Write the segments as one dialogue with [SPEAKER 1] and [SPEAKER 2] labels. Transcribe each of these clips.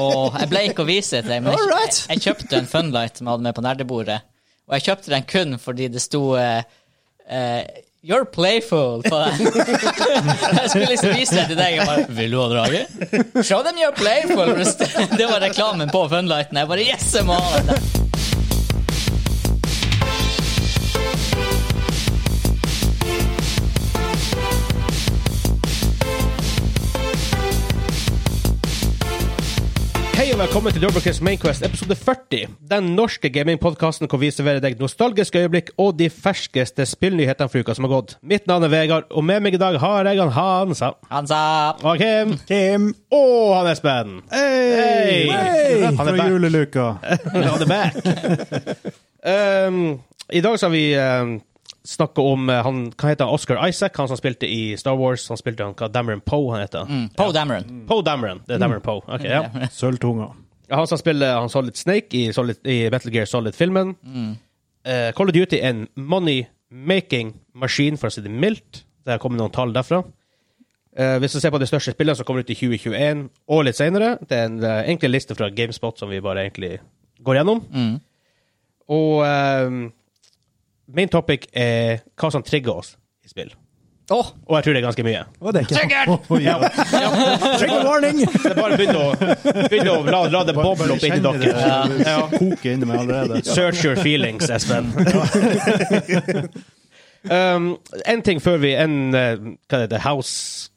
[SPEAKER 1] Og jeg ble ikke å vise det til deg, men jeg, jeg,
[SPEAKER 2] Alright.
[SPEAKER 1] jeg kjøpte en Funlight som jeg hadde med på nerdebordet. Og jeg kjøpte den kun fordi det sto eh, eh, You're playful på den. jeg skulle liksom vise det til deg. Jeg bare, Vil du ha draget? Show them you're playful. Det var reklamen på Funlighten. Jeg bare Yes, jeg må ha den!
[SPEAKER 3] Hei og velkommen til Dobbeltkrigs Mainquest episode 40. Den norske gamingpodkasten hvor vi serverer deg nostalgiske øyeblikk og de ferskeste spillnyhetene for uka som har gått. Mitt navn er Vegard, og med meg i dag har jeg han Hansa.
[SPEAKER 1] Han sa
[SPEAKER 3] Og Kim.
[SPEAKER 2] Kim.
[SPEAKER 3] Og han Espen.
[SPEAKER 2] Hei!
[SPEAKER 3] Hei!
[SPEAKER 2] Rett
[SPEAKER 3] Han er
[SPEAKER 2] fra
[SPEAKER 3] back.
[SPEAKER 2] juleluka.
[SPEAKER 3] Han er back. um, I dag skal vi um, snakke om uh, han, hva heter han, Oscar Isaac, han som spilte i Star Wars. Han spilte han, hva Dameron Poe, han heter.
[SPEAKER 1] mm, Poe Dameron.
[SPEAKER 3] Poe Dameron. Det er Dameron Poe. Ok, ja.
[SPEAKER 2] Sølvtunga.
[SPEAKER 3] Han som spiller han Solid Snake i, Solid, i Metal Gear Solid-filmen. Eh, Call of Duty er en money-making maskin, for å si det mildt. Det kommer noen tall derfra. Eh, hvis du ser på de største spillene som kommer ut i 2021 og litt senere, det er en eh, enkel liste fra GameSpot som vi bare egentlig går gjennom. Og eh, main topic er hva som trigger oss i spill.
[SPEAKER 1] Åh,
[SPEAKER 3] Og jeg tror det er ganske mye.
[SPEAKER 2] Å, det er ikke-
[SPEAKER 1] Triggered!
[SPEAKER 2] Å, ja. Trigger warning!
[SPEAKER 3] Det er bare å begynne å, begynne å la, la det boble opp inni
[SPEAKER 2] Kjenner det
[SPEAKER 3] dere.
[SPEAKER 2] som
[SPEAKER 3] Ja.
[SPEAKER 2] koker inni meg allerede.
[SPEAKER 3] Search your feelings, Espen. um, en ting før vi En eh, hva heter det? House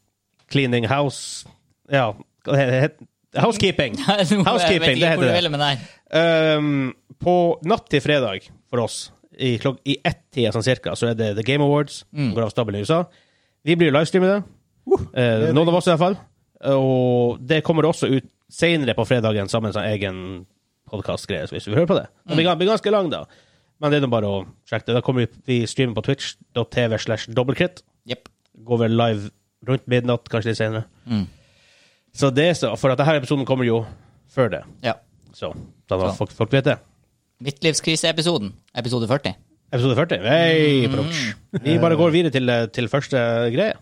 [SPEAKER 3] cleaning house Ja, hva heter det? Housekeeping.
[SPEAKER 1] nå vet jeg
[SPEAKER 3] Housekeeping,
[SPEAKER 1] ikke
[SPEAKER 3] det
[SPEAKER 1] hvor du
[SPEAKER 3] heter det.
[SPEAKER 1] ville med deg.
[SPEAKER 3] Um, på natt til fredag for oss, i, klok i ett-tida sånn cirka, så er det The Game Awards. som Går av stabelen i USA. Vi blir livestreamet det. Eh, noen av oss, i hvert fall. Og det kommer også ut senere på fredagen sammen med en sånn egen podkastgreie, hvis du vil høre på det. Den blir, gan- blir ganske lang, da. Men det er nå bare å sjekke det. Da kommer vi, vi streamer på twitch.tv slash dobbeltkritt.
[SPEAKER 1] Jepp.
[SPEAKER 3] Går vel live rundt midnatt, kanskje litt senere. Så det er så, for at denne episoden kommer jo før det.
[SPEAKER 1] Ja.
[SPEAKER 3] Så da må
[SPEAKER 1] Så.
[SPEAKER 3] folk, folk vet det.
[SPEAKER 1] Midtlivskriseepisoden, episode 40.
[SPEAKER 3] Episode 40. Hei, props.
[SPEAKER 1] Mm.
[SPEAKER 3] Vi bare går videre til, til første greie.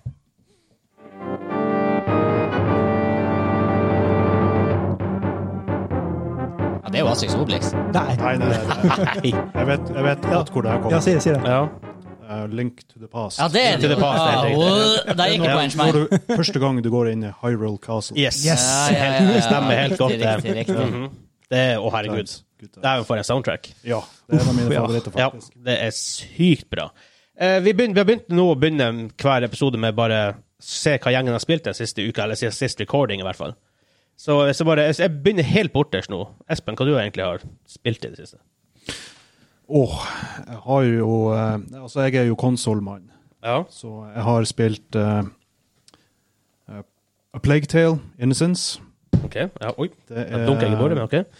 [SPEAKER 1] Ja, det er jo altså Astrix Obelix.
[SPEAKER 2] Nei. Nei, nei, nei.
[SPEAKER 3] Hei.
[SPEAKER 4] Jeg vet, jeg vet godt hvor det her
[SPEAKER 2] Ja,
[SPEAKER 4] kommer.
[SPEAKER 2] si det, si det.
[SPEAKER 3] Ja.
[SPEAKER 4] Eh, Link to the past.
[SPEAKER 1] Ja, det er
[SPEAKER 3] Til
[SPEAKER 1] det.
[SPEAKER 3] det past, helt
[SPEAKER 1] Ja,
[SPEAKER 3] riktig.
[SPEAKER 1] og- Der gikk det på en smell.
[SPEAKER 4] Når du, første gang du går inn i Hyrule Castle.
[SPEAKER 3] Yes.
[SPEAKER 2] Yes.
[SPEAKER 1] Ja, ja, ja, ja.
[SPEAKER 3] Det stemmer helt
[SPEAKER 1] Riktig,
[SPEAKER 3] godt. det.
[SPEAKER 1] Riktig, riktig.
[SPEAKER 3] Mhm. Det er, Å, herregud.
[SPEAKER 4] Good times.
[SPEAKER 3] Det er jo for en soundtrack.
[SPEAKER 4] Ja, det er en av mine
[SPEAKER 2] ja.
[SPEAKER 4] favoritter,
[SPEAKER 3] Ja,
[SPEAKER 4] faktisk.
[SPEAKER 3] det er sykt bra. Eh, vi, begynner, vi har begynt nå å begynne hver episode med bare se hva gjengen har spilt den siste uka, eller siden sist recording, i hvert fall. Så, så bare, jeg begynner helt bortest nå. Espen, hva du egentlig har spilt i det siste?
[SPEAKER 4] Åh, jeg har jo eh, Altså, jeg er jo konsolmann,
[SPEAKER 3] Ja.
[SPEAKER 4] så jeg har spilt eh, eh, A Plague Tale, Innocence.
[SPEAKER 3] OK. Ja, oi.
[SPEAKER 4] Det
[SPEAKER 3] Jeg dunker jeg i bordet, men OK. Jeg
[SPEAKER 4] eh,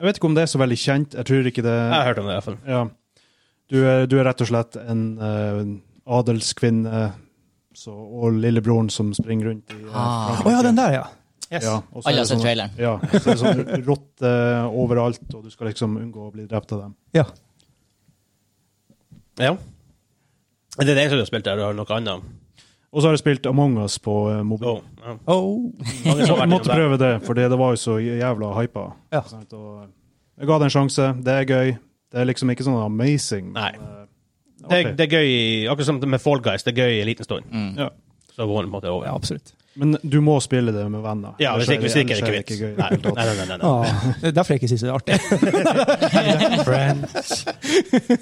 [SPEAKER 4] Jeg vet ikke om det er så veldig kjent. Jeg tror ikke det
[SPEAKER 3] har hørt om det, i hvert fall.
[SPEAKER 4] Ja. Du er, du er rett og slett en eh, adelskvinne så, og lillebroren som springer rundt i eh,
[SPEAKER 1] Ah.
[SPEAKER 2] Å ja, den der, ja.
[SPEAKER 3] Yes.
[SPEAKER 4] Ja, og så er
[SPEAKER 1] Alle
[SPEAKER 4] det
[SPEAKER 1] har sett
[SPEAKER 4] sånn-
[SPEAKER 1] traileren.
[SPEAKER 4] Ja, så det er sånn rotte overalt, og du skal liksom unngå å bli drept av dem.
[SPEAKER 2] ja.
[SPEAKER 3] Ja. Det er det eneste du har spilt der, du har noe annet.
[SPEAKER 4] Og så har jeg spilt Among us på eh, mobil.
[SPEAKER 3] Oh, ja.
[SPEAKER 2] Oh.
[SPEAKER 3] Mange
[SPEAKER 4] Jeg
[SPEAKER 3] som har vært innom
[SPEAKER 4] måtte
[SPEAKER 3] der.
[SPEAKER 4] prøve det, for det var jo så jævla hypa.
[SPEAKER 2] Ja.
[SPEAKER 4] Sant? Og eh, jeg ga det en sjanse. Det er gøy. Det er liksom ikke sånn amazing.
[SPEAKER 3] Nei.
[SPEAKER 4] eh,
[SPEAKER 3] Det, er-
[SPEAKER 4] artig.
[SPEAKER 3] det er gøy, i- akkurat som med Fall Guys, det er gøy i en liten stund.
[SPEAKER 1] Mm.
[SPEAKER 4] Ja.
[SPEAKER 3] Så går den på en måte over.
[SPEAKER 2] Ja, absolutt.
[SPEAKER 4] Men du må spille det med venner.
[SPEAKER 3] Ja, hvis ikke, hvis ikke er det
[SPEAKER 4] ellers
[SPEAKER 3] ikke
[SPEAKER 4] gøy i
[SPEAKER 3] vits.
[SPEAKER 4] det
[SPEAKER 3] Nei,
[SPEAKER 4] hele tatt.
[SPEAKER 3] nei, nei. nei, nei.
[SPEAKER 2] Ah, det er derfor jeg ikke syns det er artig.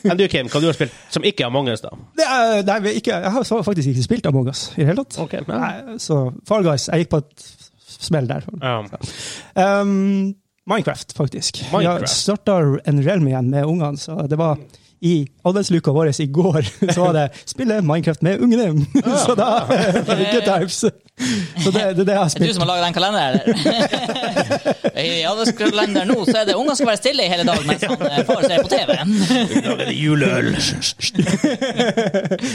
[SPEAKER 3] Men du, Kim, hva du har spilt som ikke er Among us, da?
[SPEAKER 2] Det er, nei, vi er ikke, jeg har så- faktisk ikke spilt Among us i det hele tatt.
[SPEAKER 3] Ok, men-
[SPEAKER 2] Nei, så Far Guys, jeg gikk på et smell der.
[SPEAKER 3] Ja.
[SPEAKER 2] Um, Minecraft, faktisk.
[SPEAKER 3] Minecraft.
[SPEAKER 2] Jeg starta en realm igjen med ungene, så det var i adventsluka vår i går så var det 'spille Minecraft med ungene'. så da Good times. Så det, det er det jeg
[SPEAKER 1] Det er
[SPEAKER 2] har
[SPEAKER 1] du
[SPEAKER 2] spilt.
[SPEAKER 1] som har laget den kalenderen? I alles kalender nå så er det ungene skal være stille i hele dag mens han eh, far ser på TV.
[SPEAKER 3] Lager det juleøl.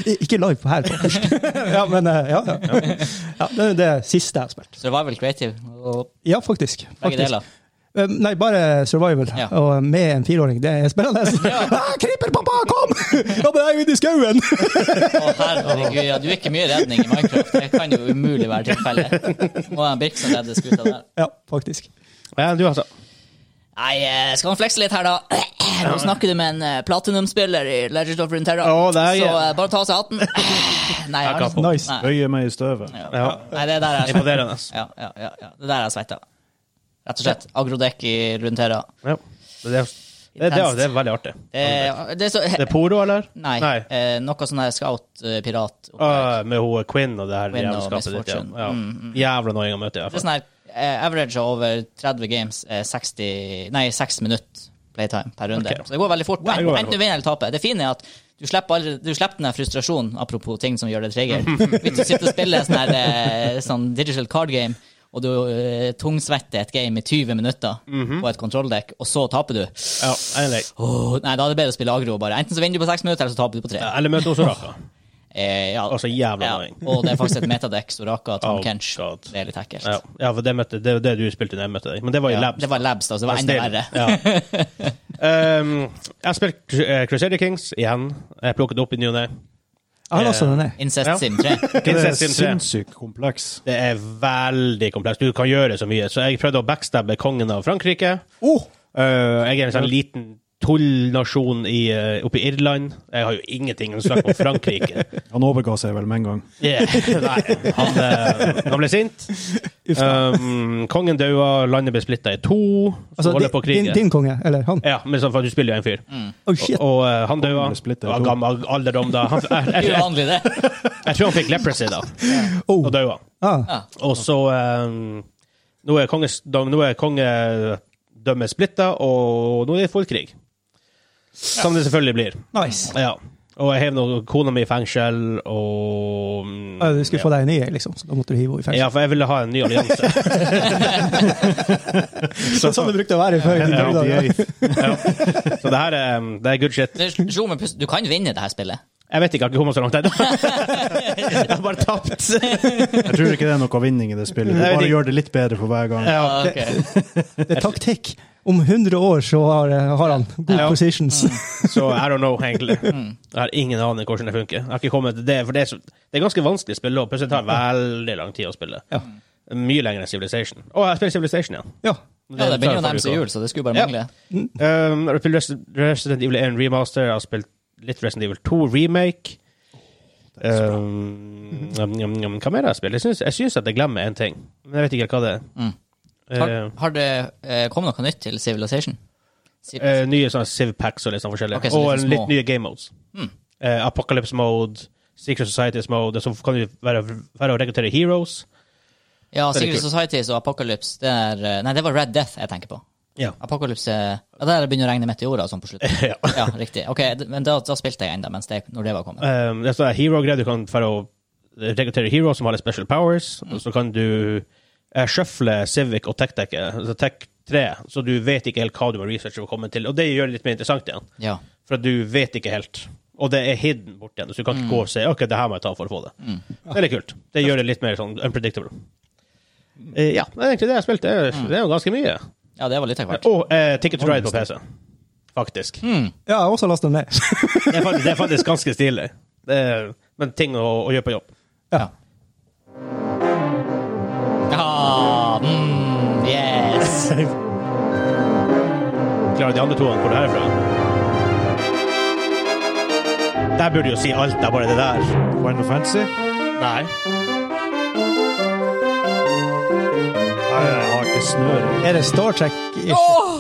[SPEAKER 2] I- Ikke live på her, faktisk. ja, men eh, ja, ja. ja. Det er det siste jeg har spilt.
[SPEAKER 1] Survival Creative og
[SPEAKER 2] Ja, faktisk.
[SPEAKER 1] begge
[SPEAKER 2] faktisk.
[SPEAKER 1] deler.
[SPEAKER 2] Eh, Nei, bare survival.
[SPEAKER 1] Ja.
[SPEAKER 2] Og med en fireåring, det er spennende.
[SPEAKER 1] Ja.
[SPEAKER 2] Ah, Kryper, pappa, kom! Ja, men jeg er ute i skauen!
[SPEAKER 1] Å, herregud, ja, du er ikke mye redning i Minecraft. Det kan jo umulig være tilfellet. Må han Birksen redde skuta der?
[SPEAKER 2] Ja, faktisk.
[SPEAKER 3] Ja, du, altså.
[SPEAKER 1] Nei, eh, skal han flekse litt her, da? Nå snakker du med en eh, platinumspiller i Legend of Runeterra,
[SPEAKER 3] Å, det er-
[SPEAKER 1] så eh, bare ta av seg hatten. Nei, jeg har
[SPEAKER 3] kapo.
[SPEAKER 2] Nice.
[SPEAKER 1] Nei.
[SPEAKER 4] Bøyer meg i støvet.
[SPEAKER 1] Ja.
[SPEAKER 3] Ja.
[SPEAKER 1] Nei, det er der jeg svetter.
[SPEAKER 3] Imponerende.
[SPEAKER 1] Ja, ja, ja, ja. Det er der jeg svetter. Rett og slett. Agrodekk i Runeterra.
[SPEAKER 3] Ja. Det, er, det, det, er, det er veldig artig.
[SPEAKER 1] Det, er- Eh, det er så
[SPEAKER 3] Det er poro, eller?
[SPEAKER 1] Nei. Eh, noe sånn her scout-pirat.
[SPEAKER 3] Ah, med hun Quinn og det her
[SPEAKER 1] Quinn og Miss
[SPEAKER 3] jævelskapet ditt. Ja.
[SPEAKER 1] Fortune.
[SPEAKER 3] Ja.
[SPEAKER 1] Mm, mm.
[SPEAKER 3] Jævla noiing å møte, i
[SPEAKER 1] Det er
[SPEAKER 3] hvert fall.
[SPEAKER 1] sånn her eh, average av over 30 games er 60 Nei, 6 minutter playtime per runde.
[SPEAKER 3] Ok.
[SPEAKER 1] Så det går veldig fort.
[SPEAKER 3] det går veldig
[SPEAKER 1] Enten du vinner eller taper. Det fine er at du slipper, aldri, du slipper den her frustrasjonen, apropos ting som gjør det tregere. Hvis du sitter og spiller sånn her eh, sånn digital card game, og du eh, tungsvetter et game i 20 minutter
[SPEAKER 3] Mhm.
[SPEAKER 1] på et kontrolldekk, og så taper du
[SPEAKER 3] Ja, eller,
[SPEAKER 1] Åh, Nei, da er det bedre å spille agro, bare. Enten så vinner du på 6 minutter, eller så taper du på 3.
[SPEAKER 3] eller møte hun Soraka.
[SPEAKER 1] Eh, ja.
[SPEAKER 3] Altså, jævla
[SPEAKER 1] ja.
[SPEAKER 3] annoying.
[SPEAKER 1] Og det er faktisk et metadekk, Soraka, Tom
[SPEAKER 3] Oh,
[SPEAKER 1] Kench.
[SPEAKER 3] God.
[SPEAKER 1] Det er litt ekkelt.
[SPEAKER 3] Ja. ja, for det, møtte, det, det du spilte når jeg møtte deg. Men det var i
[SPEAKER 1] Ja,
[SPEAKER 3] labs.
[SPEAKER 1] Det var labs, da, så det var enda verre.
[SPEAKER 3] Ja. um, jeg har spilt Cru- eh, Crusader Kings igjen. Jeg plukket det opp i ny og ne.
[SPEAKER 2] Jeg har også
[SPEAKER 3] Eh,
[SPEAKER 2] denne.
[SPEAKER 1] Incest
[SPEAKER 3] Ja.
[SPEAKER 1] Sim 3.
[SPEAKER 4] Det er
[SPEAKER 3] Prinsesse Sim 3.
[SPEAKER 4] sinnssykt kompleks.
[SPEAKER 3] Det er veldig komplekst. Du kan gjøre så mye. Så jeg prøvde å backstabbe kongen av Frankrike.
[SPEAKER 2] Oh,
[SPEAKER 3] Uh, jeg er en sånn liten tullnasjon i, uh, oppe i Irland. Jeg har jo ingenting å snakke om Frankrike.
[SPEAKER 4] Han overga seg vel med en gang.
[SPEAKER 3] Yeah. Nei, han, eh, han ble sint. Um, kongen daua, landet ble splitta i to. Så
[SPEAKER 2] altså,
[SPEAKER 3] holder
[SPEAKER 2] din,
[SPEAKER 3] på krigen.
[SPEAKER 2] din, din konge, eller han?
[SPEAKER 3] Ja, men sånn, for du spiller jo en fyr.
[SPEAKER 2] Oh, shit.
[SPEAKER 3] Og eh, han daua.
[SPEAKER 4] ble splittet i
[SPEAKER 3] Var
[SPEAKER 4] to.
[SPEAKER 3] gammel alderdom da. Han, jeg, jeg, jeg,
[SPEAKER 1] Uvanlig, det.
[SPEAKER 3] jeg tror han fikk leprosy da,
[SPEAKER 2] Oh,
[SPEAKER 3] og daua.
[SPEAKER 2] ah.
[SPEAKER 1] Ja.
[SPEAKER 3] Og så eh, Nå er konges- da- nå er kongedømmet splitta, og nå er det folkekrig. Som det selvfølgelig blir.
[SPEAKER 2] Nice.
[SPEAKER 3] Ja. Og jeg heiv nå kona mi i fengsel, og mm,
[SPEAKER 2] Ah, Du skulle få deg en ny, liksom, så da måtte du hive henne i
[SPEAKER 3] Ja,
[SPEAKER 2] fengsel.
[SPEAKER 3] for jeg ville ha en ny allianse.
[SPEAKER 2] Det er sånn det brukte å være før. i
[SPEAKER 4] Ja,
[SPEAKER 2] tiden, ja.
[SPEAKER 4] de er-
[SPEAKER 3] ja. Så det her er, mm, det er good shit.
[SPEAKER 1] Det er sjo med pust- Du kan vinne det her spillet.
[SPEAKER 3] Jeg vet ikke, jeg har ikke kommet så langt ennå. Jeg har bare tapt.
[SPEAKER 4] Jeg tror ikke det er noe vinning i det spillet. Du
[SPEAKER 3] Jeg vet
[SPEAKER 4] bare
[SPEAKER 3] ikke.
[SPEAKER 4] gjør det litt bedre for hver gang.
[SPEAKER 3] Ja.
[SPEAKER 1] Ah, ok.
[SPEAKER 2] Det er taktikk. Om 100 år så har, eh, har han good
[SPEAKER 3] Ja.
[SPEAKER 2] positions.
[SPEAKER 3] Så I don't know, egentlig.
[SPEAKER 1] Mm.
[SPEAKER 3] Jeg har ingen aning hvordan det funker. Jeg har ikke kommet til det, for det er, så, det er ganske vanskelig å spille, og plutselig tar det veldig lang tid å spille.
[SPEAKER 2] Ja.
[SPEAKER 3] Mye lenger enn Civilization. Å, jeg spiller Civilization igjen.
[SPEAKER 2] Ja.
[SPEAKER 1] Ja, det begynner jo å nærme seg
[SPEAKER 3] forrige
[SPEAKER 1] jul, så det skulle bare
[SPEAKER 3] Ja.
[SPEAKER 1] mangle.
[SPEAKER 3] Um, jeg har spilt Res- Resident Evil 1 Remaster, jeg har spilt litt Resident Evil 2 Remake. Um, um, um, um, hva mer har jeg spilt? Jeg syns- Jeg syns at jeg glemmer én ting, men jeg vet ikke helt hva det er.
[SPEAKER 1] Mm. Har,
[SPEAKER 3] Uh,
[SPEAKER 1] har det eh, kommet noe nytt til Civilization? Civ
[SPEAKER 3] Eh, nye sånne civ packs og litt sånn forskjellig.
[SPEAKER 1] Ok, så
[SPEAKER 3] og
[SPEAKER 1] litt
[SPEAKER 3] litt,
[SPEAKER 1] sånn små.
[SPEAKER 3] nye game modes.
[SPEAKER 1] Mm.
[SPEAKER 3] Eh, Apocalypse mode, Secret Societies mode, og så kan du være, være å rekruttere heroes.
[SPEAKER 1] ja,
[SPEAKER 3] det er
[SPEAKER 1] Civil
[SPEAKER 3] kult.
[SPEAKER 1] Societies og Apocalypse det er, eh, Nei, det var Red Death jeg tenker på.
[SPEAKER 3] Ja.
[SPEAKER 1] Apocalypse eh, ja, Der begynner å regne meteorer og sånn på slutten.
[SPEAKER 3] ja.
[SPEAKER 1] Ja, riktig. Ok, d- Men da, da spilte jeg ennå, mens det, når det var kommet.
[SPEAKER 3] Um, det er sånne hero-greier. Du kan være å rekruttere heroes som har litt special powers,
[SPEAKER 1] Hmm.
[SPEAKER 3] og så kan du eh, shuffle Civic og Tech-dekket, altså Tech 3, så du vet ikke helt hva du må researche for å komme til, og det gjør det litt mer interessant igjen,
[SPEAKER 1] Ja.
[SPEAKER 3] for at du vet ikke helt. Og det er hidden bort igjen, så du kan ikke gå og si OK, det her må jeg ta for å få det.
[SPEAKER 1] Mm.
[SPEAKER 3] Det er litt kult. Det gjør det litt mer sånn unpredictable.
[SPEAKER 1] Mm.
[SPEAKER 3] Eh, ja, det er egentlig det jeg har spilt. Det er, det er jo ganske mye.
[SPEAKER 1] ja, det var litt av hvert.
[SPEAKER 3] Og eh, Ticket to Ride på PC. Faktisk.
[SPEAKER 1] Mm.
[SPEAKER 2] Ja, jeg har også lastet den ned.
[SPEAKER 3] Det er faktisk, det er faktisk ganske stilig. Det er, men ting å, å gjøre på jobb.
[SPEAKER 1] Ja. Ja, mm, yes.
[SPEAKER 3] Klarer de andre to hvor det her er fra? Der burde du jo si alt, det er bare det der.
[SPEAKER 4] Final Fantasy?
[SPEAKER 3] Nei.
[SPEAKER 4] Nei, jeg har ikke snøring.
[SPEAKER 2] Er det Star Trek?
[SPEAKER 1] Åh!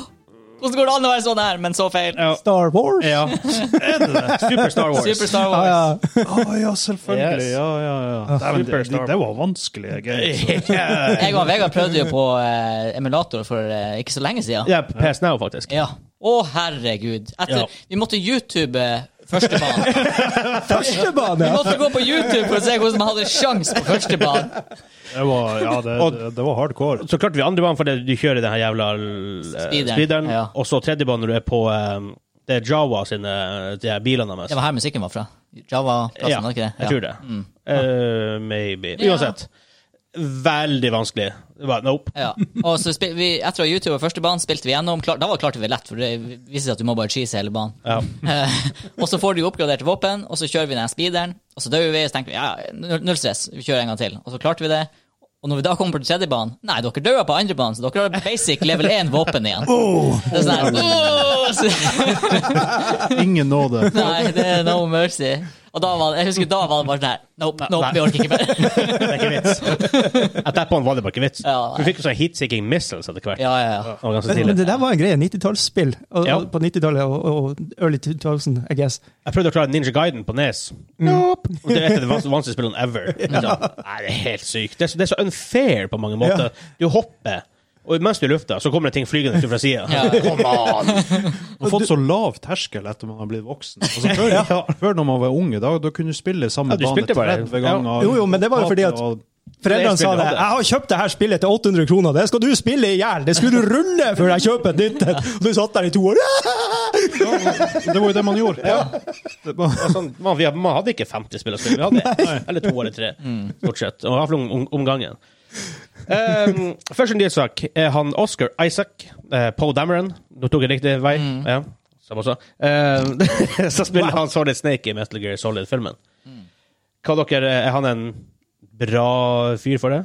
[SPEAKER 1] Hvordan går det an å være sånn her, men så feil?
[SPEAKER 3] Ja.
[SPEAKER 2] Star Wars?
[SPEAKER 3] ja. Er det det? Super Star Wars.
[SPEAKER 1] Super Star
[SPEAKER 2] Ah,
[SPEAKER 1] Wars.
[SPEAKER 2] ja.
[SPEAKER 4] Å ja, selvfølgelig.
[SPEAKER 3] Yes.
[SPEAKER 4] Ja, ja, ja. Dæven,
[SPEAKER 3] Super
[SPEAKER 4] det,
[SPEAKER 3] Star
[SPEAKER 4] det, det var vanskelige games.
[SPEAKER 3] ja.
[SPEAKER 1] Jeg og Vegard prøvde jo på eh, emulator for eh, ikke så lenge siden.
[SPEAKER 3] ja, PS Now, faktisk.
[SPEAKER 1] Ja. Å, herregud. Etter,
[SPEAKER 3] Ja.
[SPEAKER 1] Vi måtte YouTube eh, førstebanen. Vi
[SPEAKER 2] Førstebane! ja.
[SPEAKER 1] måtte gå på YouTube for å se hvordan man hadde sjans på førstebanen.
[SPEAKER 4] Det var, ja, det,
[SPEAKER 3] Og-
[SPEAKER 4] det, det var hardcore.
[SPEAKER 3] Så klarte vi andre banen fordi du kjører den her jævla eh,
[SPEAKER 1] Speederen,
[SPEAKER 3] speederen.
[SPEAKER 1] ja.
[SPEAKER 3] Og så tredje banen når du er på eh, Det er Jawa sine eh, de her bilene deres.
[SPEAKER 1] Det var her Mm. musikken var fra. Java-plassen, var det ikke det?
[SPEAKER 3] jeg tror det. Eh, maybe. Uansett. veldig vanskelig. Det var, nope.
[SPEAKER 1] Ja. Og så spil, vi, etter å ha YouTube første banen spilte vi gjennom. Klar, da var klarte vi lett, for det viser seg at du må bare cheese hele banen.
[SPEAKER 3] Ja.
[SPEAKER 1] Eh, og så får du jo oppgradert våpen, og så kjører vi den speederen, og så dør vi, og så tenker vi ja, null- null stress, vi kjører en gang til. Og så klarte vi det. Og når vi da kommer på den tredje banen Nei, dere dør på andre banen, så dere har basic level 1-våpen igjen.
[SPEAKER 3] Oh.
[SPEAKER 1] Det er sånn her, «Åh!» så,
[SPEAKER 4] Ingen nåde.
[SPEAKER 1] Nei, det er no mercy. Og da var, det- jeg husker da var det bare sånn her Nope, nope, vi orker ikke mer.
[SPEAKER 3] Det er ikke vits. At that point var det bare ikke vits.
[SPEAKER 1] Ja, nei.
[SPEAKER 3] du fikk jo sånn heatseeking missiles etter hvert.
[SPEAKER 1] Ja, ja, ja.
[SPEAKER 3] Det var ganske
[SPEAKER 2] Men, men
[SPEAKER 3] tidlig.
[SPEAKER 2] det der var en greie. 90-tallsspill og-
[SPEAKER 3] Ja.
[SPEAKER 2] og- på 90-tallet og, og early 2000, I guess.
[SPEAKER 3] Jeg prøvde å klare Ninja Guiden på Nes. Nope. Og det er et av de vans- vanskeligste spillene ever. Så, Nei, det er helt sykt. Det er, så- det er så unfair på mange måter. Du hopper, og mens du er i lufta, så kommer det ting flygende ut fra sida.
[SPEAKER 1] Ja.
[SPEAKER 3] Come on!
[SPEAKER 4] Man har fått så lav terskel etter man har blitt voksen. Altså, før, før når man var unge, da, da kunne du spille samme
[SPEAKER 3] Ja, du
[SPEAKER 4] bane
[SPEAKER 3] spilte bare.
[SPEAKER 4] 30 ganger.
[SPEAKER 2] Jo, jo, men det var jo fordi at-
[SPEAKER 4] Og-
[SPEAKER 2] Foreldrene sa
[SPEAKER 3] Flere spillere
[SPEAKER 2] det.
[SPEAKER 3] hadde det.
[SPEAKER 2] 'Jeg har kjøpt det her spillet til 800 kroner. Det skal du spille i hjel! Det skulle du runde før jeg kjøper et nytt et!' Og du satt der i to år.
[SPEAKER 4] Det var jo det man gjorde. Det var-
[SPEAKER 3] Og Sånn, man, vi, man hadde ikke 50 spill å spille, vi hadde eller to eller tre, stort sett. Og iallfall om, om, om gangen. Um, først en nyhetssak. Eh, Han Oscar Isaac, eh, Poe Dameron Nå tok jeg riktig vei. Ja, samme også. Eh, så spiller han Solid Snake i Metal Gear Solid-filmen. Hva dere, Er han en bra fyr for det?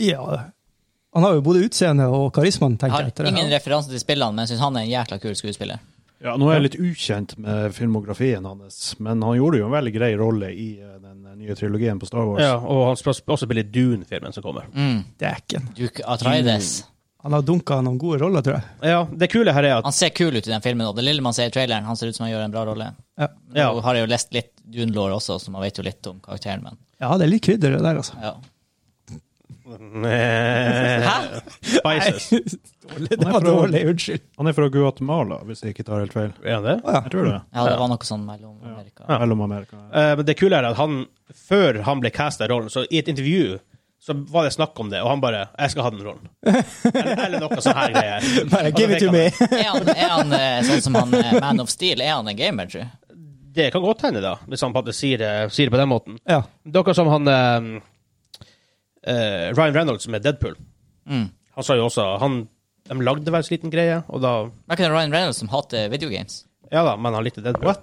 [SPEAKER 2] Ja. Han har jo både utseende og karismaen,
[SPEAKER 1] Jeg
[SPEAKER 2] tenker
[SPEAKER 1] har
[SPEAKER 2] jeg. etter det.
[SPEAKER 1] ingen referanse til spillene, men jeg syns han er en jækla kul skuespiller.
[SPEAKER 4] Ja, nå er jeg litt ukjent med filmografien hans, men han gjorde jo en veldig grei rolle i eh, den nye trilogien på Star Wars.
[SPEAKER 3] Ja, og han skal også spille i Dune-filmen som kommer.
[SPEAKER 1] Mm.
[SPEAKER 2] Dæken.
[SPEAKER 1] Duke Atreides.
[SPEAKER 2] Han har dunka noen gode roller, tror jeg.
[SPEAKER 3] Ja, Det kule her er at
[SPEAKER 1] Han ser kul ut i den filmen, og det lille man ser i traileren, han ser ut som han gjør en bra rolle.
[SPEAKER 2] Ja.
[SPEAKER 1] Nå har jeg jo lest litt Dunelore også, så man vet jo litt om karakteren, men
[SPEAKER 2] Ja, det er litt krydder det der, altså.
[SPEAKER 1] ja.
[SPEAKER 3] Hæ?
[SPEAKER 1] Hæ?
[SPEAKER 3] Spices.
[SPEAKER 2] Dårlig, det var dårlig, unnskyld.
[SPEAKER 4] Han er fra Guatemala, hvis jeg ikke tar helt feil.
[SPEAKER 3] Er han det?
[SPEAKER 2] Å ja.
[SPEAKER 4] Jeg tror det.
[SPEAKER 1] Ja, det var noe sånn mellom Amerika.
[SPEAKER 3] Ja.
[SPEAKER 4] Mellom Amerika.
[SPEAKER 3] Eh, Men det kule er at han, før han ble casta i rollen, så i et intervju så var det snakk om det, og han bare 'Jeg skal ha den rollen'. Eller, eller noe sånn her greier.
[SPEAKER 2] Bare
[SPEAKER 3] Og
[SPEAKER 2] give
[SPEAKER 3] det
[SPEAKER 2] it to
[SPEAKER 3] fikk
[SPEAKER 2] me.
[SPEAKER 3] han.
[SPEAKER 1] Er han, er han eh, sånn som han eh, Man of Steel? Er han en gamer, tror jeg?
[SPEAKER 3] Det kan godt hende, da, hvis han på en måte sier det, sier det på den måten.
[SPEAKER 2] Ja.
[SPEAKER 3] Dere som han eh, eh, Ryan Reynolds med Deadpool,
[SPEAKER 1] Mm.
[SPEAKER 3] han sa jo også han, De lagde vel en liten greie, og da
[SPEAKER 1] Var ikke det Ryan Reynolds som hater videogames?
[SPEAKER 3] Ja da, men han likte Deadpool.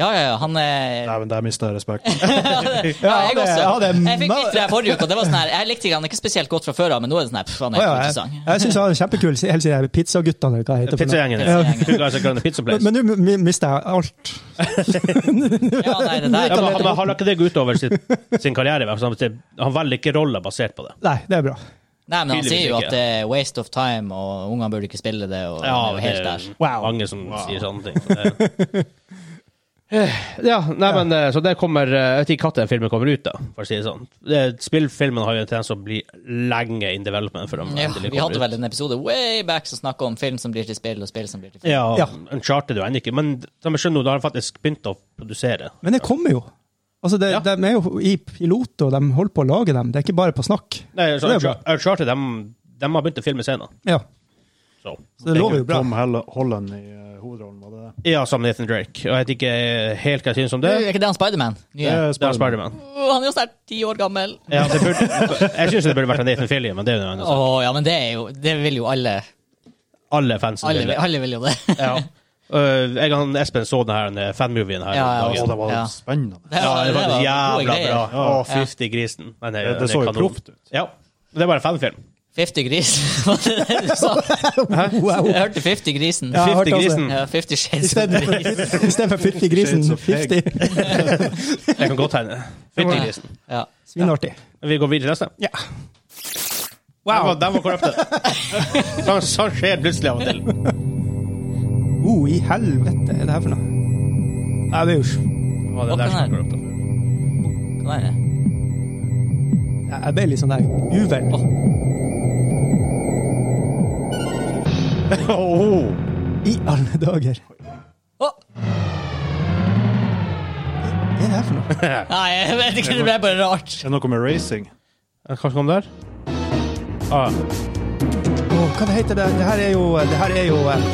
[SPEAKER 1] Ja, ja, ja, han er
[SPEAKER 4] Nei, men der mista jeg respekt.
[SPEAKER 1] Ja, jeg
[SPEAKER 2] Ja, det-
[SPEAKER 1] også.
[SPEAKER 2] ja, det er
[SPEAKER 1] Jeg fikk
[SPEAKER 2] ma-
[SPEAKER 1] litt fra forrige uke, og det var sånn her Jeg likte ikke han ikke spesielt godt fra før av, men nå er det sånn her Pff, han
[SPEAKER 2] Å
[SPEAKER 1] er
[SPEAKER 2] ja,
[SPEAKER 1] helt
[SPEAKER 2] jeg
[SPEAKER 1] interessant.
[SPEAKER 2] jeg syns han er kjempekul, helt siden de pizzaguttene, eller hva heter det.
[SPEAKER 3] Pizzagjengen.
[SPEAKER 1] Ja.
[SPEAKER 3] ja. Two guys are going to pizza place.
[SPEAKER 2] Men men nå mi- mister jeg alt.
[SPEAKER 1] Ja, nei, det
[SPEAKER 3] Ja,
[SPEAKER 1] der
[SPEAKER 3] men, men har ikke det gått utover sin, sin karriere? i hvert fall? Han velger ikke roller basert på det.
[SPEAKER 2] Nei, det er bra.
[SPEAKER 1] Nei, men han
[SPEAKER 3] Tydeligvis
[SPEAKER 1] sier jo
[SPEAKER 3] ikke.
[SPEAKER 1] at det er waste of time, og ungene burde ikke spille det, og han er jo helt der.
[SPEAKER 2] Wow.
[SPEAKER 3] mange som sier sånne ting. så det- ja, nei, men eh, så det kommer eh, Jeg vet ikke når den filmen kommer ut, da, for å si det sånn. Det- Spillfilmen har jo en tendens å bli lenge in development før de
[SPEAKER 1] Ja,
[SPEAKER 3] endelig
[SPEAKER 1] vi hadde
[SPEAKER 3] kommer ut.
[SPEAKER 1] vel en episode way back som snakka om film som blir til spill, og spill som blir til film.
[SPEAKER 3] Ja,
[SPEAKER 2] Ja.
[SPEAKER 3] Uncharted er jo ennå ikke Men som jeg skjønner, nå, da har de faktisk begynt å produsere.
[SPEAKER 2] Men det kommer jo. Altså, det,
[SPEAKER 3] Ja.
[SPEAKER 2] De er jo i pilot, og de holder på å lage dem. Det er ikke bare på snakk.
[SPEAKER 3] Nei, så
[SPEAKER 2] Det er bra.
[SPEAKER 3] Unchar- Uncharted de, de har begynt å filme scener.
[SPEAKER 2] Ja,
[SPEAKER 3] Så.
[SPEAKER 2] Så det lover jo bra.
[SPEAKER 4] Tom Hell- Holland i eh, hovedrollen, var det det?
[SPEAKER 3] Ja, sammen med Nathan Drake. Og jeg vet ikke helt hva jeg synes om
[SPEAKER 1] Det
[SPEAKER 3] det.
[SPEAKER 1] er ikke det han Spiderman?
[SPEAKER 4] Det
[SPEAKER 1] Nye?
[SPEAKER 4] er
[SPEAKER 3] Det er
[SPEAKER 4] Spider-Man.
[SPEAKER 3] Spiderman.
[SPEAKER 1] Åh, han er jo snart ti år gammel.
[SPEAKER 3] Ja, det burde- jeg syns det burde vært en Nathan Fillion, men det er jo noe annet.
[SPEAKER 1] Å ja, men det er jo Det vil jo alle.
[SPEAKER 3] Alle fansen
[SPEAKER 1] Alle,
[SPEAKER 3] vil det.
[SPEAKER 1] alle vil jo det.
[SPEAKER 3] Ja. Øh, jeg og han Espen så den her den fanmovien her.
[SPEAKER 1] Ja, ja,
[SPEAKER 3] om
[SPEAKER 4] Å, Altså, det
[SPEAKER 3] dagen.
[SPEAKER 4] var
[SPEAKER 1] Ja.
[SPEAKER 4] spennende.
[SPEAKER 3] ja, det var
[SPEAKER 1] gode
[SPEAKER 3] jævla
[SPEAKER 1] greier.
[SPEAKER 3] bra. Å,
[SPEAKER 4] Ja.
[SPEAKER 3] fytti grisen. Men
[SPEAKER 4] Det, det så jo proft ut.
[SPEAKER 3] Ja. Det var en fanfilm.
[SPEAKER 1] 50 gris, var det det du sa?
[SPEAKER 2] Wow.
[SPEAKER 1] Jeg hørte 50 grisen.
[SPEAKER 2] Ja, jeg hørte
[SPEAKER 3] Fytti
[SPEAKER 2] også det.
[SPEAKER 3] grisen.
[SPEAKER 1] Ja, 50 shades of
[SPEAKER 2] Istedenfor
[SPEAKER 1] Grey.
[SPEAKER 2] istedenfor 50 grisen,
[SPEAKER 4] Shades of Egg.
[SPEAKER 2] 50
[SPEAKER 3] Jeg kan godt tegne. Fytti grisen.
[SPEAKER 1] Ja.
[SPEAKER 2] svinartig.
[SPEAKER 3] Vi går videre til neste.
[SPEAKER 2] Ja.
[SPEAKER 3] Den var, den var korrupte. Sånn sånn skjer plutselig av og til.
[SPEAKER 2] Oh, i helvete, er det her for noe? Nei, det er jo sj-
[SPEAKER 3] Å, det er der som er korrupt.
[SPEAKER 1] Hva er det?
[SPEAKER 2] Jeg ble litt sånn der uvel.
[SPEAKER 4] Oh!
[SPEAKER 3] Åh.
[SPEAKER 2] I alle dager.
[SPEAKER 1] Å,
[SPEAKER 2] Hva er det her for noe?
[SPEAKER 1] Nei, jeg vet ikke, det ble bare rart.
[SPEAKER 4] Er det noe med racing?
[SPEAKER 3] Kanskje kom der? Ah,
[SPEAKER 2] Åh, hva det heter det? Det her er jo Det her er jo eh,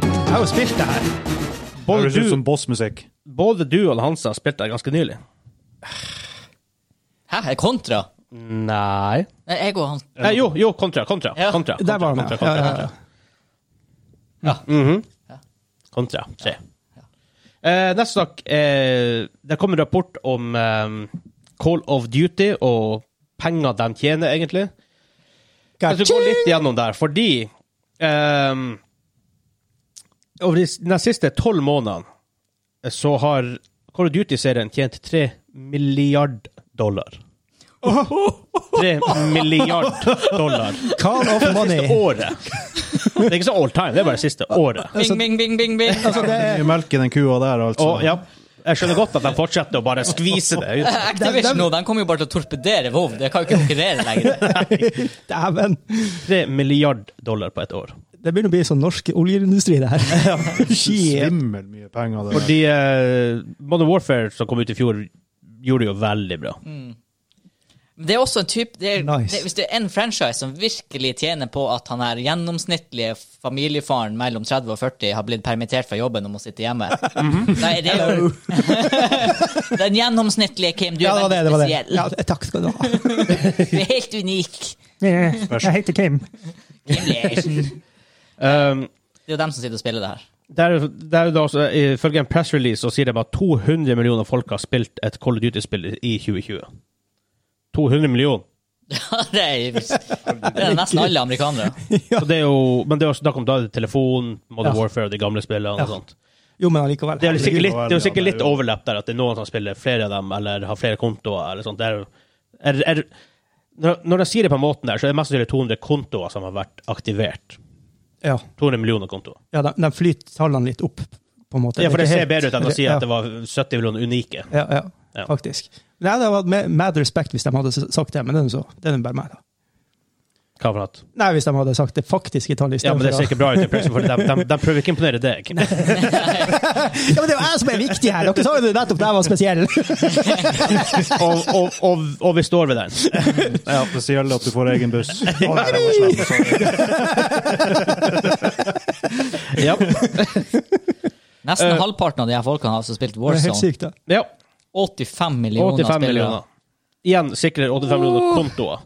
[SPEAKER 2] Jeg har jo spilt det her.
[SPEAKER 4] Det
[SPEAKER 3] både,
[SPEAKER 4] høres ut
[SPEAKER 3] du,
[SPEAKER 4] som bossmusikk.
[SPEAKER 3] både du og Hansa spilte der ganske nylig.
[SPEAKER 1] Hæ, er det kontra?
[SPEAKER 3] Nei.
[SPEAKER 1] Nei, jeg og han
[SPEAKER 3] Nei, jo, jo, kontra. Kontra.
[SPEAKER 1] Ja.
[SPEAKER 3] kontra, kontra
[SPEAKER 2] Der var han,
[SPEAKER 3] kontra,
[SPEAKER 2] ja.
[SPEAKER 3] kontra,
[SPEAKER 2] ja,
[SPEAKER 3] kontra.
[SPEAKER 2] ja.
[SPEAKER 3] Mhm.
[SPEAKER 1] Ja.
[SPEAKER 3] Kontra. Se. Eh, neste sak eh, Det kom en rapport om eh, Call of Duty og penger de tjener, egentlig. Jeg skal gå
[SPEAKER 2] Ka-ching!
[SPEAKER 3] litt gjennom der, fordi ehm, Over de s- de siste tolv månedene eh, så har Call of Duty-serien tjent tre milliard dollar. Tre milliard dollar
[SPEAKER 2] Call of
[SPEAKER 3] siste
[SPEAKER 2] money.
[SPEAKER 3] året. Det er ikke så all time, det er bare siste året.
[SPEAKER 1] Bing, bing, bing, bing, bing.
[SPEAKER 2] Altså, det er
[SPEAKER 4] Mye melk i den kua der, altså.
[SPEAKER 3] Og ja, jeg skjønner godt at de fortsetter å bare skvise det ut.
[SPEAKER 1] Activision nå, de kommer jo bare til å torpedere WoW. Det kan jo ikke konkurrere lenger.
[SPEAKER 2] Dæven.
[SPEAKER 3] Tre milliard dollar på et år.
[SPEAKER 2] Det begynner å bli sånn norsk oljeindustri, det her. Shit.
[SPEAKER 4] Svimmel mye penger. Det der.
[SPEAKER 3] Fordi eh, Modern Warfare som kom ut i fjor, gjorde det jo veldig bra.
[SPEAKER 1] Men Det er også en type det er,
[SPEAKER 2] Nice.
[SPEAKER 1] det, Hvis det er en franchise som virkelig tjener på at han her gjennomsnittlige familiefaren mellom 30 og 40 har blitt permittert fra jobben og må sitte hjemme
[SPEAKER 3] Mhm.
[SPEAKER 1] Nei, det er jo Den gjennomsnittlige Kim, du
[SPEAKER 2] Ja, det
[SPEAKER 1] er
[SPEAKER 2] var det.
[SPEAKER 1] veldig
[SPEAKER 2] det, var det.
[SPEAKER 1] spesiell.
[SPEAKER 2] Ja, takk skal du ha.
[SPEAKER 1] Du er helt unik.
[SPEAKER 2] Jeg heter Kim.
[SPEAKER 1] Kim Larsen.
[SPEAKER 3] Um,
[SPEAKER 1] Det er jo dem som sitter og spiller det her.
[SPEAKER 3] det er, det er jo da også, Ifølge en pressrelease så sier de at 200 millioner folk har spilt et Call of Duty-spill i 2020. 200 millioner.
[SPEAKER 1] Ja, det er, det er nesten alle amerikanere.
[SPEAKER 3] Så det er jo, men det er jo snakk om da telefon, Modern
[SPEAKER 2] Ja.
[SPEAKER 3] Warfare og de gamle spillene.
[SPEAKER 2] Ja.
[SPEAKER 3] og sånt.
[SPEAKER 2] Jo, men allikevel.
[SPEAKER 3] Det er jo sikkert litt, det er jo
[SPEAKER 4] Ja, det er
[SPEAKER 3] sikkert litt
[SPEAKER 4] jo-
[SPEAKER 3] overlapp der, at det er noen som spiller flere av dem, eller har flere kontoer. eller sånt. Det er, jo- er, er, når- når de sier det på den måten der, så er det mest sannsynlig 200 kontoer som har vært aktivert.
[SPEAKER 2] Ja,
[SPEAKER 3] 200 millioner kontoer.
[SPEAKER 2] ja de, de flyter tallene litt opp, på en måte.
[SPEAKER 3] Ja, for det
[SPEAKER 2] er
[SPEAKER 3] ser
[SPEAKER 2] ikke helt-
[SPEAKER 3] bedre ut enn å si
[SPEAKER 2] Ja.
[SPEAKER 3] at det var 70 millioner unike.
[SPEAKER 2] Ja, ja,
[SPEAKER 3] Ja.
[SPEAKER 2] faktisk. Nei, det hadde vært med- mad respect hvis de hadde s- sagt det, men det er nå så. Det er nå bare meg, da.
[SPEAKER 3] Hva for at?
[SPEAKER 2] Nei, hvis de hadde sagt det faktiske tallet i stedet
[SPEAKER 3] Ja, men det
[SPEAKER 2] for
[SPEAKER 3] ser
[SPEAKER 2] å-
[SPEAKER 3] ikke bra ut, i pressen, for de, de, de prøver ikke å imponere deg.
[SPEAKER 2] Ja, men det er jo jeg som er viktig her! Dere sa jo det nettopp, det var spesiell.
[SPEAKER 3] Og, og, og, og vi står ved den.
[SPEAKER 4] Ja, Spesielt at du får egen buss. Å, nei, det var sånn. slemt, sorry.
[SPEAKER 3] Ja.
[SPEAKER 1] Nesten
[SPEAKER 3] Eh.
[SPEAKER 1] halvparten av de her folkene har altså spilt
[SPEAKER 2] Det er helt
[SPEAKER 1] Warzone.
[SPEAKER 2] sykt, da.
[SPEAKER 3] ja.
[SPEAKER 1] 85 millioner
[SPEAKER 3] 85
[SPEAKER 1] spillere.
[SPEAKER 3] millioner. Igjen sikrer 85 millioner kontoer.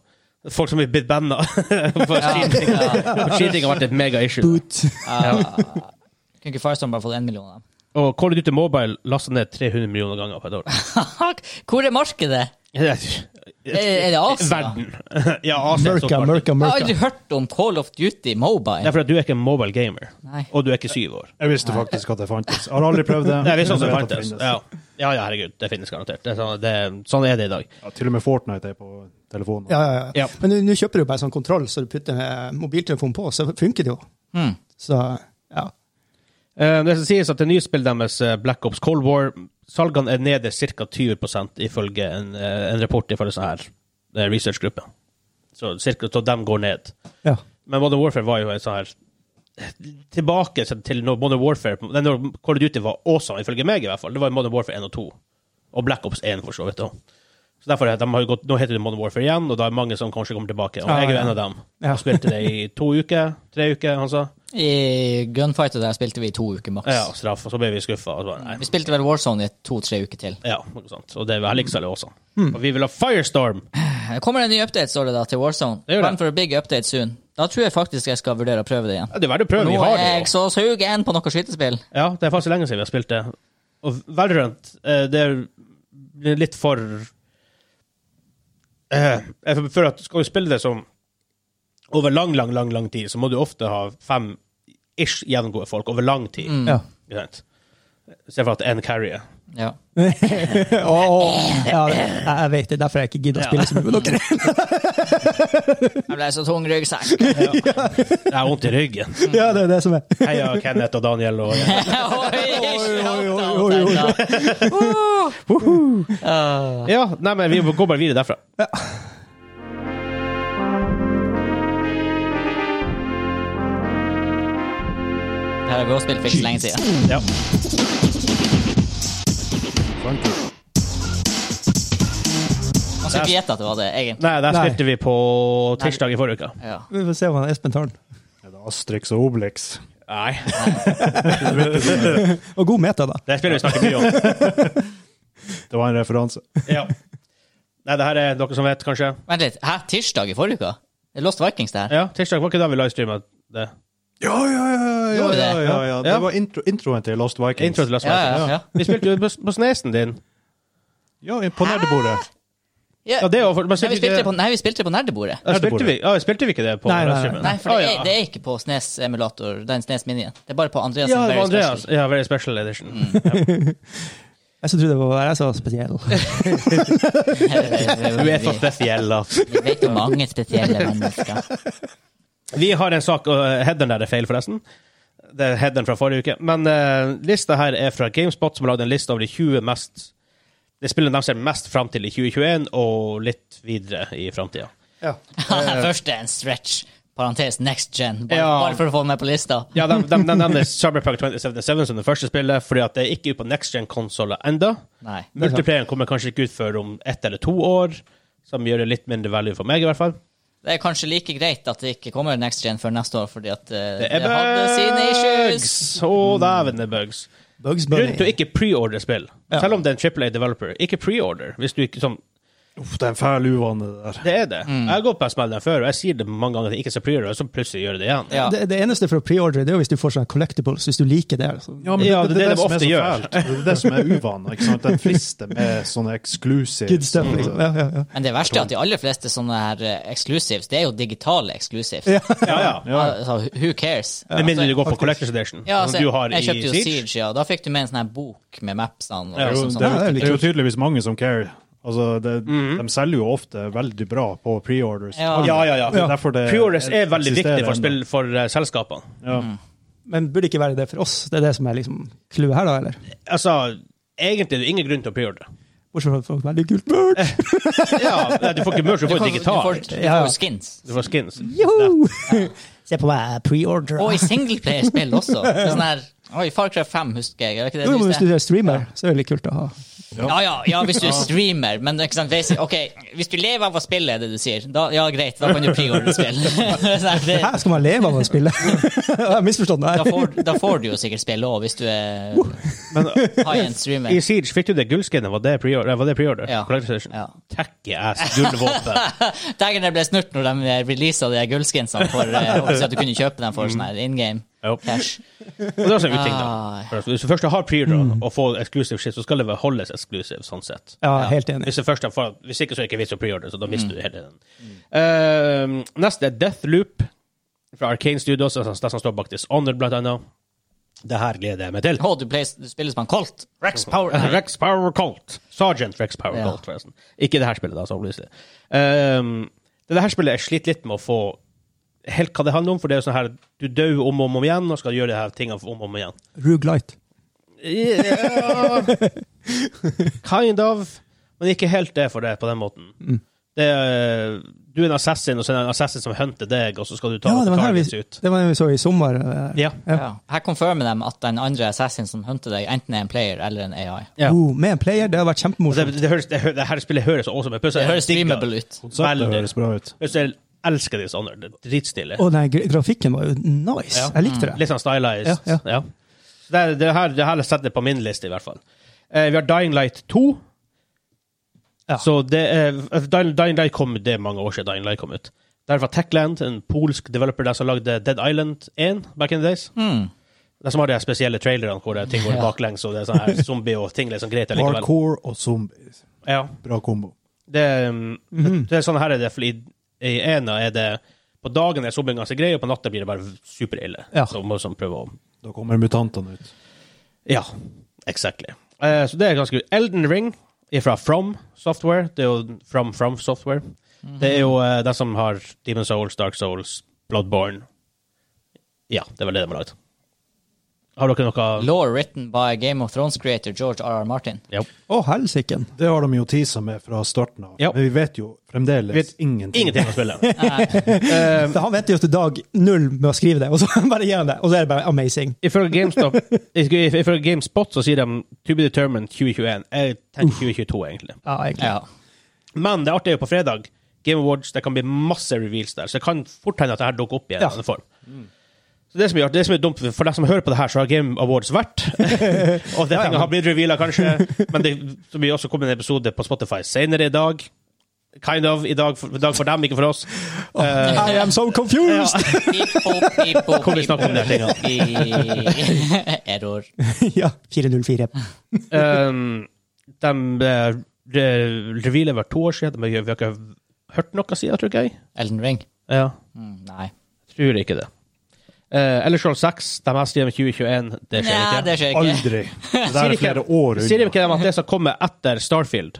[SPEAKER 3] Folk som er blitt banna for cheating. For cheating har vært et mega-issue.
[SPEAKER 2] Boot.
[SPEAKER 1] Ja. Kunne ikke Firestone bare fått 1 million av dem?
[SPEAKER 3] Og Call of Duty Mobile lastet ned 300 millioner ganger på et år.
[SPEAKER 1] Hvor er markedet? Eh, Er det Asia?
[SPEAKER 3] Verden. Ja, Asia er så
[SPEAKER 2] Mørka,
[SPEAKER 3] klart.
[SPEAKER 2] mørka,
[SPEAKER 1] Jeg har aldri
[SPEAKER 2] mørka.
[SPEAKER 1] hørt om Call of Duty
[SPEAKER 3] Det er
[SPEAKER 1] Mobile.
[SPEAKER 3] fordi at du er ikke en mobile gamer,
[SPEAKER 1] Nei.
[SPEAKER 3] og du er ikke syv år.
[SPEAKER 4] Jeg visste faktisk at det fantes. Jeg har aldri prøvd det.
[SPEAKER 3] Det er visst
[SPEAKER 4] men
[SPEAKER 3] sånn som
[SPEAKER 4] jeg vet at
[SPEAKER 3] fantes.
[SPEAKER 4] det
[SPEAKER 3] Ja.
[SPEAKER 4] finnes.
[SPEAKER 3] ja, ja, herregud. Det finnes garantert. Det er sånn, det, er- sånn er det i dag.
[SPEAKER 4] Ja, til og med Fortnite er på telefonen.
[SPEAKER 2] Ja, ja, ja.
[SPEAKER 3] Ja.
[SPEAKER 2] Men nå- nå kjøper du bare sånn kontroll, så du putter eh, mobiltelefonen på, så funker det jo.
[SPEAKER 1] Mm.
[SPEAKER 2] Så, ja.
[SPEAKER 3] Eh, Det skal sies at det nye spillet deres, eh, Black Ops Cold War, salgene er nede ca. 20 ifølge en, eh, en rapport fra sånn her eh, researchgruppe. Så cirka, så dem går ned.
[SPEAKER 2] ja.
[SPEAKER 3] Men Modern Warfare var jo en sånn her Tilbake til- til når Modern Warfare nei, Når Call of Duty var awesome, ifølge meg i hvert fall. Det var Modern Warfare 1 og 2. Og Black Ops 1, for så vidt. også. Så derfor er- de har jo gått, Nå heter det Modern Warfare igjen, og da er det mange som kanskje kommer tilbake. Og
[SPEAKER 2] Ja,
[SPEAKER 3] jeg er jo
[SPEAKER 2] Ah, ja.
[SPEAKER 3] en av dem.
[SPEAKER 2] Ja.
[SPEAKER 3] Jeg spilte det i to uker, tre uker, han sa.
[SPEAKER 1] I Gunfighter der spilte vi i to uker maks.
[SPEAKER 3] Ja, straff. Og så ble vi skuffa.
[SPEAKER 1] Vi spilte vel Warzone i to-tre uker til.
[SPEAKER 3] Ja, noe sånt. Og det er Helixale også. Og vi vil ha Firestorm!
[SPEAKER 1] Det kommer en ny update, står det da, til Warzone.
[SPEAKER 3] Det gjør det.
[SPEAKER 1] Plan for a big update soon. Da tror jeg faktisk jeg skal vurdere å prøve det igjen.
[SPEAKER 3] Ja, det er verdt å prøve. Vi
[SPEAKER 1] Nå
[SPEAKER 3] har
[SPEAKER 1] er
[SPEAKER 3] det
[SPEAKER 1] jeg
[SPEAKER 3] jo.
[SPEAKER 1] så sugen på noe skytespill.
[SPEAKER 3] Ja, det er faktisk lenge siden vi har spilt det. Og Valorant, eh, det er litt for eh, Jeg føler at skal du spille det som over lang, lang, lang lang tid, så må du ofte ha fem ish jevngode folk over lang tid.
[SPEAKER 1] Mm.
[SPEAKER 2] ja.
[SPEAKER 3] Ikke sant? I stedet for at én carrier.
[SPEAKER 1] Ja.
[SPEAKER 2] Åh, åh. ja, jeg- jeg vet det, derfor jeg ikke gidder å spille så mye med dere.
[SPEAKER 1] Jeg ble så tung ryggsekk.
[SPEAKER 3] Jeg har vondt i ryggen.
[SPEAKER 2] Ja, det er det som er.
[SPEAKER 3] Heia Kenneth og Daniel og
[SPEAKER 1] Oi, ikke
[SPEAKER 2] oi, oi,
[SPEAKER 1] alt
[SPEAKER 2] oi, oi.
[SPEAKER 1] dette. Uh. Ah.
[SPEAKER 3] Ja, nei, men vi går bare videre derfra.
[SPEAKER 1] Det her har vi også spilt for ikke så lenge siden.
[SPEAKER 3] Ja.
[SPEAKER 1] Man skal ikke gjette at det var det, egentlig.
[SPEAKER 3] Nei, der
[SPEAKER 2] Nei.
[SPEAKER 3] spilte vi på tirsdag i forrige uke.
[SPEAKER 1] Ja.
[SPEAKER 2] Vi får se om han Espen tar den.
[SPEAKER 4] Er det Astrix og Obelix?
[SPEAKER 3] Nei.
[SPEAKER 2] Og god meta, da.
[SPEAKER 3] Det spiller vi snakker mye om.
[SPEAKER 4] Det var en referanse.
[SPEAKER 3] Ja. Nei, det her er dere som vet, kanskje.
[SPEAKER 1] Vent litt. Hæ? Tirsdag i forrige uke? Det er Lost Vikings, det her.
[SPEAKER 3] Ja, tirsdag var ikke da vi livestreama det.
[SPEAKER 4] Ja, ja, ja! ja,
[SPEAKER 1] Gjorde
[SPEAKER 4] ja,
[SPEAKER 1] det?
[SPEAKER 4] ja, ja.
[SPEAKER 3] Ja.
[SPEAKER 4] Det var intro, introen til Lost Vikings.
[SPEAKER 3] Intro til Last
[SPEAKER 1] Ja, ja,
[SPEAKER 3] Vikings.
[SPEAKER 1] ja.
[SPEAKER 3] Vi spilte jo på, på snesen din.
[SPEAKER 4] Ja, på nerdebordet.
[SPEAKER 3] Ja, det er jo for-
[SPEAKER 1] Nei,
[SPEAKER 3] men
[SPEAKER 1] vi
[SPEAKER 3] spilte
[SPEAKER 1] spilte
[SPEAKER 3] ikke-
[SPEAKER 1] på, nei, vi spilte på nerdebordet.
[SPEAKER 3] Ja, spilte, vi, ja, spilte vi ikke det på
[SPEAKER 2] Nei, nei, nei.
[SPEAKER 3] livestreamen?
[SPEAKER 1] Nei, for
[SPEAKER 3] Å,
[SPEAKER 1] det
[SPEAKER 3] ja.
[SPEAKER 1] er, det er ikke på Snes-emulator, den Snes-minien. Det er bare på sånn Andreas. Mm.
[SPEAKER 3] Ja, det
[SPEAKER 1] Very
[SPEAKER 3] var
[SPEAKER 1] Special.
[SPEAKER 3] Andreas. Ja, Very Special Edition.
[SPEAKER 2] Jeg som trodde det var jeg så spesiell.
[SPEAKER 3] Du er så spesiell, da.
[SPEAKER 1] Vi vet om mange spesielle mennesker.
[SPEAKER 3] Vi har en sak, og eh, headeren der er feil, forresten. Det er headeren fra forrige uke. Men eh, lista her er fra GameSpot, som har lagd en liste over de 20 mest Det spillet de ser mest fram til i 2021, og litt videre i framtida.
[SPEAKER 1] Først er en stretch. Parentes next gen. Bare,
[SPEAKER 3] Ja.
[SPEAKER 1] bare for å få meg på lista.
[SPEAKER 3] Ja, de, de, de nevner Cyberpunk 2077 som det første spillet, fordi at det er ikke ute på next gen-konsoller ennå.
[SPEAKER 1] Nei.
[SPEAKER 3] Multiplayeren kommer kanskje ikke ut før om ett eller to år, som gjør det litt mindre value for meg, i hvert fall.
[SPEAKER 1] Det er kanskje like greit at det ikke kommer next gen før neste år, fordi at eh,
[SPEAKER 3] Det er
[SPEAKER 1] det hadde sine
[SPEAKER 3] bugs!
[SPEAKER 1] issues.
[SPEAKER 3] Å, dæven, det er bugs.
[SPEAKER 2] Bugs
[SPEAKER 3] Grunnen til å
[SPEAKER 2] Bunny.
[SPEAKER 3] ikke preordre spill, selv om det er en Triple A-developer, ikke preorder. Hvis du ikke sånn
[SPEAKER 4] Uff, det er en fæl uvane, det der.
[SPEAKER 3] Det er det.
[SPEAKER 1] Mm.
[SPEAKER 3] Jeg har gått på en smell der før, og jeg sier det mange ganger at jeg ikke skal preordre, og så plutselig gjør jeg det igjen.
[SPEAKER 1] Ja.
[SPEAKER 2] Det, det eneste for å preordre, det er jo hvis du får sånne collectibles, hvis du liker det. Altså.
[SPEAKER 3] Ja, det er det de
[SPEAKER 4] som
[SPEAKER 3] ofte
[SPEAKER 4] så
[SPEAKER 3] gjør.
[SPEAKER 4] fælt. Det er det som er uvane. ikke sant? Den frister med sånne exclusives.
[SPEAKER 2] Good stuff, liksom. Ja, ja, ja.
[SPEAKER 1] Men det verste er at de aller fleste sånne her eh, exclusives, det er jo digitale exclusives.
[SPEAKER 3] Ja, ja.
[SPEAKER 1] Altså, who cares?
[SPEAKER 3] Med mindre du går på Collectors Edition,
[SPEAKER 1] Ja,
[SPEAKER 3] som
[SPEAKER 1] altså,
[SPEAKER 3] du har i
[SPEAKER 1] jeg kjøpte jo
[SPEAKER 3] Siege.
[SPEAKER 1] Siege, ja. Da fikk du med en sånn her bok med mapsene. Og
[SPEAKER 3] Ja,
[SPEAKER 1] liksom sånn.
[SPEAKER 4] det, er jo,
[SPEAKER 2] Ja, det er litt
[SPEAKER 4] det er jo tydeligvis mange som care. Altså, det, De selger jo ofte veldig bra på preorders.
[SPEAKER 1] Ja.
[SPEAKER 3] Ja, ja, ja.
[SPEAKER 4] Det er derfor det
[SPEAKER 3] Preorders er veldig
[SPEAKER 4] eksisterer
[SPEAKER 3] viktig for,
[SPEAKER 4] ennå.
[SPEAKER 3] spill, for eh, selskapene.
[SPEAKER 4] Ja.
[SPEAKER 2] Men burde ikke være det for oss? Det er det som er liksom clouet her, da? eller?
[SPEAKER 3] Altså, egentlig er det ingen grunn til å preordre.
[SPEAKER 2] Bortsett fra at folk veldig kult merch!
[SPEAKER 3] Ja, nei, du får ikke merch, du
[SPEAKER 1] Du
[SPEAKER 3] får
[SPEAKER 1] får-
[SPEAKER 3] digitalt.
[SPEAKER 1] Du får, du
[SPEAKER 2] Ja.
[SPEAKER 1] får skins.
[SPEAKER 3] Du får skins.
[SPEAKER 2] Joho! Se på meg, preorder.
[SPEAKER 1] Og i singleplayerspill også. Det er Sånn her, oi, Far Cry 5 husker jeg. er det Ikke det,
[SPEAKER 2] Jo, men
[SPEAKER 1] du
[SPEAKER 2] hvis du
[SPEAKER 1] sier?
[SPEAKER 2] er streamer, så er det litt kult å ha.
[SPEAKER 1] ja, ja, ja, hvis du er streamer. Men ikke sant, basic, ok, hvis du lever av å spille, er det du sier, da, ja greit, da kan du preordre spill. Sånn her, det-
[SPEAKER 2] Hæ, skal man leve av å spille? Jeg har misforstått det
[SPEAKER 1] da,
[SPEAKER 2] her.
[SPEAKER 1] får, da får du jo sikkert spille òg, hvis du er high-end streamer.
[SPEAKER 3] eh, I Siege fikk du det gullskinnet, var det preorder? Var det preorder?
[SPEAKER 1] Ja.
[SPEAKER 3] Collector's Edition?
[SPEAKER 1] Ja.
[SPEAKER 3] Tacky ass gullvåpen.
[SPEAKER 1] Dagene ble snurt når de releasa de her gullskinsene for eh, så at du kunne kjøpe dem for sånn her in game
[SPEAKER 3] Jo.
[SPEAKER 1] cash.
[SPEAKER 3] Og det er også en uting,
[SPEAKER 1] Ah.
[SPEAKER 3] da. For Hvis du først har preorder og får exclusive shit, så skal det vel holdes exclusive, sånn sett.
[SPEAKER 2] Ja, helt enig.
[SPEAKER 3] Hvis, det først er for, hvis ikke, så er det ikke vits å preordre, så da mister du
[SPEAKER 1] Mm.
[SPEAKER 3] hele den. Ehm, neste er Deathloop fra Arcane Studios, altså det som står bak Dishonored, blant annet. Det her gleder jeg meg til.
[SPEAKER 1] Å, du, play, du spiller som han Colt. Rex Power. Nei,
[SPEAKER 3] Rex Power Colt. Sergeant Rex Power
[SPEAKER 1] Ja.
[SPEAKER 3] Colt, forresten. Ikke det her spillet, da, så opplyser jeg. Ehm, det her spillet jeg sliter litt med å få helt hva det handler om, for det er jo sånn her du dør om og om igjen og skal gjøre de her tingene om og om igjen.
[SPEAKER 2] Rugelite.
[SPEAKER 3] Yeah. kind of. Men ikke helt det for det, på den måten.
[SPEAKER 2] Mm.
[SPEAKER 3] Det er, du er en assassin, og så er det en assassin som hunter deg, og så skal du ta
[SPEAKER 2] Ja, det var den her
[SPEAKER 3] targets
[SPEAKER 2] vi,
[SPEAKER 3] ut.
[SPEAKER 2] det var den vi så i sommer. eh.
[SPEAKER 3] Ja.
[SPEAKER 1] Ja. Her konfirmer de at den andre assassin som hunter deg, enten er en player eller en AI.
[SPEAKER 3] Ja.
[SPEAKER 2] Oh, med en player, det har vært
[SPEAKER 3] Og Det,
[SPEAKER 2] kjempemorsomt.
[SPEAKER 3] det, høres, det, hø- det her spillet høres awesome ut. Pluss
[SPEAKER 1] Det
[SPEAKER 3] jeg
[SPEAKER 1] høres
[SPEAKER 3] digger-
[SPEAKER 1] streamable ut.
[SPEAKER 4] Konseptet
[SPEAKER 3] Veldig.
[SPEAKER 4] høres bra ut.
[SPEAKER 3] Pluss jeg elsker de sånne. Det er dritstilig.
[SPEAKER 2] Og den gra- grafikken var jo nice.
[SPEAKER 3] Ja.
[SPEAKER 2] Jeg likte det.
[SPEAKER 3] Litt sånn stylized.
[SPEAKER 2] Ja,
[SPEAKER 3] Ja, Så det, er- det, her, det her setter jeg på min liste, i hvert fall. Eh, vi har Dying Light 2.
[SPEAKER 2] Ja.
[SPEAKER 3] Så det er, eh, Dying, Dying Light kom ut, det er mange år siden Dying Light kom ut. Det er fra Techland, en polsk developer der som lagde Dead Island 1 back in the days.
[SPEAKER 1] Mm.
[SPEAKER 3] De som har de her spesielle trailerne hvor det er ting går
[SPEAKER 1] Ja.
[SPEAKER 3] baklengs, og det er sånn her zombie og ting liksom greit likevel.
[SPEAKER 4] Hardcore og zombies.
[SPEAKER 3] Ja.
[SPEAKER 4] Bra kombo.
[SPEAKER 3] Det, er, um, det er sånn her er det, for i, i ena er det På dagen er zombien ganske grei, og på natta blir det bare superille.
[SPEAKER 2] Ja.
[SPEAKER 3] Så må man sånn prøve å
[SPEAKER 4] Da kommer mutantene ut.
[SPEAKER 3] Ja, exactly. Eh, så det er ganske Elden Ring er fra From Software. Det er jo From From Software. Det er jo uh, de som har Demon Souls, Dark Souls, Bloodborne Ja, det er vel det de har lagd. Har dere noe
[SPEAKER 1] Law written by Game of Thrones creator George R.R. Martin.
[SPEAKER 3] Ja.
[SPEAKER 2] Å, helsiken.
[SPEAKER 4] Det har de jo teasa med fra starten av,
[SPEAKER 3] Ja.
[SPEAKER 4] men vi vet jo fremdeles
[SPEAKER 3] Vet
[SPEAKER 4] ingenting.
[SPEAKER 3] Ingenting å spille.
[SPEAKER 2] Så Han venter jo til dag null med å skrive det, og så bare gir han det. Og så er det bare amazing.
[SPEAKER 3] Ifølge GameStop if- Ifølge GameSpot så sier de To be determined 2021. Jeg tenker 2022, egentlig.
[SPEAKER 2] Ja, egentlig.
[SPEAKER 1] Ja.
[SPEAKER 3] Men det artige er jo på fredag. Game Awards, det kan bli masse reveals der. Så det kan fort hende at det her dukker opp i en
[SPEAKER 2] Ja.
[SPEAKER 3] eller annen form. Så det som, er, artig- det som er dumt, For deg som hører på det her, så har Game Awards vært. og det
[SPEAKER 2] ja,
[SPEAKER 3] tingene har blitt reveala, kanskje. Men det så blir også kommet en episode på Spotify senere i dag. Kind of. I dag for, dag for dem, ikke for oss. Eh,
[SPEAKER 2] I am so confused!
[SPEAKER 3] Kan vi snakke om de her
[SPEAKER 1] Error.
[SPEAKER 2] ja, 404.
[SPEAKER 3] Um, de eh, re- revealet var to år siden. men Vi har ikke hørt noe siden, tror ikke jeg.
[SPEAKER 1] Elden Ring?
[SPEAKER 3] Ja,
[SPEAKER 1] Mm, nei.
[SPEAKER 3] tror ikke det. Uh, Ellers Roll 6, de her sier med 2021, det skjer
[SPEAKER 1] Nei,
[SPEAKER 3] ikke.
[SPEAKER 1] det skjer ikke.
[SPEAKER 4] Aldri. Det
[SPEAKER 3] Sier
[SPEAKER 4] der er
[SPEAKER 3] ikke-
[SPEAKER 4] flere år
[SPEAKER 3] Sier de
[SPEAKER 4] unna.
[SPEAKER 3] ikke dem at det som kommer etter Starfield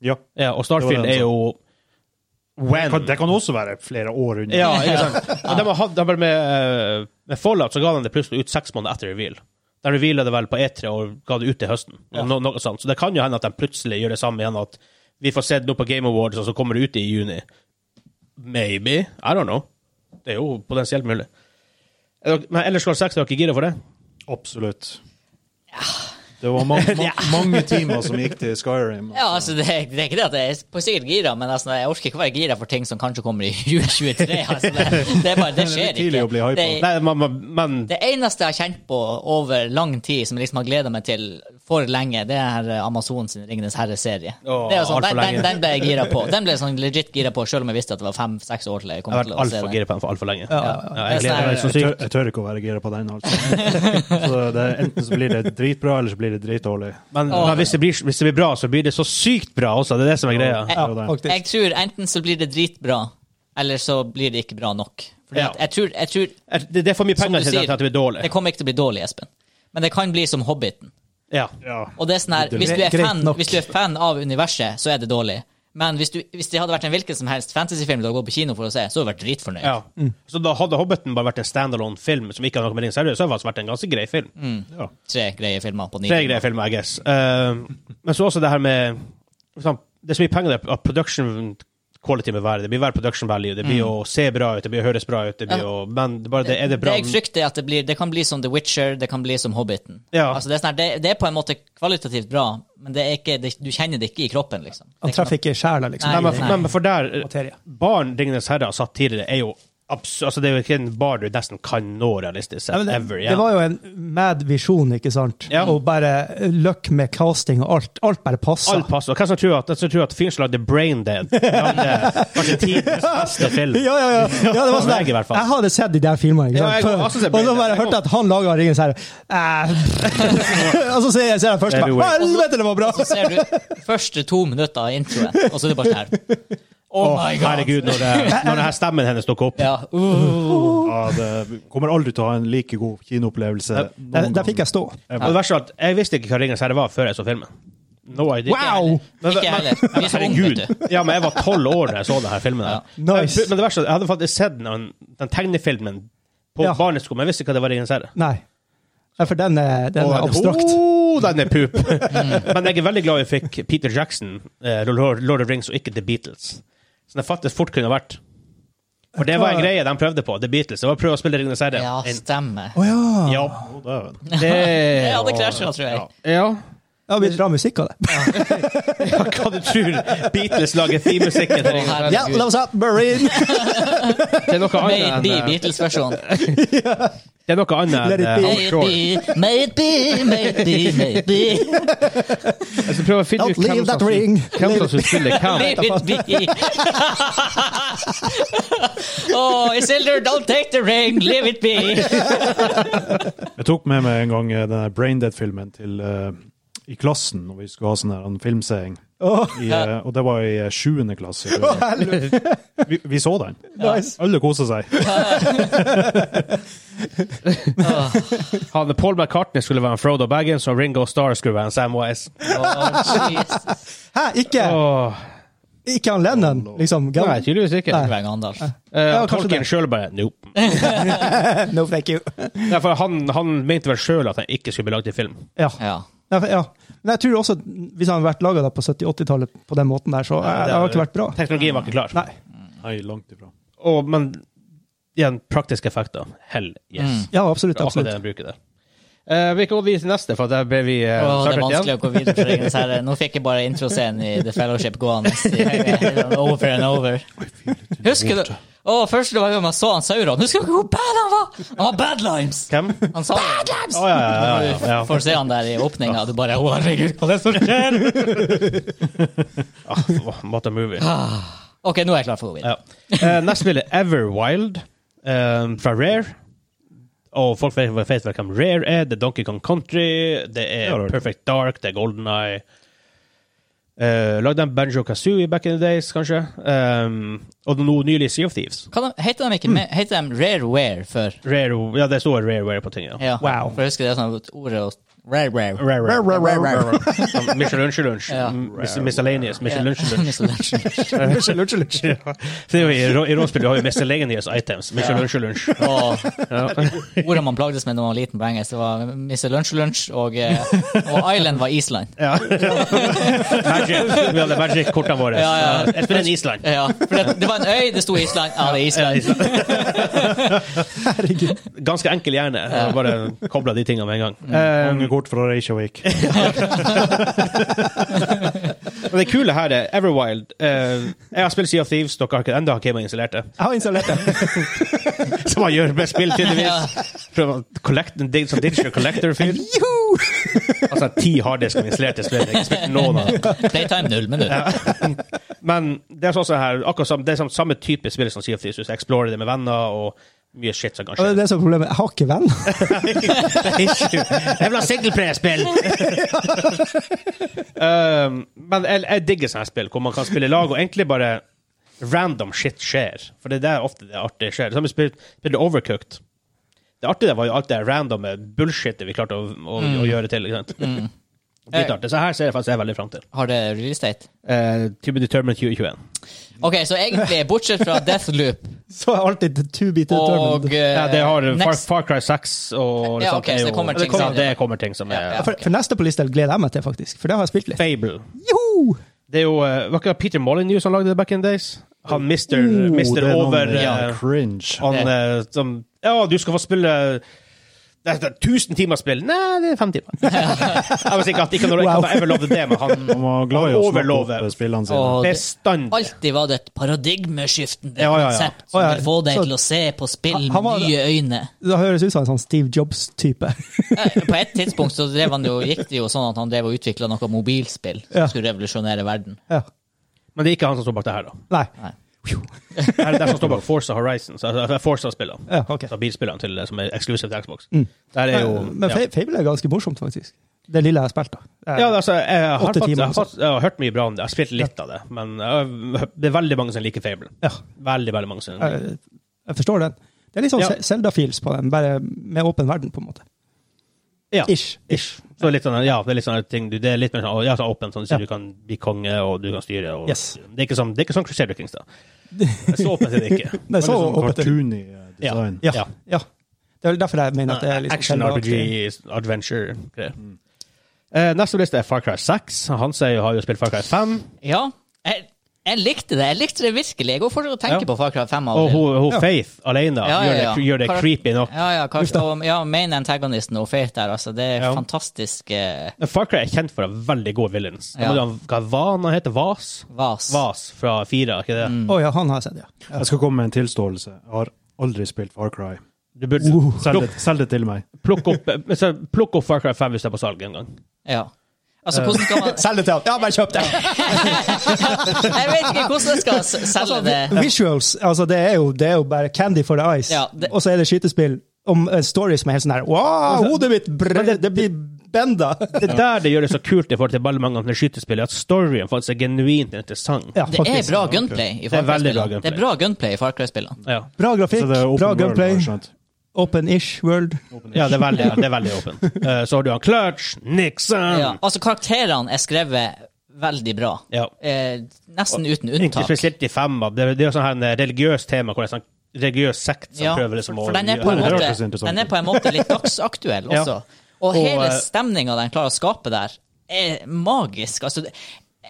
[SPEAKER 4] Ja.
[SPEAKER 3] ja,
[SPEAKER 4] Det
[SPEAKER 3] Og
[SPEAKER 4] var
[SPEAKER 3] Starfield
[SPEAKER 4] det de
[SPEAKER 3] er jo
[SPEAKER 4] Det
[SPEAKER 3] when.
[SPEAKER 4] kan- Det kan også være flere år unna.
[SPEAKER 3] Ja, ikke sant? Og de har hatt, de har med, eh, med Fallout så ga de det plutselig ut seks måneder etter reveal. De reveala det vel på E3 og ga det ut til høsten.
[SPEAKER 1] Ja.
[SPEAKER 3] No, noe sånt. Så det kan jo hende at de plutselig gjør det samme igjen, at vi får se det nå på Game Awards, og så kommer det ut i juni. Maybe. I don't know. Det er jo potensielt mulig. Er dere- Men ellers skal 6 er dere gira for det?
[SPEAKER 4] Absolutt. Det var ma ma mange timer som gikk til Skyrim.
[SPEAKER 1] Ja, altså, det, det er ikke det at jeg er på sikkert gira, men altså, jeg orker ikke være gira for ting som kanskje kommer i 2023. Altså, det, det, er bare, det
[SPEAKER 4] er
[SPEAKER 1] skjer
[SPEAKER 4] litt tidlig å bli
[SPEAKER 1] ikke.
[SPEAKER 4] hypet.
[SPEAKER 1] Det,
[SPEAKER 3] Nei, man, man, men
[SPEAKER 1] det eneste jeg har kjent på over lang tid, som jeg liksom har gleda meg til for lenge, det er eh, Amazon sin Ringenes herre-serie.
[SPEAKER 3] Åh,
[SPEAKER 1] Det er jo sånn,
[SPEAKER 3] alt
[SPEAKER 1] den,
[SPEAKER 3] for
[SPEAKER 1] den,
[SPEAKER 3] lenge.
[SPEAKER 1] den ble jeg gira på. Den ble jeg sånn legit gira på, selv om jeg visste at det var fem-seks år til jeg
[SPEAKER 3] jeg
[SPEAKER 1] kom
[SPEAKER 3] har
[SPEAKER 1] til å
[SPEAKER 3] vært
[SPEAKER 1] se
[SPEAKER 3] altfor
[SPEAKER 1] den.
[SPEAKER 3] gira på den for altfor lenge. Ja, jeg
[SPEAKER 1] Det er
[SPEAKER 3] gleder meg
[SPEAKER 1] sånn
[SPEAKER 4] Eh,
[SPEAKER 3] så
[SPEAKER 4] Jeg tør,
[SPEAKER 3] sykt.
[SPEAKER 4] jeg tør ikke å være gira på den. Altså. Så det, enten så blir det dritbra, eller så blir det dritdårlig.
[SPEAKER 3] Men, men hvis, det blir, hvis det blir bra, så blir det så sykt bra også. Det er det som er greia.
[SPEAKER 4] Ja, det er det.
[SPEAKER 2] faktisk.
[SPEAKER 1] Jeg tror enten så blir det dritbra, eller så blir det ikke bra nok. Fordi
[SPEAKER 3] Ja.
[SPEAKER 1] at jeg tror, jeg tror
[SPEAKER 3] Det, det er for mye
[SPEAKER 1] Som
[SPEAKER 3] penger
[SPEAKER 1] du
[SPEAKER 3] til
[SPEAKER 1] sier,
[SPEAKER 3] at det blir dårlig.
[SPEAKER 1] Det kommer ikke til å bli dårlig, Espen. Men det kan bli som Hobbiten.
[SPEAKER 3] Ja.
[SPEAKER 4] Ja.
[SPEAKER 1] Og det er sånn her, hvis, du er
[SPEAKER 2] Greit
[SPEAKER 1] fan,
[SPEAKER 2] nok.
[SPEAKER 1] hvis du er fan av universet, så er det dårlig. Men hvis, du, hvis det hadde vært en hvilken som helst fantasyfilm du hadde gått på kino for å se, så hadde du vært dritfornøyd.
[SPEAKER 3] ja. Så da hadde Hobbiten bare vært en standalone-film som ikke hadde noe med Ringenes herre, så hadde det faktisk vært en ganske grei film.
[SPEAKER 1] Mm.
[SPEAKER 4] Ja.
[SPEAKER 1] Tre greie filmer på ni
[SPEAKER 3] Tre
[SPEAKER 1] timer.
[SPEAKER 3] greie filmer, I guess. Eh, men så også det her med sånn, Det er så mye penger der, at production quality med været. Det blir hver production value. Det blir
[SPEAKER 1] Mm.
[SPEAKER 3] å se bra ut, det blir å høres bra ut, det blir å Men det bare det, er det bra
[SPEAKER 1] jeg frykter, er at det, blir, det kan bli som The Witcher, det kan bli som Hobbiten.
[SPEAKER 3] Ja.
[SPEAKER 1] Altså, det, er sånn her, det, det er på en måte kvalitativt bra, men det er ikke, det, du kjenner det ikke i kroppen, liksom. Det er
[SPEAKER 2] Han
[SPEAKER 1] ikke noe-
[SPEAKER 2] traff ikke sjela, liksom.
[SPEAKER 3] Nei, men,
[SPEAKER 1] Nei.
[SPEAKER 3] men for der
[SPEAKER 2] Materie.
[SPEAKER 3] Barn Ringenes herre har satt tidligere, er jo abs- altså Det er jo ikke en bar du nesten kan nå realistisk sett.
[SPEAKER 2] Nei, men det,
[SPEAKER 3] ever.
[SPEAKER 2] det
[SPEAKER 3] igjen.
[SPEAKER 2] var jo en mad visjon, ikke sant?
[SPEAKER 3] Ja.
[SPEAKER 2] Og bare løkk med casting og alt. Alt bare passa.
[SPEAKER 3] Alt passer. Og Hvem som tror at, hvem som tror at fyren som lagde Brain Dead lagde kanskje tidens beste film?
[SPEAKER 2] Ja, ja, ja. ja det var sånn
[SPEAKER 3] Jeg i hvert
[SPEAKER 2] der.
[SPEAKER 3] fall.
[SPEAKER 2] Jeg hadde sett de der filmene. Ikke
[SPEAKER 3] Ja, jeg
[SPEAKER 2] sant?
[SPEAKER 3] går- jeg synes det er
[SPEAKER 2] og så
[SPEAKER 3] bra.
[SPEAKER 2] bare
[SPEAKER 3] Jeg går-
[SPEAKER 2] hørte jeg at han laga Ringens herre. Eh. og så ser jeg, ser jeg først bare Å,
[SPEAKER 3] Everywhere.
[SPEAKER 2] helvete, det var bra!
[SPEAKER 1] Så ser du første to minutter av introen, og så er det bare sånn her. Oh my god!
[SPEAKER 3] Herregud, når, det, når denne stemmen hennes dukker opp.
[SPEAKER 1] Ja, uh.
[SPEAKER 4] Ja, det kommer aldri til å ha en like god kinoopplevelse.
[SPEAKER 2] Der, der fikk jeg stå.
[SPEAKER 3] Og det verste er at jeg visste ikke hva Ringenes herre var før jeg så filmen. No idea.
[SPEAKER 2] Wow!
[SPEAKER 3] Men-
[SPEAKER 1] Ikke jeg heller.
[SPEAKER 3] men-
[SPEAKER 1] Vi er så unge, vet du.
[SPEAKER 3] Ja, men jeg var tolv år da jeg så denne filmen. her.
[SPEAKER 2] Ja. Nice.
[SPEAKER 3] Jeg- Men det verste er at jeg hadde faktisk sett den, den tegnefilmen på
[SPEAKER 2] Ja.
[SPEAKER 3] barneskolen, men jeg visste ikke hva det var Ringenes herre.
[SPEAKER 2] Nei. Ja, for den er, den
[SPEAKER 3] Og
[SPEAKER 2] er abstrakt.
[SPEAKER 3] Oh, den er pup! Mm. Men jeg er veldig glad jeg fikk Peter Jackson, eh, Lord Lord of Rings, og ikke The Beatles. Som det faktisk fort kunne vært. For det var en greie de prøvde på, The Beatles. Det var å prøve å spille Ringenes herre.
[SPEAKER 1] ja
[SPEAKER 3] En-
[SPEAKER 1] stemmer.
[SPEAKER 2] Å ja.
[SPEAKER 3] ja.
[SPEAKER 4] Å, dæven.
[SPEAKER 3] Det
[SPEAKER 1] Jeg hadde krasja, tror jeg.
[SPEAKER 3] Ja.
[SPEAKER 2] Det har blitt bra musikk av det.
[SPEAKER 3] Ja, hva du tror Beatles lager thememusikken til Ringenes herre?
[SPEAKER 2] Ja, og da var sånn, Marine.
[SPEAKER 3] Det er noe
[SPEAKER 1] May it
[SPEAKER 3] annet
[SPEAKER 1] be
[SPEAKER 3] enn eh,
[SPEAKER 1] Beatles-versjonen.
[SPEAKER 3] Det er noe annet
[SPEAKER 2] Let it
[SPEAKER 3] enn
[SPEAKER 2] be.
[SPEAKER 3] eh,
[SPEAKER 1] May it
[SPEAKER 3] offshore.
[SPEAKER 1] be, may it be, may it be, may it be.
[SPEAKER 3] Jeg skal prøve Altså, å finne
[SPEAKER 2] Don't
[SPEAKER 3] ut hvem
[SPEAKER 2] leave
[SPEAKER 3] som
[SPEAKER 2] that
[SPEAKER 3] skulle-
[SPEAKER 2] ring.
[SPEAKER 3] hvem som skulle spille hvem.
[SPEAKER 1] May it be. oh, Isildur, don't take the ring, leave it be.
[SPEAKER 4] Jeg tok med meg en gang eh, denne Braindead-filmen til eh, i klassen når vi skulle ha sånn her en filmseing.
[SPEAKER 2] Å,
[SPEAKER 4] I, eh, og det var i eh, sjuende klasse.
[SPEAKER 2] helvete.
[SPEAKER 4] Vi, vi så den.
[SPEAKER 2] Nice.
[SPEAKER 4] Alle kosa seg.
[SPEAKER 1] Åh,
[SPEAKER 3] Han, Paul McCartney skulle være en Frodo Baggins, og Ringo Starr skulle være en Sam Wise.
[SPEAKER 1] åh, Jesus.
[SPEAKER 2] Hæ, ikke,
[SPEAKER 3] Åh.
[SPEAKER 2] ikke han Lennon, liksom?
[SPEAKER 3] Nei, tydeligvis ikke.
[SPEAKER 1] Det var en Gandalf.
[SPEAKER 3] Eh,
[SPEAKER 2] Ja,
[SPEAKER 3] og
[SPEAKER 2] kanskje
[SPEAKER 3] Tolkien
[SPEAKER 2] det.
[SPEAKER 3] sjøl bare nope.
[SPEAKER 2] No, thank you.
[SPEAKER 3] Nei, for han, han mente vel sjøl at han ikke skulle bli lagd i film.
[SPEAKER 2] Ja.
[SPEAKER 1] Ja.
[SPEAKER 2] Nei, for- ja. Men jeg tror også at hvis han hadde vært laga på 70-80-tallet på den måten der, så eh, det har ikke vært bra.
[SPEAKER 3] Teknologien var ikke klar.
[SPEAKER 2] Nei.
[SPEAKER 4] Nei, langt ifra.
[SPEAKER 3] Og, men igjen, praktiske effekter. Hell yes.
[SPEAKER 2] Ja, absolutt.
[SPEAKER 3] Det er akkurat det
[SPEAKER 2] absolutt.
[SPEAKER 3] de bruker der. Eh, vi kan gå videre til neste, for der ble vi eh,
[SPEAKER 1] Åh, det er
[SPEAKER 3] startet igjen.
[SPEAKER 1] vanskelig å gå videre fra Ringenes herre. Nå fikk jeg bare introscenen i The Fellowship gående. i- Over and over. Husker du Å, første gang man så han Sauron Husker dere hvor bad han var? Han var Badlimes!
[SPEAKER 3] Hvem?
[SPEAKER 1] Han sa Badlimes!
[SPEAKER 3] Å, ja, ja, ja, ja, ja.
[SPEAKER 1] Får se han der i åpninga, du bare Å, herregud, hva er det som skjer?
[SPEAKER 3] Ah, what a movie.
[SPEAKER 1] OK, nå er jeg klar for å gå videre.
[SPEAKER 3] Ja. Eh, neste spill er Everwild eh, fra Rare. Og folk vet, vet vel hvem Rare er. Det er Donkey Kong Country, det
[SPEAKER 4] Ja, det
[SPEAKER 3] er
[SPEAKER 4] er det.
[SPEAKER 3] Perfect Dark, det er Golden Eye. lagde en Banjo Kazooie back in the days, kanskje. Eh, og nå nylig Sea of Thieves.
[SPEAKER 1] Kan de, heter de ikke me- Heter de Rareware før?
[SPEAKER 3] Rare, ja, det står Rareware på ting, ja.
[SPEAKER 1] Ja,
[SPEAKER 2] Wow.
[SPEAKER 1] For jeg husker det er sånn ordet og Rareware.
[SPEAKER 3] Rare, rare.
[SPEAKER 2] Rare, rare, rare.
[SPEAKER 3] Som Michelunch-lunch.
[SPEAKER 1] Ja.
[SPEAKER 3] Miscellaneous. Michelunch-lunch.
[SPEAKER 1] Michelunch.
[SPEAKER 3] Det er jo I rå- i rollspill vi har jo miscellaneous items. Michelunch-lunch.
[SPEAKER 1] Og
[SPEAKER 3] Ja.
[SPEAKER 1] ordet man plagdes med da man var liten på engelsk, det var Mr. Lunch Lunch, og, eh, og Island var Island.
[SPEAKER 3] Ja. Magic. Vi hadde Magic-kortene våre.
[SPEAKER 1] Ja, ja.
[SPEAKER 3] Jeg spiller en Island.
[SPEAKER 1] Ja, for det, det var en øy, det sto Island. Ja, det er Island.
[SPEAKER 3] Ganske enkel hjerne. Jeg Bare kobla de tingene med en gang.
[SPEAKER 1] Mm.
[SPEAKER 4] Mange kort fra Reykjavik.
[SPEAKER 3] Eh, Og det kule her er Everwild. eh, jeg har spilt Sea of Thieves, dere har ikke ennå gamet installert det.
[SPEAKER 2] Jeg har installert det.
[SPEAKER 3] Som man gjør med spill,
[SPEAKER 1] Ja.
[SPEAKER 3] tydeligvis. Prøver å collect, en dig- sånn digital collector-fyr. Altså ti harddisker installert i spillet. Jeg har ikke spilt noen av dem.
[SPEAKER 1] Playtime null minutter.
[SPEAKER 3] Men det er sånn som her, akkurat samme, det er sånn, samme type spill som Sea of Thieves. Jeg explorer det med venner og mye shit som kan
[SPEAKER 2] Og det er
[SPEAKER 3] skje.
[SPEAKER 2] det som er problemet. Jeg har ikke venner.
[SPEAKER 3] Jeg vil ha singleplayer-spill! um, men jeg, jeg digger sånne spill, hvor man kan spille i lag og egentlig bare random shit skjer. For det er der ofte det artige skjer. Det samme spill, spillet Overcooked. Det artige der var jo alt det randome bullshitet vi klarte å, å,
[SPEAKER 1] Mm.
[SPEAKER 3] å gjøre til. ikke sant? Dritartig. Så her ser jeg faktisk jeg veldig fram til.
[SPEAKER 1] Har det release date?
[SPEAKER 3] Uh, to be determined 2021.
[SPEAKER 1] OK, så egentlig, bortsett fra Deathloop
[SPEAKER 2] Så er alltid the to be
[SPEAKER 1] og
[SPEAKER 2] determined.
[SPEAKER 1] eh,
[SPEAKER 3] Ja, det har Far,
[SPEAKER 1] next-
[SPEAKER 3] Far Cry 6 og
[SPEAKER 1] Ja,
[SPEAKER 3] sånt
[SPEAKER 1] ok,
[SPEAKER 3] er
[SPEAKER 1] så det
[SPEAKER 3] jo-
[SPEAKER 1] kommer ting
[SPEAKER 3] det kommer,
[SPEAKER 1] som-
[SPEAKER 3] det kommer ting som er
[SPEAKER 1] Ja, ja.
[SPEAKER 2] For, for neste på lista gleder jeg meg til, faktisk. For det har jeg spilt litt.
[SPEAKER 3] Fable.
[SPEAKER 2] Joho!
[SPEAKER 3] Det er jo eh, Var ikke Peter Molyneux som lagde det back in the days? Han mister, Mm.
[SPEAKER 4] Oh,
[SPEAKER 3] mister over eh,
[SPEAKER 4] Cringe.
[SPEAKER 3] Han eh, som Ja, du skal få spille eh, det er- det er 1000 timer spill. Nei, det er fem timer. jeg vil si ikke at ikke når
[SPEAKER 2] Wow.
[SPEAKER 3] wow. jeg lovde det, men han
[SPEAKER 4] Han var glad i å snakke opp
[SPEAKER 3] Overlover.
[SPEAKER 4] eh, spillene sine.
[SPEAKER 1] Og det-
[SPEAKER 3] bestandig
[SPEAKER 1] Alltid var det et paradigmeskiftende
[SPEAKER 3] Ja, ja, ja.
[SPEAKER 1] konsept som
[SPEAKER 2] Å, ja.
[SPEAKER 1] vil få deg
[SPEAKER 2] Så-
[SPEAKER 1] til å se på
[SPEAKER 2] Han-
[SPEAKER 1] spill
[SPEAKER 2] han
[SPEAKER 1] med
[SPEAKER 2] var-
[SPEAKER 1] nye øyne.
[SPEAKER 2] Det høres ut som en sånn Steve Jobs-type.
[SPEAKER 1] Eh, På et tidspunkt så drev han jo, gikk det jo sånn at han drev og utvikla noe mobilspill som
[SPEAKER 2] Ja.
[SPEAKER 1] skulle revolusjonere verden.
[SPEAKER 2] Ja.
[SPEAKER 3] Men det er ikke han som står bak det her, da.
[SPEAKER 2] Nei.
[SPEAKER 1] Nei.
[SPEAKER 3] Det er det som står bak Forza Horizon, så- altså Forza-spillene.
[SPEAKER 2] Ja, ok.
[SPEAKER 3] Så Bilspillene til eh, som er eksklusivt til Xbox.
[SPEAKER 2] Mm.
[SPEAKER 3] Der er jo
[SPEAKER 2] Men Fa- Fable er ganske morsomt, faktisk. Det lille jeg har spilt, da. Eh,
[SPEAKER 3] Ja, altså, jeg har,
[SPEAKER 2] Åtte
[SPEAKER 3] faktisk,
[SPEAKER 2] timer,
[SPEAKER 3] jeg, har,
[SPEAKER 2] altså.
[SPEAKER 3] fått- jeg har hørt mye bra om det. Jeg har spilt litt av det. Men jeg, det er veldig mange som liker Fable.
[SPEAKER 2] Ja.
[SPEAKER 3] Veldig, veldig mange som liker
[SPEAKER 2] jeg, jeg forstår den. Det er litt sånn
[SPEAKER 3] Ja.
[SPEAKER 2] Selda-feels på den, bare med åpen verden, på en måte.
[SPEAKER 3] ja.
[SPEAKER 2] Ish. Ish.
[SPEAKER 3] Så litt sånn, ja, det er litt sånn ting du, det er litt mer sånn, ja, så åpent, sånn, så
[SPEAKER 2] Ja.
[SPEAKER 3] du kan bli konge, og du kan styre, og
[SPEAKER 2] Yes.
[SPEAKER 3] det er ikke sånn, det er ikke sånn Crusader Kings, da. Det er Så åpent er det ikke.
[SPEAKER 2] Det er
[SPEAKER 4] Veldig
[SPEAKER 2] så
[SPEAKER 4] sånn
[SPEAKER 2] åpent.
[SPEAKER 4] cartoony eh,
[SPEAKER 3] Ja.
[SPEAKER 4] design.
[SPEAKER 2] Ja.
[SPEAKER 3] Ja.
[SPEAKER 2] ja. Det er vel derfor jeg mener at det er liksom
[SPEAKER 3] Action,
[SPEAKER 2] Zelda-aktig.
[SPEAKER 3] RPG, adventure, greier.
[SPEAKER 2] Mm.
[SPEAKER 3] Eh, neste på lista er Far Cry 6. Han sier jo har jo spilt Far Cry 5,
[SPEAKER 1] Ja, jeg, jeg likte det. Jeg likte det virkelig. Jeg går fortsatt og tenker
[SPEAKER 3] Ja.
[SPEAKER 1] på Far Cry 5 av
[SPEAKER 3] og
[SPEAKER 1] og til.
[SPEAKER 3] hun, hun
[SPEAKER 2] Ja.
[SPEAKER 3] Faith alene
[SPEAKER 1] Ja, ja, ja.
[SPEAKER 3] gjør det, gjør det
[SPEAKER 1] Kar-
[SPEAKER 3] creepy nok.
[SPEAKER 1] Ja, ja, kanskje, og, ja, main antagonisten og Fate der, altså. Det er
[SPEAKER 3] Ja.
[SPEAKER 1] fantastisk eh,
[SPEAKER 3] Men Far Cry er kjent for å ha veldig gode villains.
[SPEAKER 1] Ja.
[SPEAKER 3] Ja. Hva var han heter? Vas?
[SPEAKER 1] vas.
[SPEAKER 3] Vas fra Fire, er ikke det?
[SPEAKER 2] Mm. Å ja, han har jeg sett, ja.
[SPEAKER 4] Jeg skal komme med en tilståelse. Jeg har aldri spilt Far Cry.
[SPEAKER 3] Du burde
[SPEAKER 4] Selg
[SPEAKER 2] Uh.
[SPEAKER 3] plukk,
[SPEAKER 4] det, selg det til meg.
[SPEAKER 3] plukk, opp, eh, men så plukk opp Far Cry 5 hvis det er på salg en gang.
[SPEAKER 1] Ja. Altså, hvordan kan
[SPEAKER 3] Eh.
[SPEAKER 1] man
[SPEAKER 2] Selg det til han! Ja, bare kjøp det!
[SPEAKER 1] Jeg vet ikke hvordan jeg skal s-
[SPEAKER 3] Altså,
[SPEAKER 1] selge det.
[SPEAKER 2] Visuals, altså det er, jo, det er jo bare candy for the ice.
[SPEAKER 1] Ja, det-
[SPEAKER 2] Og så er det skytespill om en story som er helt sånn her Wow, hodet mitt brr, det, blir benda!
[SPEAKER 3] Det er der det gjør det så kult i forhold til veldig mange andre skytespill, at storyen faktisk er genuint interessant.
[SPEAKER 2] Ja,
[SPEAKER 1] Det er
[SPEAKER 2] faktisk.
[SPEAKER 1] bra gunplay i
[SPEAKER 3] Det
[SPEAKER 1] Far
[SPEAKER 3] er veldig bra
[SPEAKER 1] Cry-spillene. Det er
[SPEAKER 3] gunplay.
[SPEAKER 1] bra gunplay i Far Cry-spillene.
[SPEAKER 3] Ja,
[SPEAKER 2] Bra grafikk,
[SPEAKER 4] Så det er open
[SPEAKER 2] bra
[SPEAKER 4] world,
[SPEAKER 2] gunplay,
[SPEAKER 4] har jeg skjønt.
[SPEAKER 2] open-ish world.
[SPEAKER 3] ja det er veldig, det er veldig åpent. Eh, så har du han Clutch, Nixon
[SPEAKER 1] Ja. Altså, karakterene er skrevet veldig bra.
[SPEAKER 3] Ja.
[SPEAKER 1] Eh, nesten uten
[SPEAKER 3] Ikke
[SPEAKER 1] unntak.
[SPEAKER 3] spesielt i femma. Det, er- det er jo sånn her en religiøs tema, hvor det er sånn religiøs sekt som
[SPEAKER 1] Ja,
[SPEAKER 3] prøver liksom
[SPEAKER 1] for, for den, er på en
[SPEAKER 4] Ja, det hørtes
[SPEAKER 1] måte,
[SPEAKER 4] interessant
[SPEAKER 1] den er på en måte litt dagsaktuell
[SPEAKER 3] Ja.
[SPEAKER 1] også. Og
[SPEAKER 3] Og,
[SPEAKER 1] hele
[SPEAKER 3] eh,
[SPEAKER 1] stemninga den klarer å skape der, er magisk. Altså, det-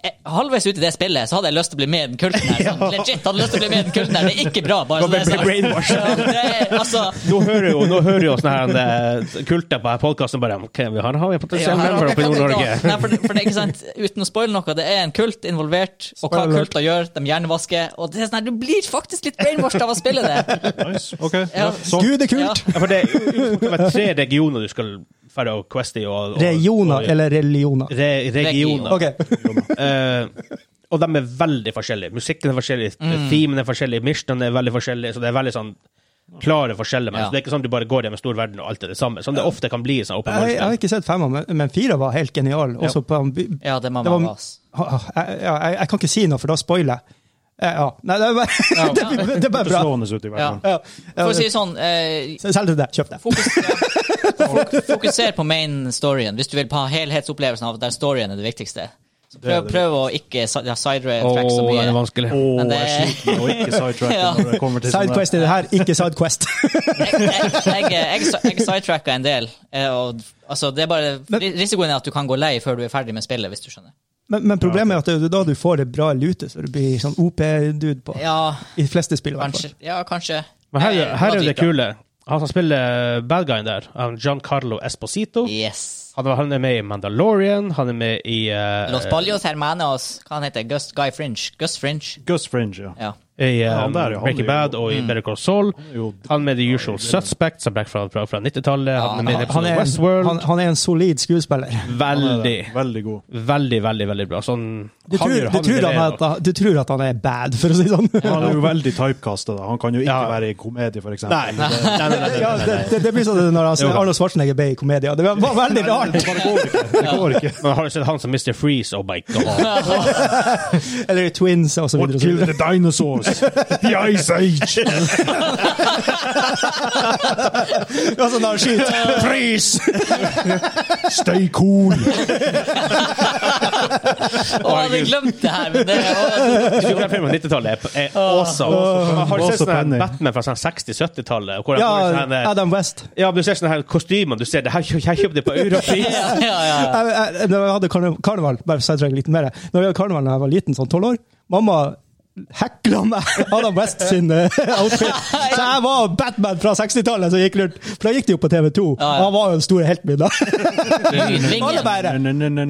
[SPEAKER 1] eh, halvveis ut i det spillet så hadde jeg lyst til å bli med i den kulten her. Sånn, legit hadde jeg lyst til å bli med i den kulten her. Det er ikke bra. bare så det er sagt. Ja, det er- altså,
[SPEAKER 3] Nå hører jo, nå hører jo sånne her eh, kulter på podkasten bare OK, vi har, har vi
[SPEAKER 1] ja,
[SPEAKER 3] en potensiell member oppe i
[SPEAKER 1] kan jeg
[SPEAKER 3] Nord-Norge.
[SPEAKER 1] ta. Nei, for, for det er ikke sant, Uten å spoile noe, det er en kult involvert, og hva
[SPEAKER 2] Spoiler.
[SPEAKER 1] kulter gjør, de hjernevasker. Og det er sånn her, Du blir faktisk litt brainwashed av å spille det.
[SPEAKER 4] Nice. OK.
[SPEAKER 1] Ja.
[SPEAKER 4] Så,
[SPEAKER 2] Gud, det er
[SPEAKER 1] Ja.
[SPEAKER 2] kult!
[SPEAKER 3] Ja, for det er jo- det er tre regioner du skal ferdig og queste i. Og, og,
[SPEAKER 2] Regioner
[SPEAKER 3] og-
[SPEAKER 2] eller religioner?
[SPEAKER 3] Re, regioner.
[SPEAKER 2] Ok.
[SPEAKER 3] Eh, og de er veldig forskjellige. Musikken er forskjellig, eh, themen er forskjellig, missionene er veldig forskjellige. Så det er veldig sånn klare forskjeller. Men
[SPEAKER 1] Ja.
[SPEAKER 3] det er ikke sånn du bare går hjem i stor verden og alt er det samme. Som det ofte kan bli. i sånn open
[SPEAKER 2] Jeg, jeg har
[SPEAKER 3] world-spill.
[SPEAKER 2] ikke sett femmer, men, men fire var helt genial. Også på, jeg,
[SPEAKER 1] Ja, det må
[SPEAKER 2] Det
[SPEAKER 1] man
[SPEAKER 2] var-
[SPEAKER 1] ha. ass.
[SPEAKER 2] jeg, jeg kan ikke si noe, for da spoiler jeg. Eh, Ja. Nei, det er bare, det, blir- det er bare
[SPEAKER 4] det
[SPEAKER 2] bra.
[SPEAKER 4] slående ut i
[SPEAKER 1] Ja.
[SPEAKER 4] verden.
[SPEAKER 2] Ja.
[SPEAKER 1] For å si det sånn eh,
[SPEAKER 2] Selg til deg. Kjøp det.
[SPEAKER 1] fokus, fok- Fokuser på main storyen, hvis du vil ha helhetsopplevelsen av at der storyen er det viktigste. Så
[SPEAKER 4] Det er
[SPEAKER 1] prøv,
[SPEAKER 4] det
[SPEAKER 1] prøv å ikke si- ja, sidetrack så
[SPEAKER 3] Åh, den er
[SPEAKER 1] mye.
[SPEAKER 3] vanskelig.
[SPEAKER 4] Å,
[SPEAKER 1] Men det-
[SPEAKER 4] jeg sliter med å ikke sidetracke
[SPEAKER 1] Ja.
[SPEAKER 4] når det kommer til sånne-
[SPEAKER 2] Sidequest er det her, ikke Sidequest.
[SPEAKER 1] Jeg, jeg, jeg, jeg, jeg sidetracka en del. eh, Og, altså, det er bare,
[SPEAKER 2] Men-
[SPEAKER 1] risikoen er at du kan gå lei før du er ferdig med spillet, hvis du skjønner.
[SPEAKER 2] Men, men problemet er at det er da du får det bra lute, så du blir sånn OP-dude på.
[SPEAKER 1] Ja,
[SPEAKER 2] I de fleste spill, i hvert fall.
[SPEAKER 1] kanskje. Ja, kanskje.
[SPEAKER 3] Men her,
[SPEAKER 1] Eh,
[SPEAKER 3] her er jo det
[SPEAKER 1] Madrid, da.
[SPEAKER 3] kule. Han som spiller eh, bad guyen der, han Giancarlo Esposito.
[SPEAKER 1] Yes.
[SPEAKER 3] Han, var- han er med i Mandalorian, han er med i eh,
[SPEAKER 1] Los Ballos Hermanos. Hva han heter Gus, Guy Fringe. Gus Fringe.
[SPEAKER 4] Gus Fringe, ja.
[SPEAKER 1] Ja.
[SPEAKER 3] i
[SPEAKER 4] Ja,
[SPEAKER 3] eh,
[SPEAKER 4] han der, ja, han
[SPEAKER 3] Breaking
[SPEAKER 4] er jo-
[SPEAKER 3] Bad og i Better Call Saul.
[SPEAKER 4] er jo-
[SPEAKER 3] Han er med i The Usual Suspects, som Black fra, fra, fra 90-tallet.
[SPEAKER 1] Ja,
[SPEAKER 3] han er med i
[SPEAKER 1] han-
[SPEAKER 2] Han
[SPEAKER 3] episoden
[SPEAKER 2] er,
[SPEAKER 3] av Westworld.
[SPEAKER 2] en, han, han er en solid skuespiller.
[SPEAKER 4] Han er
[SPEAKER 3] veldig,
[SPEAKER 4] det. Veldig god.
[SPEAKER 3] veldig, veldig veldig bra. Sånn,
[SPEAKER 2] Du tror,
[SPEAKER 3] gjør-
[SPEAKER 2] du, tror han
[SPEAKER 3] leverer.
[SPEAKER 2] er, at- du tror at han er bad, for å si det sånn.
[SPEAKER 4] Han er jo veldig typecastet. da. Han kan jo ikke
[SPEAKER 3] Ja.
[SPEAKER 4] være i komedie, for eksempel.
[SPEAKER 3] Nei, nei, nei, nei, nei,
[SPEAKER 2] Ja,
[SPEAKER 3] nei,
[SPEAKER 2] det,
[SPEAKER 3] nei.
[SPEAKER 2] det, det blir sånn når han,
[SPEAKER 3] Jo da.
[SPEAKER 2] Arnold Schwarzenegger ble i komedier. Det var- var veldig rart!
[SPEAKER 4] Det bare går ikke. Det går ikke.
[SPEAKER 3] Men har du sett han som Mr. Freeze? Oh my god.
[SPEAKER 2] Eller i Twins og så
[SPEAKER 4] What
[SPEAKER 2] videre. og så
[SPEAKER 4] killed
[SPEAKER 2] videre.
[SPEAKER 4] the dinosaurs? The Ice Age!
[SPEAKER 2] Altså, når han skyter.
[SPEAKER 4] Freeze! Stay cool!
[SPEAKER 1] Å, jeg hadde glemt det her! Men det, å,
[SPEAKER 3] Jeg tror den filmen på 90-tallet er- er awesome. Men Har du
[SPEAKER 4] Åh,
[SPEAKER 3] sett sånn her
[SPEAKER 4] Penny.
[SPEAKER 3] Batman fra sånn 60-70-tallet? hvor han får
[SPEAKER 2] Ja,
[SPEAKER 3] sånn her-
[SPEAKER 2] Adam West.
[SPEAKER 3] Ja, du ser sånne her kostymer. Du ser det her kjø- jeg kjøpte det på Europris.
[SPEAKER 1] ja, ja, ja.
[SPEAKER 2] Jeg, jeg, når jeg hadde karne- karneval, bare for å sidetrack litt mer Når vi hadde karneval da jeg var liten, sånn tolv år, mamma hekla meg Adam West sin eh, outfit. Så jeg var Batman fra 60-tallet som gikk rundt. For da gikk det jo på TV2. Og
[SPEAKER 1] Ja, ja.
[SPEAKER 2] han var jo den store helten min da. Alle
[SPEAKER 1] Lydvingen.
[SPEAKER 2] bare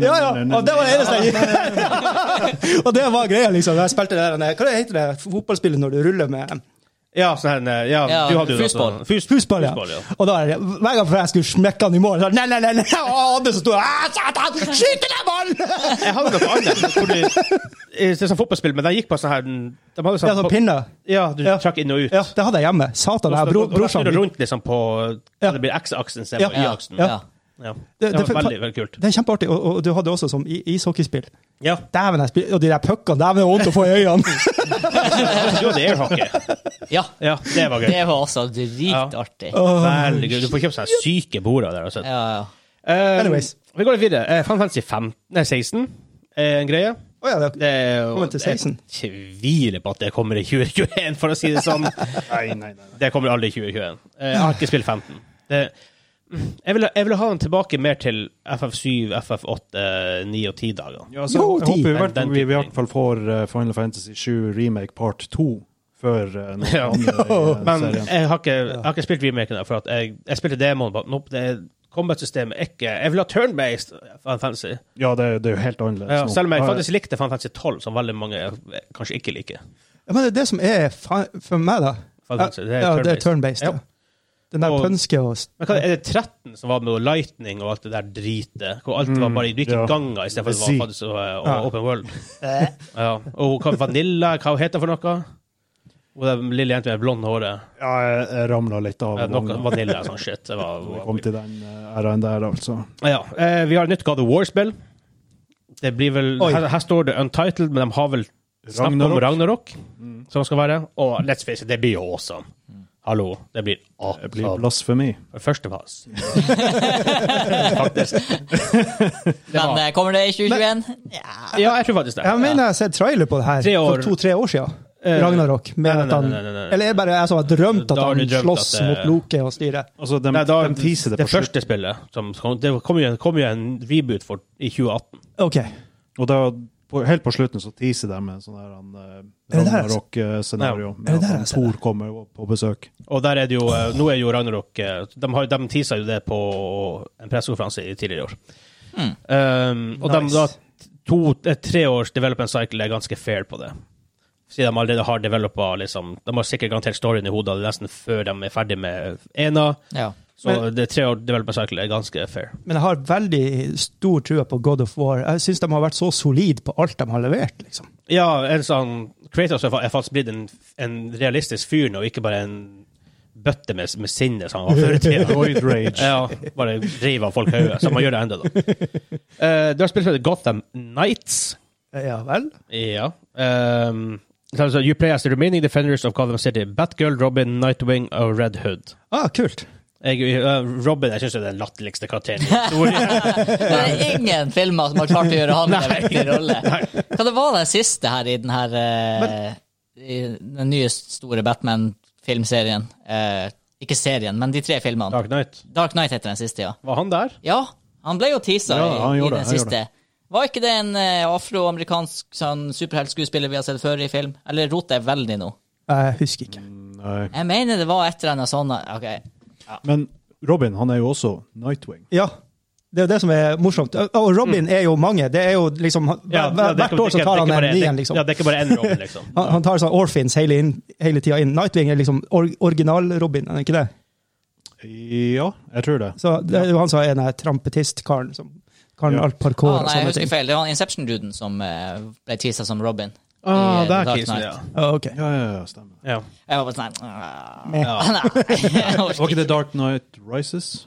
[SPEAKER 2] Ja,
[SPEAKER 4] Ja,
[SPEAKER 2] ja. Og det var det eneste jeg Og det var greia, liksom. Jeg spilte det der Hva er det heter det fotballspillet når du ruller med
[SPEAKER 3] Ja, sånn her, ja,
[SPEAKER 1] Ja,
[SPEAKER 3] du hadde jo det
[SPEAKER 1] fusball.
[SPEAKER 3] også. Fus-
[SPEAKER 2] Husball, ja.
[SPEAKER 3] Fusball, ja.
[SPEAKER 2] Og da er det, hver gang jeg skulle smekke han i mål, så er det, nei, nei, nei, nei, og Anders sto «Ah, satan, skyt den der ballen!
[SPEAKER 3] Jeg hadde noe annet. Hvor du, det er sånn fotballspill, men de gikk på sånn her De hadde
[SPEAKER 2] Ja,
[SPEAKER 3] sånn
[SPEAKER 2] sånn pinner.
[SPEAKER 3] Ja, du
[SPEAKER 2] Ja.
[SPEAKER 3] trakk inn og ut.
[SPEAKER 2] Ja, det hadde jeg hjemme. Satan, jeg, bro,
[SPEAKER 3] Og da snur
[SPEAKER 2] brorsan
[SPEAKER 3] du
[SPEAKER 2] min.
[SPEAKER 3] rundt liksom på
[SPEAKER 2] Ja.
[SPEAKER 3] Det blir X-aksen
[SPEAKER 2] Ja.
[SPEAKER 3] istedenfor
[SPEAKER 1] Ja,
[SPEAKER 3] Y-aksen.
[SPEAKER 1] ja.
[SPEAKER 3] Ja.
[SPEAKER 2] Det-
[SPEAKER 3] Det
[SPEAKER 2] det-
[SPEAKER 3] var veldig, veldig kult.
[SPEAKER 2] Det er kjempeartig. Og, og du hadde også som i- ishockeyspill.
[SPEAKER 3] Ja.
[SPEAKER 2] Dæven, jeg spil, og de der puckene, dæven, det er vondt å få i øynene!
[SPEAKER 3] Du hadde airhockey.
[SPEAKER 1] ja.
[SPEAKER 3] Ja, det var gøy.
[SPEAKER 1] Det var også dritartig. Ja,
[SPEAKER 3] Veldig gøy. Du får kjøpt sånne syke border der. Altså.
[SPEAKER 1] ja.
[SPEAKER 3] Eh,
[SPEAKER 2] Anyways.
[SPEAKER 3] Vi går litt videre. Uh, Fan Fancy 15, nei, 16 er en greie.
[SPEAKER 2] Å ja, det,
[SPEAKER 3] Det er jo-
[SPEAKER 2] Kommer til 16.
[SPEAKER 3] Jeg tviler på at det kommer i 2021, for å si det sånn.
[SPEAKER 4] Nei, nei, nei.
[SPEAKER 3] Det kommer aldri i 2021. Eh, Jeg har ikke spilt 15. Det, jeg ville jeg vil ha den tilbake mer til FF7, FF8, eh, 9 og 10-dager.
[SPEAKER 4] Ja, så
[SPEAKER 2] Jo,
[SPEAKER 4] jeg
[SPEAKER 2] ti.
[SPEAKER 4] håper i hvert fall
[SPEAKER 3] Den- den
[SPEAKER 4] vi i
[SPEAKER 3] typen
[SPEAKER 4] hvert fall får eh, Final Fantasy 7 Remake Part 2 før eh, noen
[SPEAKER 3] Ja.
[SPEAKER 4] andre i eh,
[SPEAKER 3] Men
[SPEAKER 4] serien.
[SPEAKER 3] jeg har ikke, jeg har ikke spilt remaken der, for at jeg, jeg spilte demoen. bare, Nope, det er- Combat-systemet er ikke Jeg vil ha turn-based Final Fantasy.
[SPEAKER 4] Ja, det, det er jo helt annerledes.
[SPEAKER 3] Ja,
[SPEAKER 4] nå.
[SPEAKER 3] selv om jeg
[SPEAKER 4] Ja,
[SPEAKER 3] faktisk likte Final Fantasy 12, som veldig mange eh, kanskje ikke liker.
[SPEAKER 2] ja, men det er det som er fa for meg, da.
[SPEAKER 3] Faen, det er
[SPEAKER 2] ja, det er
[SPEAKER 3] turn-based.
[SPEAKER 2] turn-based.
[SPEAKER 3] Ja.
[SPEAKER 2] Ja. Den der
[SPEAKER 3] Og-
[SPEAKER 2] pønske og
[SPEAKER 3] Men hva, er det 13 som var med Lightning og alt det der dritet? Hvor alt var bare Du gikk i
[SPEAKER 4] ja.
[SPEAKER 3] ganger istedenfor at det
[SPEAKER 4] Zi.
[SPEAKER 3] var faktisk, eh, og,
[SPEAKER 2] Ja.
[SPEAKER 3] Open World. Ja. Og hva Vanilla, hva heter det for noe? Og den lille jenta med blondt hår. eh,
[SPEAKER 4] Ja, jeg, jeg ramla litt av.
[SPEAKER 3] Noe
[SPEAKER 4] vogna
[SPEAKER 3] vanilla sånn shit. Det var,
[SPEAKER 4] når vi kom til den eh, æraen der, altså.
[SPEAKER 3] Ja, eh, vi har et nytt God of War-spill. Det blir vel,
[SPEAKER 2] Oi.
[SPEAKER 3] her, her står det Untitled, men de har vel snakket om
[SPEAKER 4] Ragnarok. Mm.
[SPEAKER 3] Ragnarok, som skal være. Og let's face it, det blir jo awesome. Hallo, det blir
[SPEAKER 4] Det blir
[SPEAKER 3] awesome.
[SPEAKER 4] blasfemi.
[SPEAKER 3] Første fas. Faktisk. Det
[SPEAKER 1] Men
[SPEAKER 3] var,
[SPEAKER 1] eh, kommer det i 2021? Ja.
[SPEAKER 3] ja, jeg tror faktisk det.
[SPEAKER 2] Jeg mener jeg har sett trailer på det her
[SPEAKER 3] Tre år.
[SPEAKER 2] for to-tre år siden.
[SPEAKER 3] Eh,
[SPEAKER 2] Ragnarok. Med
[SPEAKER 3] nei, nei,
[SPEAKER 2] at han,
[SPEAKER 3] nei, nei, nei, nei.
[SPEAKER 2] Eller er det bare jeg som har drømt at
[SPEAKER 3] Da har
[SPEAKER 2] han
[SPEAKER 3] du drømt
[SPEAKER 2] slåss
[SPEAKER 3] at eh, det-
[SPEAKER 2] mot Loke og styret?
[SPEAKER 4] Altså, de,
[SPEAKER 3] Nei, da-
[SPEAKER 4] de teaser det
[SPEAKER 3] det
[SPEAKER 4] på slutt.
[SPEAKER 3] første spillet som kom, Det kom jo, kom jo en reboot for, i 2018.
[SPEAKER 2] OK.
[SPEAKER 4] Og da på, helt på slutten så teaser de med sånn her han, eh,
[SPEAKER 2] Er det der, altså?
[SPEAKER 4] Ragnarok-scenario.
[SPEAKER 2] Er det der,
[SPEAKER 4] Ja,
[SPEAKER 2] altså?
[SPEAKER 4] Thor kommer jo på besøk.
[SPEAKER 3] Og der er det jo, eh, nå er jo Ragnarok eh, De, har, de teasa jo det på en pressekonferanse i tidligere i år. Um, og de,
[SPEAKER 2] Nice.
[SPEAKER 3] da, to, eh, tre års development cycle er ganske fair på det. Siden de allerede har developa liksom, De har sikkert garantert storyen i hodet nesten før de er ferdig med ena.
[SPEAKER 1] Ja.
[SPEAKER 3] Så det tre år development cycle er ganske fair.
[SPEAKER 2] Men jeg har veldig stor trua på God of War. Jeg syns de har vært så solide på alt de har levert. liksom.
[SPEAKER 3] Ja, en sånn Kratos er fa- er faktisk blitt en, en realistisk fyr nå, ikke bare en bøtte med, med sinne som han var før i tida.
[SPEAKER 4] Void Rage.
[SPEAKER 3] Ja, bare rive av folk hodet. Så man gjør det enda da. Eh, du har spilt for Gotham Knights.
[SPEAKER 2] Ja vel?
[SPEAKER 3] Ja. Um, så altså, you play as the remaining defenders of Gotham City. Batgirl, Robin, Nightwing og Red Hood.
[SPEAKER 2] Ah, kult.
[SPEAKER 3] Jeg, eh, Robin jeg syns er den latterligste karakteren i historien.
[SPEAKER 1] Det er ingen filmer som har klart å gjøre han en viktig rolle. Hva det var den siste her i den her eh, i den nye store Batman-filmserien? Eh, ikke serien, men de tre filmene.
[SPEAKER 3] Dark Knight.
[SPEAKER 1] Dark Knight heter den siste, ja.
[SPEAKER 3] Var han der?
[SPEAKER 1] Ja, han ble jo teasa
[SPEAKER 4] Ja, han
[SPEAKER 1] i, i den
[SPEAKER 4] gjorde det, han gjorde
[SPEAKER 1] siste. Var ikke det en eh, afroamerikansk sånn, superheltskuespiller vi har sett før i film? Eller roter jeg veldig nå?
[SPEAKER 2] Jeg husker ikke.
[SPEAKER 4] Nei.
[SPEAKER 1] Jeg mener det var et eller annet sånt. Ok,
[SPEAKER 4] Men Robin han er jo også Nightwing.
[SPEAKER 2] Ja. Det er jo det som er morsomt. Og Robin er jo mange. Det er jo liksom,
[SPEAKER 3] Ja, ja,
[SPEAKER 2] hver-
[SPEAKER 3] det er
[SPEAKER 2] Hvert
[SPEAKER 3] ikke-
[SPEAKER 2] år så
[SPEAKER 3] det er
[SPEAKER 2] tar
[SPEAKER 3] ikke- det er ikke
[SPEAKER 2] han en
[SPEAKER 3] bare-
[SPEAKER 2] ny
[SPEAKER 3] det-
[SPEAKER 2] en, liksom.
[SPEAKER 3] Ja, det er ikke bare én Robin, liksom.
[SPEAKER 2] Han, han tar sånn orphans hele, inn, hele tida inn. Nightwing er liksom or, original-Robin, er han ikke det?
[SPEAKER 4] Ja, jeg tror det.
[SPEAKER 2] Så det er jo han som er den her trampetist-karen som kan
[SPEAKER 4] Ja.
[SPEAKER 2] alt parkour
[SPEAKER 1] Ah,
[SPEAKER 2] og
[SPEAKER 1] nei, jeg
[SPEAKER 2] sånne
[SPEAKER 1] husker
[SPEAKER 2] ting.
[SPEAKER 1] feil. Det var han Inception-duden som eh, ble teasa som Robin. I,
[SPEAKER 3] Ah,
[SPEAKER 1] eh,
[SPEAKER 3] der
[SPEAKER 1] Dark
[SPEAKER 3] teaser,
[SPEAKER 1] Knight.
[SPEAKER 3] ja.
[SPEAKER 2] Ah, ok.
[SPEAKER 4] Ja, ja, ja, stemmer.
[SPEAKER 3] ja.
[SPEAKER 1] Jeg var bare sånn ah, Nei.
[SPEAKER 3] Ja.
[SPEAKER 1] jeg
[SPEAKER 4] Var
[SPEAKER 1] orker
[SPEAKER 4] ikke
[SPEAKER 1] ikke.
[SPEAKER 4] det Dark Knight Rises?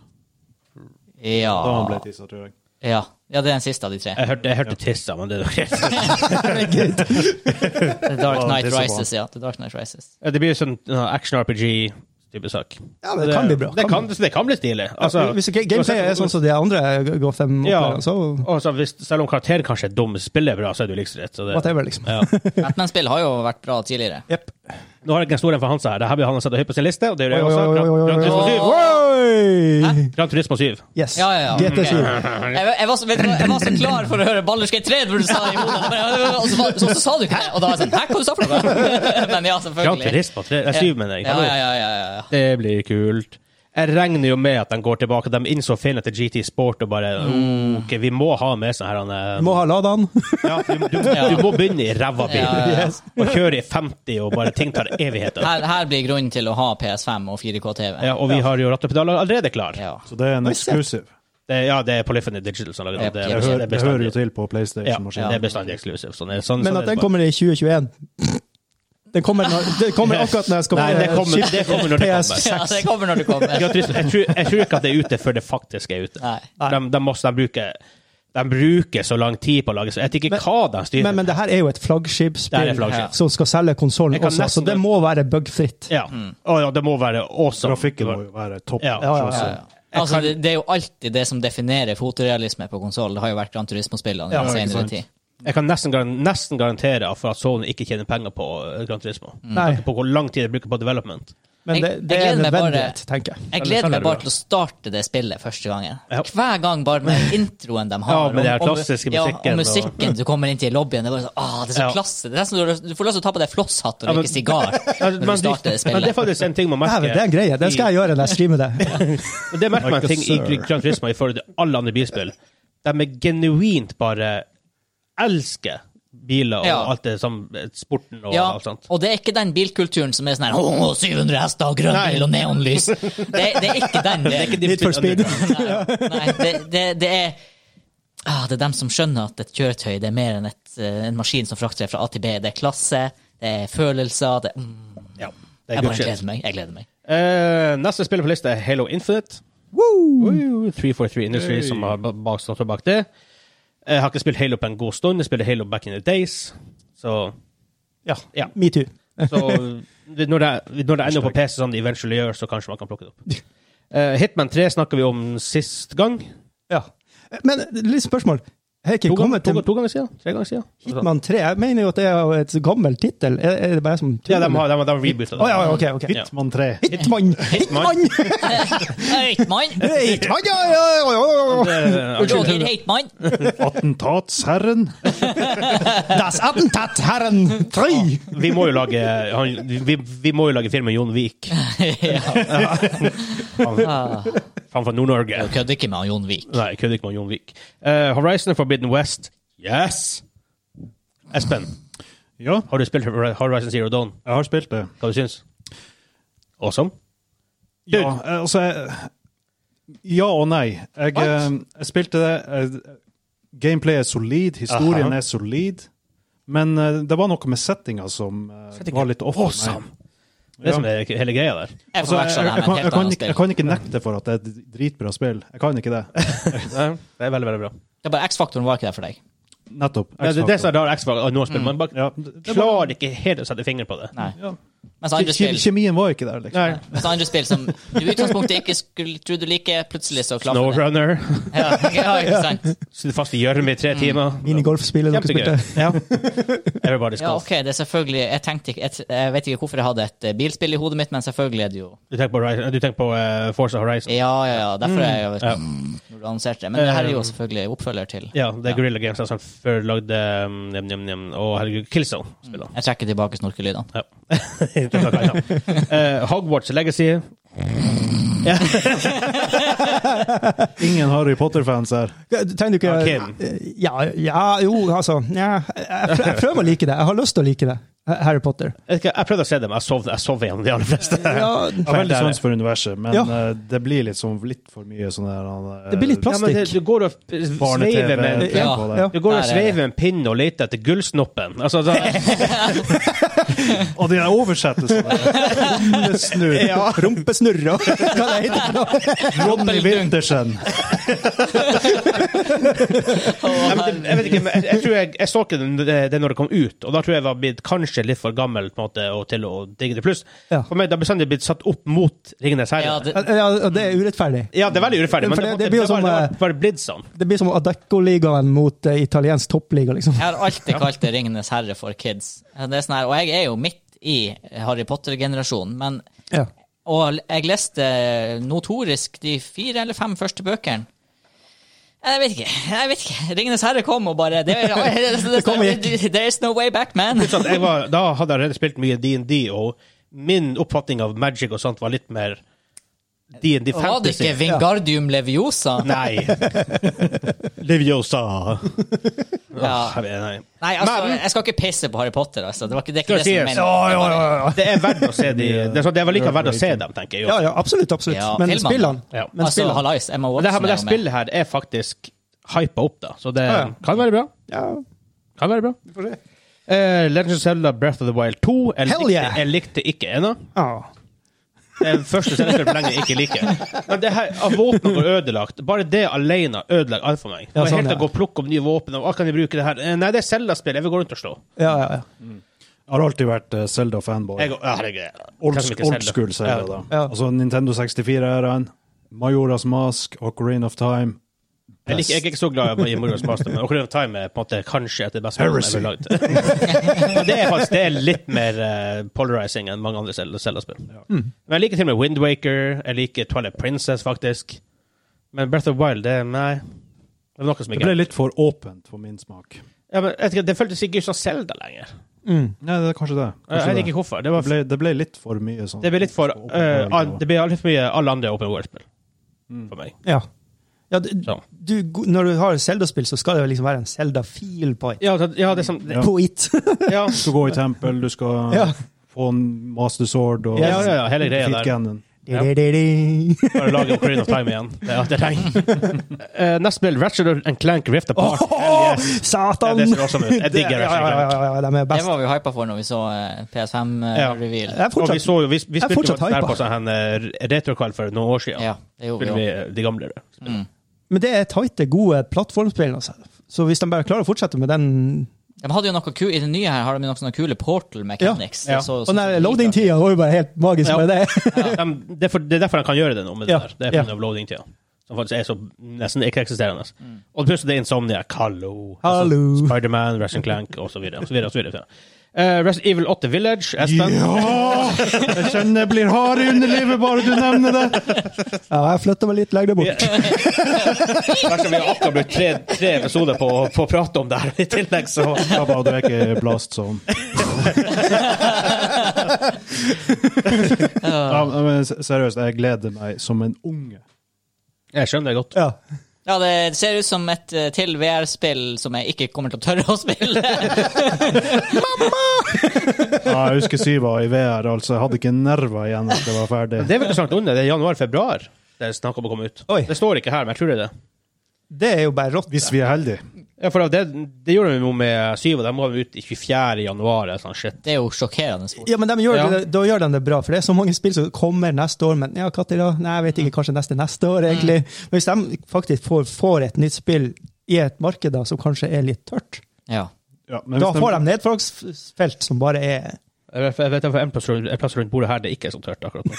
[SPEAKER 4] Da han ble
[SPEAKER 1] Ja.
[SPEAKER 4] tissa, tror jeg.
[SPEAKER 1] ja. Ja, det er den siste av de tre.
[SPEAKER 3] Jeg hørte, jeg hørte tissa, men det er greit.
[SPEAKER 1] The Dark
[SPEAKER 4] Ja,
[SPEAKER 1] Knight
[SPEAKER 4] det er så bra.
[SPEAKER 1] Rises, ja. The Dark Knight Rises.
[SPEAKER 3] Ja, Det blir sånn ja, action-RPG-type sak.
[SPEAKER 2] Ja, men det kan bli bra.
[SPEAKER 3] Det kan, det kan bli stilig. Altså,
[SPEAKER 2] Hvis ga- gameplayet er sånn som de andre Gotham
[SPEAKER 3] Ja.
[SPEAKER 2] opplever, så
[SPEAKER 3] altså, hvis, selv om karakteren kanskje er dum, spiller bra, så er du liksom rett. Så det,
[SPEAKER 2] whatever, liksom.
[SPEAKER 3] ja.
[SPEAKER 1] Batman-spill har jo vært bra tidligere.
[SPEAKER 2] Jepp.
[SPEAKER 3] Nå har jeg ikke historien for Hansa her. Det her blir han satt høyt på sin liste, og det gjør
[SPEAKER 2] Oi,
[SPEAKER 3] jeg
[SPEAKER 2] oi,
[SPEAKER 3] også.
[SPEAKER 2] oi, oi,
[SPEAKER 3] Gran- Gran
[SPEAKER 2] oi,
[SPEAKER 3] Turismo
[SPEAKER 1] oi.
[SPEAKER 3] 7.
[SPEAKER 2] Oi!
[SPEAKER 3] Gran Turismo 7.
[SPEAKER 2] Yes.
[SPEAKER 1] Ja, ja, ja.
[SPEAKER 2] GT7.
[SPEAKER 1] Jeg, jeg, var så, vet du, hva, jeg var så klar for å høre Ballerskate 3 når du sa det i hodet, men- og så, var- så, så sa du ikke det. Og da var jeg sånn Hæ, hva du sa for noe? Men ja,
[SPEAKER 3] Gran
[SPEAKER 1] selvfølgelig.
[SPEAKER 3] Turismo 3. Det er 7, mener jeg.
[SPEAKER 1] Ja, ja, ja, ja, ja.
[SPEAKER 3] Det blir kult. Jeg regner jo med at de går tilbake. De innså feilen etter GT Sport og bare
[SPEAKER 1] Mm.
[SPEAKER 3] OK, vi må ha med sånn her han, eh,
[SPEAKER 2] Må ha lada han.
[SPEAKER 3] ja, du, du, du må begynne i ræva bil
[SPEAKER 1] Ja, ja, ja.
[SPEAKER 3] og kjøre i 50, og bare ting tar evigheter.
[SPEAKER 1] Her, her blir grunnen til å ha PS5 og 4K-TV.
[SPEAKER 3] Ja, og vi har jo ratt og pedaler allerede klar.
[SPEAKER 1] Ja.
[SPEAKER 4] Så det er en eksklusiv.
[SPEAKER 3] Det, ja, det er Polyphony Digital som lager den. Det,
[SPEAKER 1] Ja,
[SPEAKER 4] Det,
[SPEAKER 1] det
[SPEAKER 4] hører-
[SPEAKER 3] er
[SPEAKER 4] det hører jo
[SPEAKER 3] bestandig-
[SPEAKER 4] til på
[SPEAKER 3] ja,
[SPEAKER 4] PlayStation-maskinen.
[SPEAKER 3] det er bestandig eksklusiv. Sånn, er- sånn,
[SPEAKER 2] Men
[SPEAKER 3] sånn
[SPEAKER 2] at
[SPEAKER 3] er det
[SPEAKER 2] den
[SPEAKER 3] bare.
[SPEAKER 2] kommer i 2021 Den kommer, når, den kommer akkurat når jeg skal
[SPEAKER 3] Nei, det kommer, det kommer når det kommer.
[SPEAKER 1] Ja, det kommer når det kommer.
[SPEAKER 3] Jeg tror, jeg, tror, jeg tror ikke at det er ute før det faktisk er ute.
[SPEAKER 1] Nei.
[SPEAKER 3] De, de, må- de, bruker, de bruker så lang tid på å lage så Jeg vet ikke hva de styrer.
[SPEAKER 2] Men, men det her er jo et
[SPEAKER 3] Det er
[SPEAKER 2] flaggskipsspill
[SPEAKER 3] et flaggskip.
[SPEAKER 2] som skal selge konsollen
[SPEAKER 3] Jeg kan
[SPEAKER 2] også, så
[SPEAKER 3] nesten-
[SPEAKER 2] det må være bugfritt.
[SPEAKER 3] ja.
[SPEAKER 1] Mm.
[SPEAKER 3] Å, ja, det må være awesome.
[SPEAKER 4] Grafikken må jo være topp.
[SPEAKER 3] Ja.
[SPEAKER 2] Ja, ja,
[SPEAKER 1] Ja,
[SPEAKER 2] ja.
[SPEAKER 1] ja. Altså, det, det er jo alltid det som definerer fotorealisme på konsoll. Det har jo vært Gran Turismo-spillene i
[SPEAKER 2] Ja,
[SPEAKER 1] den
[SPEAKER 4] ikke
[SPEAKER 1] senere
[SPEAKER 4] sant.
[SPEAKER 1] tid.
[SPEAKER 3] Jeg kan nesten, garan- nesten garantere for at Sony ikke tjener penger på eh, Gran Turismo.
[SPEAKER 1] Mm.
[SPEAKER 2] Nei,
[SPEAKER 3] På hvor lang tid de bruker på development.
[SPEAKER 2] men
[SPEAKER 1] Jeg-
[SPEAKER 2] det, det
[SPEAKER 1] jeg
[SPEAKER 2] er
[SPEAKER 1] gleder meg bare-
[SPEAKER 2] nødvendighet, tenker jeg.
[SPEAKER 1] Jeg
[SPEAKER 3] Eller
[SPEAKER 1] gleder
[SPEAKER 3] selger
[SPEAKER 1] meg bare
[SPEAKER 3] du,
[SPEAKER 1] til å starte det spillet første gangen.
[SPEAKER 3] Ja.
[SPEAKER 1] Hver gang bare med introen de har.
[SPEAKER 3] Ja, med
[SPEAKER 1] og-
[SPEAKER 3] den her
[SPEAKER 1] og-
[SPEAKER 3] klassiske
[SPEAKER 1] Ja,
[SPEAKER 3] musikken,
[SPEAKER 1] og musikken du kommer inn til i lobbyen. Det er bare sånn, ah, det er så
[SPEAKER 3] Ja.
[SPEAKER 1] klasse. Det er nesten, du har- du får lyst til å ta på deg flosshatt og
[SPEAKER 3] Ja, men-
[SPEAKER 1] røyke sigar
[SPEAKER 3] Men,
[SPEAKER 1] når du starter det
[SPEAKER 3] det, men det er
[SPEAKER 1] spillet.
[SPEAKER 3] faktisk en ting man merker.
[SPEAKER 2] Dæven, det er en greie. Det skal jeg eh, gjøre når jeg streamer det.
[SPEAKER 3] Men Det merker man en
[SPEAKER 4] Like
[SPEAKER 3] ting
[SPEAKER 4] a
[SPEAKER 3] i
[SPEAKER 4] sir.
[SPEAKER 3] Gran Turismo i forhold til alle andre bilspill. De er genuint bare elsker biler og
[SPEAKER 1] Ja.
[SPEAKER 3] alt det som sporten og
[SPEAKER 1] Ja,
[SPEAKER 3] alt sånt.
[SPEAKER 1] og det er ikke den bilkulturen som er sånn her «Åh, 700 hester, grønn bil og neonlys. Det, det er ikke den. Det er ikke
[SPEAKER 2] Need for speed.
[SPEAKER 1] Nei, nei det, det, det er ah, Det er dem som skjønner at et kjøretøy det er mer enn et, eh, en maskin som frakter deg fra A til B. Det er klasse, det er følelser det, mm,
[SPEAKER 3] Ja, det
[SPEAKER 1] Jeg
[SPEAKER 3] er good
[SPEAKER 1] bare
[SPEAKER 3] shit.
[SPEAKER 1] gleder meg. Jeg gleder meg.
[SPEAKER 3] Eh, neste spiller på lista er Halo Infinite.
[SPEAKER 2] Woo!
[SPEAKER 3] Woo! 343 Industry som har ba- bak, står bak det. Jeg har ikke spilt Halo på en god stund. Jeg spiller Halo back in the days. Så,
[SPEAKER 2] Ja.
[SPEAKER 3] Ja.
[SPEAKER 2] Metoo.
[SPEAKER 3] så når, det, når det ender på PC som det eventually gjør, så kanskje man kan plukke det opp. Eh, Hitman 3 snakka vi om sist gang.
[SPEAKER 2] Ja. Men litt spørsmål. har ikke
[SPEAKER 3] To ganger,
[SPEAKER 2] kommet
[SPEAKER 3] to,
[SPEAKER 2] til
[SPEAKER 3] to ganger siden? Tre ganger siden?
[SPEAKER 2] Hitman 3. Jeg mener jo at det er jo et gammel tittel. Er, er det bare som
[SPEAKER 3] Ja, de har, de har, de har rebootet
[SPEAKER 2] Å ja, ja, ok. ok.
[SPEAKER 4] Hitman 3.
[SPEAKER 2] Hitman!
[SPEAKER 3] Hitman.
[SPEAKER 1] Heitmann!
[SPEAKER 2] Hitman, ja, ja, ja, ja, ja.
[SPEAKER 1] Roger Heitmann.
[SPEAKER 4] Attentatsherren.
[SPEAKER 2] Das Attentat Herren 3!
[SPEAKER 3] Vi må jo lage han, vi, vi må jo lage film med Jon Vik. Han,
[SPEAKER 1] Ah,
[SPEAKER 3] han fra Nord-Norge.
[SPEAKER 1] Jeg kødder ikke med han Jon Vik.
[SPEAKER 3] Nei, jeg kødder ikke med Jon Vik. Eh, Horizon Forbidden West. Yes! Espen,
[SPEAKER 4] Ja,
[SPEAKER 3] har du spilt Horizon Zero Dawn?
[SPEAKER 4] jeg har spilt det.
[SPEAKER 3] Hva du syns Awesome? Dude.
[SPEAKER 4] Ja, eh, altså jeg- Ja og nei. Jeg, eh, jeg spilte det. eh, Gameplay er solid, historien
[SPEAKER 3] Aha.
[SPEAKER 4] er solid. Men eh, det var noe med settinga som eh,
[SPEAKER 3] Settinga.
[SPEAKER 4] var litt off. for meg.
[SPEAKER 3] Awesome. Det som er hele greia der.
[SPEAKER 1] Jeg
[SPEAKER 4] Altså, jeg,
[SPEAKER 1] forveksler
[SPEAKER 4] jeg,
[SPEAKER 1] det her med
[SPEAKER 4] jeg, kan,
[SPEAKER 1] et
[SPEAKER 4] jeg,
[SPEAKER 1] helt
[SPEAKER 4] kan,
[SPEAKER 1] annet
[SPEAKER 4] ikke- jeg
[SPEAKER 1] spill.
[SPEAKER 4] kan ikke nekte for at det er et dritbra spill. Jeg kan ikke det.
[SPEAKER 3] Det er veldig, veldig bra.
[SPEAKER 1] Det er bare X-faktoren var ikke der for deg.
[SPEAKER 4] Nettopp.
[SPEAKER 3] Ja, det er det som er rar X-Factor. Nå spiller man bare
[SPEAKER 4] Ja, det- det var-
[SPEAKER 3] klarer ikke helt å sette fingeren på det.
[SPEAKER 1] Nei.
[SPEAKER 4] Ja.
[SPEAKER 1] Mens
[SPEAKER 4] Ke-
[SPEAKER 1] andre
[SPEAKER 4] ke-
[SPEAKER 1] spill
[SPEAKER 4] Kjemien var ikke der, liksom.
[SPEAKER 3] Nei.
[SPEAKER 1] Mens andre spill som du i utgangspunktet ikke skulle tro du liker, plutselig så klaffer det.
[SPEAKER 3] Snowrunner.
[SPEAKER 1] Ja, ja, ikke sant?
[SPEAKER 3] Sitter fast i gjørme Mm. i tre timer.
[SPEAKER 2] Minigolfspillet dere
[SPEAKER 3] Kjempegøy.
[SPEAKER 2] spilte.
[SPEAKER 3] Ja. Everybody's
[SPEAKER 1] ja,
[SPEAKER 3] golf.
[SPEAKER 1] OK, det er selvfølgelig Jeg tenkte ikke jeg, jeg vet ikke hvorfor jeg hadde et eh, bilspill i hodet mitt, men selvfølgelig er det jo
[SPEAKER 3] Du tenker på, Horizon- du tenker på eh, Forza Horizon.
[SPEAKER 1] Ja, ja, ja. Derfor er jeg
[SPEAKER 3] Ja.
[SPEAKER 2] Mm,
[SPEAKER 1] når du annonserte det. Men det her er
[SPEAKER 2] Eh,
[SPEAKER 1] jo selvfølgelig oppfølger til
[SPEAKER 3] Ja, det er Guerrilla Games som før lagde um, nem, nem, nem, Å, herregud, Killzone. Spiller.
[SPEAKER 1] Jeg trekker tilbake snorkelydene.
[SPEAKER 3] Ja. Det er klart, ja. Eh, Hogwarts Legacy.
[SPEAKER 4] Ingen Harry Potter-fans her.
[SPEAKER 2] Trenger du ikke
[SPEAKER 3] Ja,
[SPEAKER 2] ja, ja, jo, altså ja, jeg, jeg prø- jeg prøver å like det. Jeg har lyst til å like det. Harry Potter.
[SPEAKER 3] Jeg, vet ikke, jeg prøvde å se dem, jeg sov, jeg sov igjen de aller fleste.
[SPEAKER 2] Ja,
[SPEAKER 4] Jeg har veldig sans for universet, men
[SPEAKER 2] Ja.
[SPEAKER 4] eh, det blir litt, sånn, litt for mye sånn der eh,
[SPEAKER 2] Det blir litt
[SPEAKER 3] Ja, men det, du går og sveiver med
[SPEAKER 4] barne-TV.
[SPEAKER 2] Ja,
[SPEAKER 4] på det.
[SPEAKER 2] ja.
[SPEAKER 3] Du går
[SPEAKER 1] Der er
[SPEAKER 3] og
[SPEAKER 1] det.
[SPEAKER 3] sveiver med en pinne og leter etter gullsnoppen. Altså, da,
[SPEAKER 4] Og de der oversettelsene! Omlesnurr.
[SPEAKER 2] ja. Rumpesnurr og hva det heter. for noe.
[SPEAKER 4] Ronny Wintersen.
[SPEAKER 3] Nei, men det, jeg vet ikke, men jeg, jeg tror jeg, jeg så ikke den- det, det når det kom ut, og da tror jeg jeg var blitt kanskje litt for gammel på en måte, og til å digge det. Pluss,
[SPEAKER 2] Ja.
[SPEAKER 3] for meg, da bestandig blitt satt opp mot Ringenes herre.
[SPEAKER 1] Ja,
[SPEAKER 3] Ja, det,
[SPEAKER 1] det,
[SPEAKER 2] Ja, og det er urettferdig.
[SPEAKER 3] er veldig urettferdig, men
[SPEAKER 2] For
[SPEAKER 3] det,
[SPEAKER 2] det-
[SPEAKER 3] det,
[SPEAKER 2] det blir jo
[SPEAKER 3] var,
[SPEAKER 2] som,
[SPEAKER 3] det
[SPEAKER 2] eh,
[SPEAKER 3] var bare blitt sånn.
[SPEAKER 2] Det blir som Adecco-ligaen mot eh, italiensk toppliga, liksom.
[SPEAKER 1] jeg har alltid kalt det 'Ringenes herre for kids'. Det er sånn her, og jeg er jo midt i Harry Potter-generasjonen, men
[SPEAKER 2] Ja.
[SPEAKER 1] Og jeg leste eh, notorisk de fire eller fem første bøkene. Jeg vet ikke. jeg vet ikke. Ringenes herre kom og bare det,
[SPEAKER 2] kom og
[SPEAKER 1] There's no way back, man.
[SPEAKER 3] Pluss at jeg var, da hadde jeg allerede spilt mye D&D, og min oppfatning av magic og sånt var litt mer D&D
[SPEAKER 1] Var det
[SPEAKER 3] fantasy.
[SPEAKER 1] ikke Vingardium Leviosa?
[SPEAKER 3] Nei. Liviosa.
[SPEAKER 1] Ja.
[SPEAKER 3] Nei.
[SPEAKER 1] Nei, altså,
[SPEAKER 3] Men-
[SPEAKER 1] jeg skal ikke pisse på Harry Potter. altså. Det var ikke det, er
[SPEAKER 3] Skal
[SPEAKER 1] ikke det som
[SPEAKER 3] sies.
[SPEAKER 1] er meningen.
[SPEAKER 3] Det er verdt å se de, det, er sånn- det er vel like verdt å se dem, tenker jeg.
[SPEAKER 2] Ja, ja, absolutt, absolutt.
[SPEAKER 1] Ja,
[SPEAKER 2] men
[SPEAKER 1] filmene.
[SPEAKER 2] spillene
[SPEAKER 3] Ja.
[SPEAKER 2] men
[SPEAKER 1] Altså,
[SPEAKER 2] spillene-
[SPEAKER 1] hallais, Emma
[SPEAKER 3] Men det, her,
[SPEAKER 1] Watson
[SPEAKER 3] men det
[SPEAKER 1] er jo med.
[SPEAKER 3] spillet her er faktisk hypa opp, da. Så det
[SPEAKER 2] Ja, ja.
[SPEAKER 3] kan være bra.
[SPEAKER 2] ja.
[SPEAKER 3] Kan være bra. Eh, Legend of Zelda Breath of the Wild 2. Jeg
[SPEAKER 2] Hell
[SPEAKER 3] likte,
[SPEAKER 2] yeah!
[SPEAKER 3] jeg likte ikke ennå.
[SPEAKER 2] Ja.
[SPEAKER 3] Det er den første Zelda-spillet på lenge jeg ikke liker. Men det her, av våpen går ødelagt. Bare det alene ødelegger alt for meg.
[SPEAKER 2] Ja,
[SPEAKER 3] Og
[SPEAKER 2] sånn,
[SPEAKER 3] helt til å
[SPEAKER 2] ja.
[SPEAKER 3] gå og plukke opp nye våpen og hva kan jeg bruke det her? Eh, Nei, det er Zelda-spill. Jeg vil gå rundt og slå.
[SPEAKER 2] Ja, ja, ja.
[SPEAKER 4] Jeg har alltid vært Selda-fanboy.
[SPEAKER 3] Jeg, går- ja, herregud.
[SPEAKER 4] Old,
[SPEAKER 3] Hvem som ikke er
[SPEAKER 4] old
[SPEAKER 3] Zelda?
[SPEAKER 4] school Zelda, da.
[SPEAKER 2] Ja.
[SPEAKER 4] Altså Nintendo 64-æraen, Majoras Mask, Ocarina of Time.
[SPEAKER 3] Jeg, liker, jeg er ikke så glad i Morios Master, men Ocarina of Time er på en måte kanskje et av de beste
[SPEAKER 4] Heresy.
[SPEAKER 3] spillene jeg har lagd. Men det er faktisk det er litt mer eh, polarizing enn mange andre Zelda- Zelda-spill. Men jeg liker til og med Wind Waker, jeg liker Twilight Princess, faktisk. Men Breath of the Wild, det Nei. Det var noe som
[SPEAKER 4] Det
[SPEAKER 3] ikke
[SPEAKER 4] ble litt for åpent for min smak.
[SPEAKER 3] ja, men, jeg vet ikke, Det føltes ikke ut som Zelda lenger.
[SPEAKER 2] Mm,
[SPEAKER 4] Nei, det er kanskje det.
[SPEAKER 3] Jeg
[SPEAKER 4] Kanskje
[SPEAKER 3] vet
[SPEAKER 4] det.
[SPEAKER 3] ikke hvorfor. Det,
[SPEAKER 4] Det,
[SPEAKER 3] var,
[SPEAKER 4] ble, det ble litt for mye sånn.
[SPEAKER 3] det ble litt for
[SPEAKER 4] Open
[SPEAKER 3] eh,
[SPEAKER 4] world
[SPEAKER 3] an-
[SPEAKER 4] og-
[SPEAKER 3] Det ble litt for mye alle andre Open World-spill for meg.
[SPEAKER 2] ja. ja du,
[SPEAKER 3] Så.
[SPEAKER 2] du, når du har Zelda-spill, så skal det jo liksom være en Zelda-feel på it.
[SPEAKER 3] Ja, det, ja, det er som
[SPEAKER 4] Ja.
[SPEAKER 2] På it.
[SPEAKER 3] ja.
[SPEAKER 4] Du skal gå i tempel, du skal
[SPEAKER 2] Ja.
[SPEAKER 4] få en master sword og
[SPEAKER 3] Ja, ja, ja, hele greia der.
[SPEAKER 4] Fitgannen.
[SPEAKER 3] Ja. Bare lage Ocarina of Time igjen. Det er alt jeg trenger. Eh, Neste spill, Ratchet and Clank Rift Apart. Hell
[SPEAKER 2] Åh,
[SPEAKER 3] yes.
[SPEAKER 2] Satan!
[SPEAKER 3] Ja, det ser awesome ut. Jeg digger
[SPEAKER 2] det.
[SPEAKER 3] det,
[SPEAKER 2] Ja, ja, ja, ja, de er
[SPEAKER 1] Det
[SPEAKER 2] best.
[SPEAKER 1] var vi hypa for når vi så eh,
[SPEAKER 3] Ja.
[SPEAKER 1] PS5-reveal.
[SPEAKER 2] Jeg er
[SPEAKER 3] Og vi,
[SPEAKER 2] fortsatt
[SPEAKER 3] så jo, vi, vi
[SPEAKER 2] Jeg altså.
[SPEAKER 3] spilte
[SPEAKER 2] er
[SPEAKER 3] jo
[SPEAKER 2] fortsatt
[SPEAKER 3] der
[SPEAKER 2] hypa.
[SPEAKER 3] på sånn her, eh, retrokveld for noen år siden.
[SPEAKER 1] Ja, det gjorde
[SPEAKER 3] Spilte
[SPEAKER 1] vi
[SPEAKER 3] vi
[SPEAKER 1] jo.
[SPEAKER 3] eh, de gamle. spillene.
[SPEAKER 2] Men det er tighte, gode plattformspill. Altså. Så hvis de bare klarer å fortsette med den
[SPEAKER 1] De hadde jo noe ku I det nye her har de noen sånne kule Portal Mechanics.
[SPEAKER 3] Ja, ja.
[SPEAKER 1] Det så- sånn
[SPEAKER 2] Og den der loading-tida var jo bare helt magisk
[SPEAKER 3] Ja.
[SPEAKER 2] med det.
[SPEAKER 3] De, det, er for, det er derfor han kan gjøre det nå, med
[SPEAKER 2] Ja,
[SPEAKER 3] det der. Det er
[SPEAKER 2] ja.
[SPEAKER 3] pga. loading-tida. som faktisk er så nesten ikke-eksisterende. Og plutselig det er Insomniac. Hallo!
[SPEAKER 2] Mm. Hallo.
[SPEAKER 3] Altså, Spiderman, Wrestling Clank osv. Uh, Rest Evil 8 Village, Espen.
[SPEAKER 4] Ja! Jeg kjenner jeg blir hard i underlivet bare du nevner det.
[SPEAKER 2] Ja, jeg flytter meg litt, legg det bort.
[SPEAKER 3] Ja. Kanskje vi har akkurat brukt tre, tre episoder på, på å prate om det her i tillegg, så
[SPEAKER 4] Jeg bare drikker Blast Zone. ja, men s- seriøst, jeg gleder meg som en unge.
[SPEAKER 3] Jeg skjønner det godt.
[SPEAKER 2] Ja.
[SPEAKER 1] Ja, det ser ut som et eh, til VR-spill som jeg ikke kommer til å tørre å spille.
[SPEAKER 4] Ja, jeg husker Syva i VR, altså. Jeg hadde ikke nerver igjen etter jeg var ferdig.
[SPEAKER 3] Det er veldig snart under. Det er januar-februar det er snakk om å komme ut.
[SPEAKER 2] Oi.
[SPEAKER 3] Det står ikke her, men jeg tror det er det.
[SPEAKER 2] Det er jo bare rått.
[SPEAKER 4] Hvis vi er heldige.
[SPEAKER 3] Ja, for det, det gjorde de jo med Syv, og de må ut i 24. januar. eller Sånn shit.
[SPEAKER 1] Det er jo sjokkerende. fort.
[SPEAKER 2] Ja, men de gjør,
[SPEAKER 3] Ja.
[SPEAKER 2] Det, da gjør de det bra, for det er så mange spill som kommer neste år, men ja, Katti da? Nei, jeg vet ikke, kanskje neste neste år, egentlig. Men hvis de faktisk får, får et nytt spill i et marked da, som kanskje er litt tørt,
[SPEAKER 1] Ja.
[SPEAKER 4] Ja, men
[SPEAKER 2] da
[SPEAKER 4] hvis
[SPEAKER 2] får de nedfallsfelt som bare er
[SPEAKER 3] Jeg vet jeg vet det er en plass rundt, en plass rundt bordet her det ikke er så tørt akkurat nå.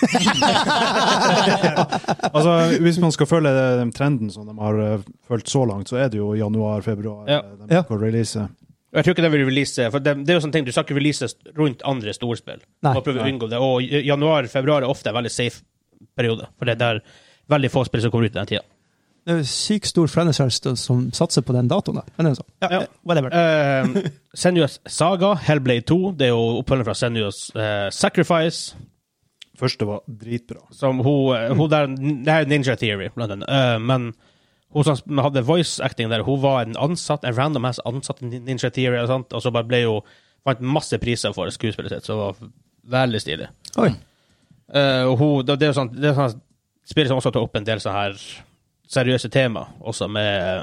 [SPEAKER 4] Altså, hvis man skal følge den trenden som de har eh, fulgt så langt, så er det jo januar-februar
[SPEAKER 3] Ja.
[SPEAKER 4] de
[SPEAKER 2] Ja.
[SPEAKER 4] kan release.
[SPEAKER 3] Og Jeg tror ikke de vil release, for det, det er jo sånne ting, Du skal ikke release rundt andre storspill.
[SPEAKER 2] Nei.
[SPEAKER 3] Man prøver å unngå det. Og j- januar-februar er ofte en veldig safe periode, for det er der veldig få spill som kommer ut den tida.
[SPEAKER 2] det er jo sykt stor franchise som satser på den datoen. da. Men det er sånn. Ja,
[SPEAKER 3] Ja.
[SPEAKER 2] eh, whatever.
[SPEAKER 3] Eh, Senua's Saga, Hellblade 2, det er jo oppfølgeren fra Senua's eh, Sacrifice.
[SPEAKER 4] Første var dritbra.
[SPEAKER 3] Som hun, eh, hun der, det her er Ninja Theory, blant annet. Eh, men hun som hadde voice acting der, hun var en ansatt, en random ass ansatt i Ninja Theory, og, sånt, og så bare ble hun vant masse priser for skuespillet sitt, så det var veldig stilig.
[SPEAKER 2] Oi.
[SPEAKER 3] Eh, og hun, det, det er jo sånn, det er sånn spill som også tar opp en del sånne her seriøse tema, også med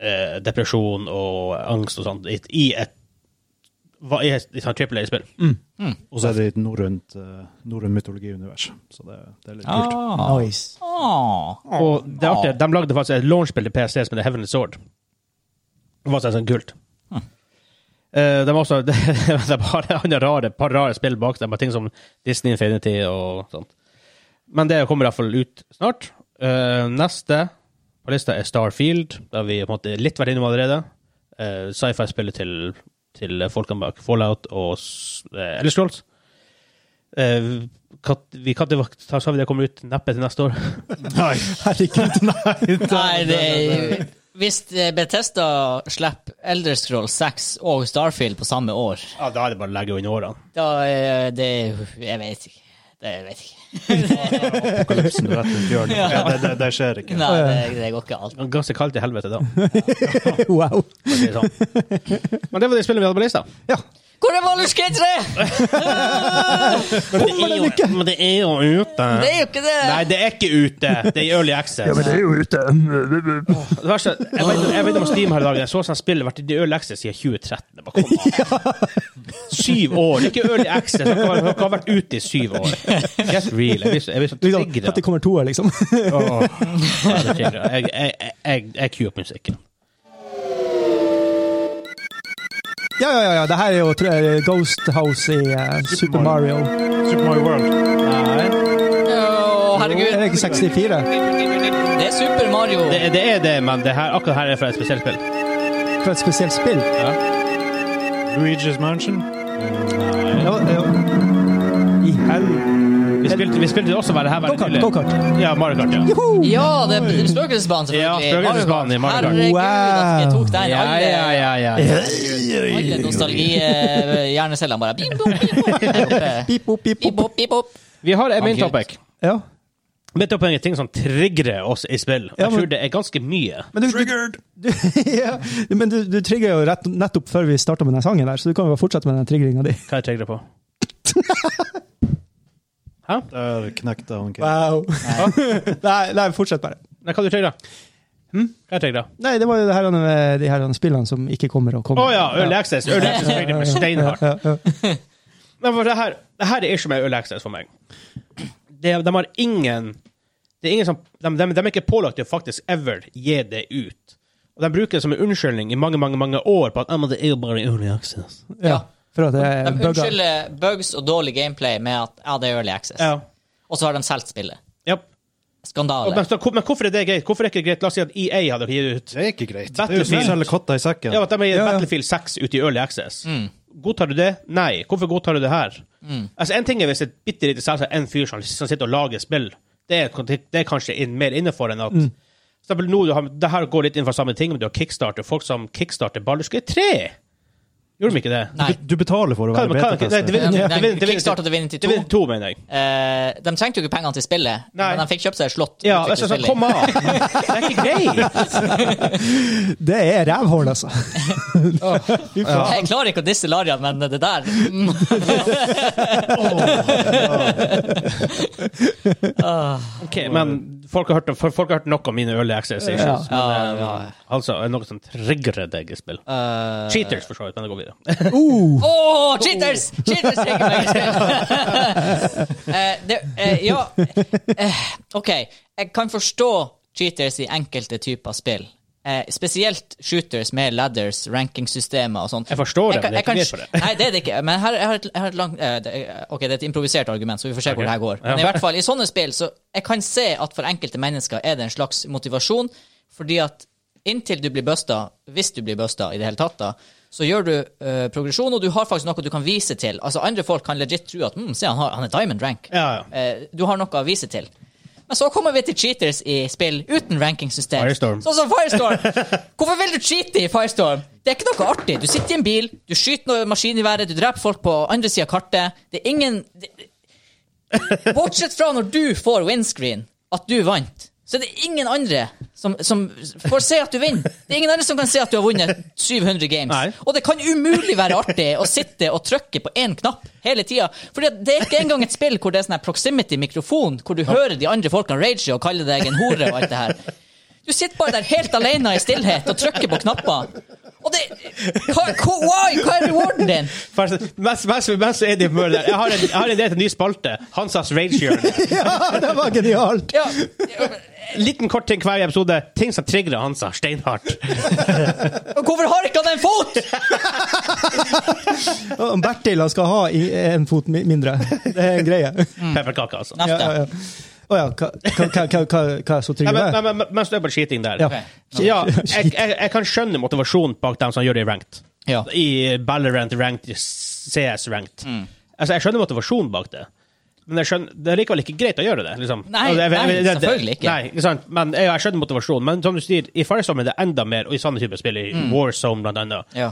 [SPEAKER 3] eh, depresjon og angst og sånt, i, i et hva- i et, i et sånt triple A-spill.
[SPEAKER 4] Og så er det i et norrønt eh, norrøn mytologiunivers, så det, det er litt kult.
[SPEAKER 1] Ah.
[SPEAKER 2] Nice.
[SPEAKER 1] Ah.
[SPEAKER 3] Og det er artig, de lagde faktisk et launchspill til PC som heter Heavenly Sword. Det var sånn sånn kult. Eh, de, har også, de, har et annet rare, par rare spill bak dem, ting som Disney Infinity og sånt. Men det kommer iallfall ut snart. Eh, neste på lista er Starfield, der vi på en måte litt vært innom allerede. Eh, Sci-fi-spillet til, til folkene bak Fallout og s- eh, Elder Scrolls. Eh, kat, vi, kat, sa vi det kommer ut neppe til neste år?
[SPEAKER 4] Nei,
[SPEAKER 2] Herregud.
[SPEAKER 1] Nei, det er Hvis eh, Bethesda slipper Elder Scroll 6 og Starfield på samme år,
[SPEAKER 3] Ja, da er det bare å legge under årene.
[SPEAKER 1] da er det Jeg vet ikke. Det jeg vet ikke.
[SPEAKER 4] apokalypsen er rett rundt hjørnet.
[SPEAKER 1] Ja.
[SPEAKER 4] Det, det, det skjer ikke.
[SPEAKER 1] Nei, det, det går ikke alt.
[SPEAKER 3] Det er Ganske kaldt i helvete, da. for
[SPEAKER 2] wow.
[SPEAKER 3] å si det Sånn. Men det var det spillet vi hadde på lista.
[SPEAKER 2] Ja.
[SPEAKER 1] Hvor er Baldur's Gate 3?!
[SPEAKER 3] Men det er jo, men det er jo ute.
[SPEAKER 1] Det er jo ikke det!
[SPEAKER 3] Nei, det er ikke ute. Det er i Early Access.
[SPEAKER 2] det er jo ute.
[SPEAKER 3] Det verste, jeg vet, jeg vet om Steam her i dag, jeg så sånn spill vært i Early Access siden 2013. Det bare kom av. Syv år. Ikke Early Access. Dere har, dere har vært ute i syv år. Get real. Jeg blir så- jeg blir så
[SPEAKER 2] Liksom,
[SPEAKER 3] trigget.
[SPEAKER 2] at det kommer toer, liksom.
[SPEAKER 3] Åh, jeg, jeg, jeg, jeg, jeg queue opp musikken.
[SPEAKER 2] Ja, ja, ja. ja. Det her er jo tror jeg, Ghost House i eh, Super Mario.
[SPEAKER 4] Super Mario World.
[SPEAKER 3] Nei.
[SPEAKER 1] Å, herregud.
[SPEAKER 2] Er det ikke 64?
[SPEAKER 1] Det er Super Mario.
[SPEAKER 3] Det, det er det, men det her, akkurat her er fra et spesielt spill.
[SPEAKER 2] For et spesielt spill?
[SPEAKER 3] Ja.
[SPEAKER 4] Luigi's Mansion.
[SPEAKER 2] Ja, ja. I helvete.
[SPEAKER 3] Vi spilte, vi spilte også bare her. veldig
[SPEAKER 2] Go-kart,
[SPEAKER 3] nylig.
[SPEAKER 2] go-kart.
[SPEAKER 3] Ja, Mario Kart, ja.
[SPEAKER 1] Ja, det er Spøkelsesbanen, selvfølgelig.
[SPEAKER 3] Ja, Spøkelsesbanen i Mario Kart.
[SPEAKER 1] Herregud, at jeg tok den.
[SPEAKER 3] Ja,
[SPEAKER 1] Alle,
[SPEAKER 3] ja, ja, ja, ja.
[SPEAKER 1] alle nostalgi-hjernecellene bare bim, bom, bim, bom, der oppe.
[SPEAKER 2] Pip, pop,
[SPEAKER 1] Bip,
[SPEAKER 2] pip, pop.
[SPEAKER 1] bop, bip, bop.
[SPEAKER 3] Vi har en main
[SPEAKER 1] Herregud.
[SPEAKER 3] topic.
[SPEAKER 2] Ja.
[SPEAKER 3] Main topic er ting som trigger oss i spill.
[SPEAKER 2] Ja,
[SPEAKER 3] Jeg
[SPEAKER 2] men-
[SPEAKER 3] tror det er ganske mye.
[SPEAKER 2] Men du, Triggered! Du, ja. Men du, du trigger jo rett, nettopp før vi starta med den sangen, der, så du kan jo bare fortsette med den triggeringa di.
[SPEAKER 3] Hva jeg trigger på?
[SPEAKER 4] Der knekte han ikke.
[SPEAKER 2] Wow. nei, nei, fortsett bare.
[SPEAKER 3] Nei, hva du trigger?
[SPEAKER 2] Hm?
[SPEAKER 3] Hva jeg trigger?
[SPEAKER 2] Nei, det var jo det her med de her spillene som ikke kommer og
[SPEAKER 3] Å
[SPEAKER 2] kommer.
[SPEAKER 3] ja, Early Access. Early Access trigger meg steinhardt.
[SPEAKER 2] Ja, ja.
[SPEAKER 3] Nei, for det her, det her er ikke med Early Access for meg. Det, de har ingen det er ingen som, de, de, de er ikke pålagt til å faktisk ever gi det ut. Og De bruker det som en unnskyldning i mange mange, mange år på at «Ja, men det er jo bare Early Access.
[SPEAKER 2] ja. For at det
[SPEAKER 1] De
[SPEAKER 2] er bugger.
[SPEAKER 1] unnskylder bugs og dårlig gameplay med at ja, det er early access.
[SPEAKER 3] Ja.
[SPEAKER 1] Og så har de solgt spillet.
[SPEAKER 3] Japp.
[SPEAKER 1] Skandale.
[SPEAKER 3] Men, så- men hvorfor er det greit? Hvorfor er det ikke greit? La oss si at EA hadde gitt ut
[SPEAKER 4] Det er ikke greit. Det er jo som å
[SPEAKER 3] Battlefield.
[SPEAKER 4] selge katta i sekken.
[SPEAKER 3] Ja, at de har gitt
[SPEAKER 2] Ja, ja.
[SPEAKER 3] Battlefield 6 ut i Early Access. Godtar du det? Nei. Hvorfor godtar du det her? Altså, En ting er hvis et bitte lite selskap, en fyr som, som sitter og lager spill, det er, det er kanskje inn, mer innenfor enn at For eksempel nå, du har, det her går litt innenfor samme ting, men du har kickstarter. Folk som kickstarter Ballerskøy 3! Gjorde de ikke det?
[SPEAKER 1] Nei.
[SPEAKER 4] Du, du betaler for å
[SPEAKER 3] Hva-
[SPEAKER 4] være
[SPEAKER 3] hva- nei,
[SPEAKER 4] betatester.
[SPEAKER 3] det-
[SPEAKER 1] Ja,
[SPEAKER 3] det- det-
[SPEAKER 1] men
[SPEAKER 3] det-
[SPEAKER 1] Kickstarter til Divinity
[SPEAKER 3] det- det-
[SPEAKER 1] 2.
[SPEAKER 3] to, mener jeg.
[SPEAKER 1] Eh, de trengte jo ikke pengene til spillet,
[SPEAKER 3] Nei.
[SPEAKER 1] men de fikk kjøpt seg et slott.
[SPEAKER 3] Ja,
[SPEAKER 1] utviklet
[SPEAKER 3] altså, så,
[SPEAKER 1] spillet.
[SPEAKER 3] kom av! Det er ikke greit!
[SPEAKER 2] Det er rævhål, altså. Fy faen.
[SPEAKER 1] Jeg klarer ikke å disse Larian, men det der mm.
[SPEAKER 3] Ok, men folk har, hørt, folk har hørt nok om mine early access issues.
[SPEAKER 2] Ja.
[SPEAKER 1] Ja,
[SPEAKER 3] Men, eh,
[SPEAKER 1] ja.
[SPEAKER 3] Altså, er det noe som trigger deg i spill. Cheaters, for så vidt, men det går videre.
[SPEAKER 2] Uh,
[SPEAKER 1] Åh, cheaters! Cheaters trenger meg i spill! Eh, det, eh, ja eh, OK. Jeg kan forstå cheaters i enkelte typer spill. Eh, spesielt shooters med ladders, rankingsystemer og sånn.
[SPEAKER 3] Jeg forstår det,
[SPEAKER 1] kan-
[SPEAKER 3] men jeg er ikke
[SPEAKER 1] kan-
[SPEAKER 3] med på det.
[SPEAKER 1] Nei, det er det ikke. Men her, jeg har et, jeg har et langt eh, det, er- Ok, det er et improvisert argument, så vi får se hvor det her går. Men i hvert fall, i sånne spill, så jeg kan se at for enkelte mennesker er det en slags motivasjon, fordi at inntil du blir busta, hvis du blir busta i det hele tatt, da, så gjør du eh, progresjon, og du har faktisk noe du kan vise til. Altså, andre folk kan legit tro at mm, se, han, har, han er diamond rank.
[SPEAKER 3] Ja, ja.
[SPEAKER 1] Eh, du har noe å vise til. Men så kommer vi til cheaters i spill uten rankingsystem.
[SPEAKER 3] Firestorm.
[SPEAKER 1] Sånn som Firestorm. Hvorfor vil du cheate i Firestorm? Det er ikke noe artig. Du sitter i en bil, du skyter noen maskin i været, du dreper folk på andre sida av kartet. Det er ingen det, Bortsett fra når du får windscreen, at du vant, så er det ingen andre som, som får se at du vinner. Det er ingen andre som kan se at du har vunnet 700 games.
[SPEAKER 3] Nei.
[SPEAKER 1] Og det kan umulig være artig å sitte og trykke på én knapp hele tida. For det er ikke engang et spill hvor det er sånn her proximity-mikrofon, hvor du hører de andre folkene rage og kalle deg en hore og alt det her. Du sitter bare der helt alene i stillhet og trykker på knapper. Og det Hva, hva, why? hva er rewarden din?
[SPEAKER 3] Forresten, Mens, mens, mens Eddie Møller Jeg har en, jeg har en idé til en ny spalte. Hansas Ragehjørne.
[SPEAKER 2] ja, det var genialt!
[SPEAKER 1] Ja,
[SPEAKER 3] Liten kort ting hver episode. Ting som trigger Hansa steinhardt.
[SPEAKER 1] hvorfor har ikke han en fot?!
[SPEAKER 2] Og Bertil han skal ha i, en fot mi- mindre. Det er en greie.
[SPEAKER 1] Mm.
[SPEAKER 3] Pepperkake, altså.
[SPEAKER 2] Ja,
[SPEAKER 1] Neste.
[SPEAKER 2] ja, ja. Å ja, hva, hva, hva, hva, hva, hva er så
[SPEAKER 3] Nei,
[SPEAKER 2] trygg
[SPEAKER 3] men,
[SPEAKER 2] det?
[SPEAKER 3] men, men, mens du er på skyting der
[SPEAKER 2] Ja.
[SPEAKER 1] Ok.
[SPEAKER 3] Ja, jeg, jeg, jeg kan skjønne motivasjonen bak dem som gjør det i ranked.
[SPEAKER 1] Ja.
[SPEAKER 3] I Ballerant ranked, i CS ranked.
[SPEAKER 1] Mm.
[SPEAKER 3] Altså, jeg skjønner motivasjonen bak det. Men jeg skjønner, det er likevel ikke greit å gjøre det. liksom.
[SPEAKER 1] Nei,
[SPEAKER 3] Altså, jeg- jeg-
[SPEAKER 1] nei,
[SPEAKER 3] jeg- det-
[SPEAKER 1] selvfølgelig ikke.
[SPEAKER 3] Nei, ikke sant? Men jeg, jeg skjønner motivasjonen. Men som du sier, i Firestorm er det enda mer, og i samme type spill, i
[SPEAKER 1] Mm.
[SPEAKER 3] Warzone blant annet,
[SPEAKER 1] Ja.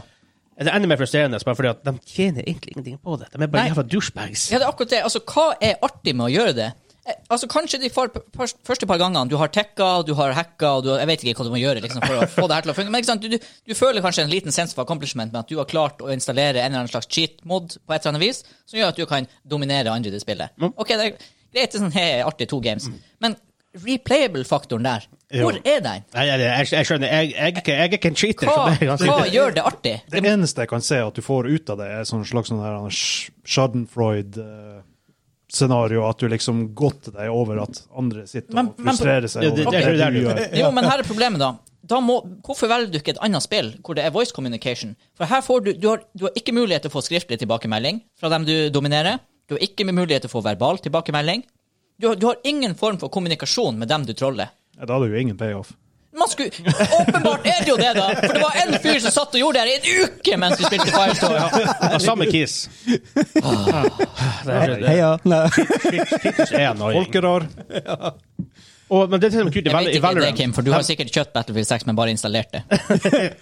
[SPEAKER 3] er det enda mer frustrerende bare fordi at de tjener egentlig ingenting på det. De er bare
[SPEAKER 1] Nei.
[SPEAKER 3] jævla douchebags.
[SPEAKER 1] Ja, det er akkurat det. Altså, hva er artig med å gjøre det? Eh, Altså, Kanskje de far- pers- første par gangene du har tekka, du har hacka og du har, Jeg vet ikke hva du må gjøre liksom, for å få det her til å fungere. Men ikke sant? Du, du, du føler kanskje en liten sense of accomplishment med at du har klart å installere en eller annen slags cheat-mod på et eller annet vis, som gjør at du kan dominere andre i det spillet. Ok, det er greit, det er sånn, hey, artig, to games.
[SPEAKER 3] Mm.
[SPEAKER 1] Men replayable-faktoren der, hvor er den?
[SPEAKER 3] Nei, jeg, jeg, jeg skjønner, jeg, jeg, er ikke- jeg er ikke en cheater.
[SPEAKER 1] Hva,
[SPEAKER 3] som jeg kan si.
[SPEAKER 1] hva gjør det artig?
[SPEAKER 4] Det eneste jeg kan se at du får ut av det, er sånn slags sånn her sh- Schadenfreud-scenario. At du liksom godter deg over at andre sitter
[SPEAKER 1] Men-
[SPEAKER 4] og
[SPEAKER 1] men-
[SPEAKER 4] frustrerer seg
[SPEAKER 3] Ja, det-
[SPEAKER 4] over
[SPEAKER 3] det- det-
[SPEAKER 4] det du
[SPEAKER 3] det-
[SPEAKER 4] gjør.
[SPEAKER 1] Jo, men her er problemet, da. da må, hvorfor velger du ikke et annet spill hvor det er voice communication? For her får du, du, har, du har ikke mulighet til å få skriftlig tilbakemelding fra dem du dominerer. Du har ikke mulighet til å få verbal tilbakemelding. Du har, du har ingen form for kommunikasjon med dem du troller.
[SPEAKER 4] Ja, Da hadde du jo ingen payoff.
[SPEAKER 1] Man skulle, åpenbart er det jo det, da! For det var en fyr som satt og gjorde det her i en uke mens vi spilte Firestore.
[SPEAKER 3] Ja, samme kiss. Ah,
[SPEAKER 2] Heia. Nei.
[SPEAKER 4] Folkerar.
[SPEAKER 3] Og, men det som er liksom kult i
[SPEAKER 1] Jeg
[SPEAKER 3] Val-
[SPEAKER 1] vet
[SPEAKER 3] i
[SPEAKER 1] ikke det,
[SPEAKER 3] Valorant
[SPEAKER 1] Kim, for du har sikkert kjøpt Battlefield 6, men bare installert det.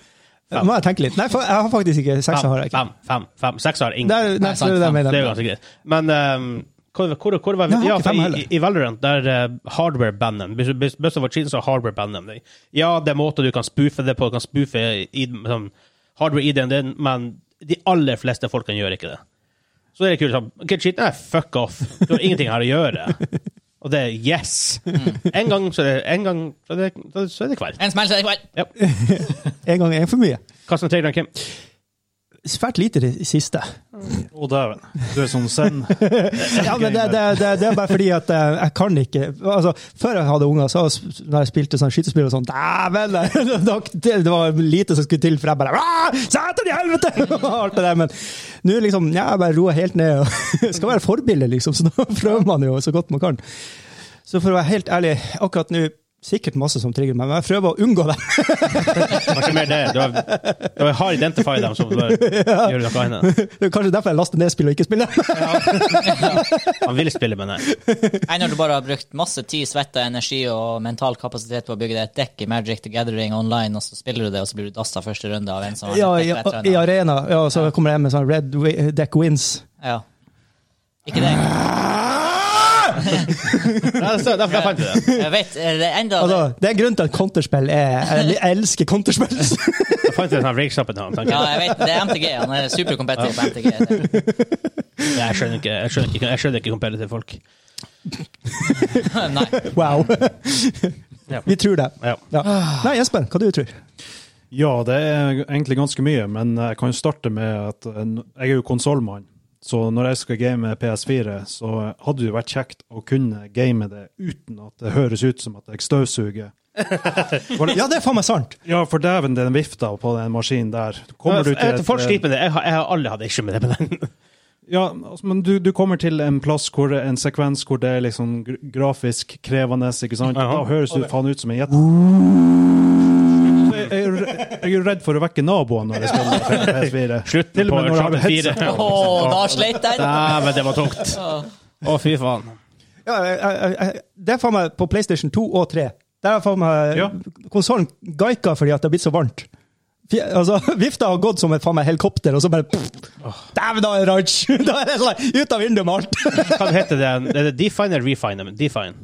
[SPEAKER 2] Må jeg tenke litt? Nei, for, jeg har faktisk ikke sekser. har jeg ikke.
[SPEAKER 3] Fem, fem, fem. Seks har ingen.
[SPEAKER 2] Det
[SPEAKER 3] Det
[SPEAKER 2] er, nei,
[SPEAKER 1] Nei, sant,
[SPEAKER 2] det er det jeg
[SPEAKER 3] er jo
[SPEAKER 2] mener.
[SPEAKER 3] ganske greit. Men ehm, hvor, hvor, hvor var vi?
[SPEAKER 2] Nei,
[SPEAKER 3] Ja,
[SPEAKER 2] jeg har ikke
[SPEAKER 3] for
[SPEAKER 2] fem
[SPEAKER 3] i,
[SPEAKER 2] heller.
[SPEAKER 3] i- I Valorant der uh, hardware banner Hvis du hvis- hvis du får cheaten, så hardware banner dem. Ja, det er måter du kan spoofe det på. Du kan spoofe i, sånn, hardware-ID-en din, men de aller fleste folkene gjør ikke det. Så det er kult sånn OK, cheat, nei, fuck off. Du har ingenting her å gjøre. Og det er yes. En gang, så er det, en gang, så er det, så er det kveld.
[SPEAKER 1] En smell, så er det kveld.
[SPEAKER 2] En gang er for mye.
[SPEAKER 3] Hva som trenger deg, Kim?
[SPEAKER 2] Svært lite det siste.
[SPEAKER 4] Å, dæven. Du er sånn zen.
[SPEAKER 2] Ja, men det, det, det, det er bare fordi at eh, jeg kan ikke altså, Før jeg hadde unger, så sp- når jeg spilte sånn skytespill og sånn Dæven! det- det- Det var lite som skulle til, for jeg bare «Ah, Satan i helvete! og alt det der. Men nå liksom ja, Jeg bare roer helt ned. og Skal være forbilde, liksom, så da prøver man jo så godt man kan. Så for å være helt ærlig, akkurat nå sikkert masse som trigger meg, men jeg prøver å unngå dem.
[SPEAKER 3] Kanskje mer det. Du har, du har hard identified dem som bør gjøre noe annet.
[SPEAKER 2] Det er kanskje derfor jeg laster ned spill og ikke spiller.
[SPEAKER 3] Han vil spille, men nei.
[SPEAKER 1] Nei, når du bare har brukt masse tid, svette, energi og mental kapasitet på å bygge deg et dekk i Magic the Gathering online, og så spiller du det, og så blir du dasta første runde av en som har
[SPEAKER 2] Ja,
[SPEAKER 1] et
[SPEAKER 2] i,
[SPEAKER 1] dekk bedre enn
[SPEAKER 2] i
[SPEAKER 1] deg.
[SPEAKER 2] arena. Ja, og så kommer jeg med sånn Red Wi- Deck Wins.
[SPEAKER 1] Ja. Ikke det.
[SPEAKER 3] Nei, det er derfor jeg fant det.
[SPEAKER 1] Jeg vet, eh, det er enda
[SPEAKER 2] Altså, det er grunnen til at konterspill er Jeg elsker konterspill!
[SPEAKER 3] Jeg fant den her rigshoppen her.
[SPEAKER 1] Ja,
[SPEAKER 3] tenkte
[SPEAKER 1] jeg vet, det er MTG. Han er superkompetitiv på MTG. Det-
[SPEAKER 3] Jeg Jeg skjønner ikke Jeg skjønner ikke, jeg skjønner ikke competitive folk.
[SPEAKER 1] Nei.
[SPEAKER 2] Wow.
[SPEAKER 3] Ja.
[SPEAKER 2] Vi tror det.
[SPEAKER 3] Ja.
[SPEAKER 2] Ja. Nei, Espen, hva du tror du?
[SPEAKER 4] Ja, det er egentlig ganske mye, men jeg kan jo starte med at en- jeg er jo konsollmann. Så når jeg skal game med PS4, så hadde det jo vært kjekt å kunne game det uten at det høres ut som at jeg støvsuger.
[SPEAKER 2] Ja, det er faen meg sant!
[SPEAKER 4] Ja, for dæven, den vifta på den maskinen der. Kommer du
[SPEAKER 3] Jeg,
[SPEAKER 4] til
[SPEAKER 3] vet, folk
[SPEAKER 4] et,
[SPEAKER 3] sliter med det. Jeg har, jeg har aldri hatt issue med det. Men den.
[SPEAKER 4] Ja, altså, men du, du kommer til en plass hvor det- en sekvens hvor det er liksom gr- grafisk krevende, ikke sant?
[SPEAKER 3] Jaha.
[SPEAKER 4] Da høres du faen ut som en gjett. Jeg, jeg, er jo re- jeg er jo redd for å vekke naboen når jeg spiller på PS4.
[SPEAKER 3] Slutten
[SPEAKER 4] Til og
[SPEAKER 3] på
[SPEAKER 4] med når jeg har
[SPEAKER 3] Charter 4.
[SPEAKER 4] headset.
[SPEAKER 1] Å, da sleit den!
[SPEAKER 3] Dæven, det var tungt. Å, fy faen.
[SPEAKER 2] Ja, jeg, jeg, jeg, det er faen meg på PlayStation 2 og 3. Der er faen meg
[SPEAKER 4] Ja.
[SPEAKER 2] konsollen geika fordi at det har blitt så varmt. Fje- Altså, Vifta har gått som et faen meg helikopter, og så bare pff, Dæven, da er det rage! Da er det sånn ut av vinduet med alt!
[SPEAKER 3] Hva heter det? Er det Define eller Refine? Men Define.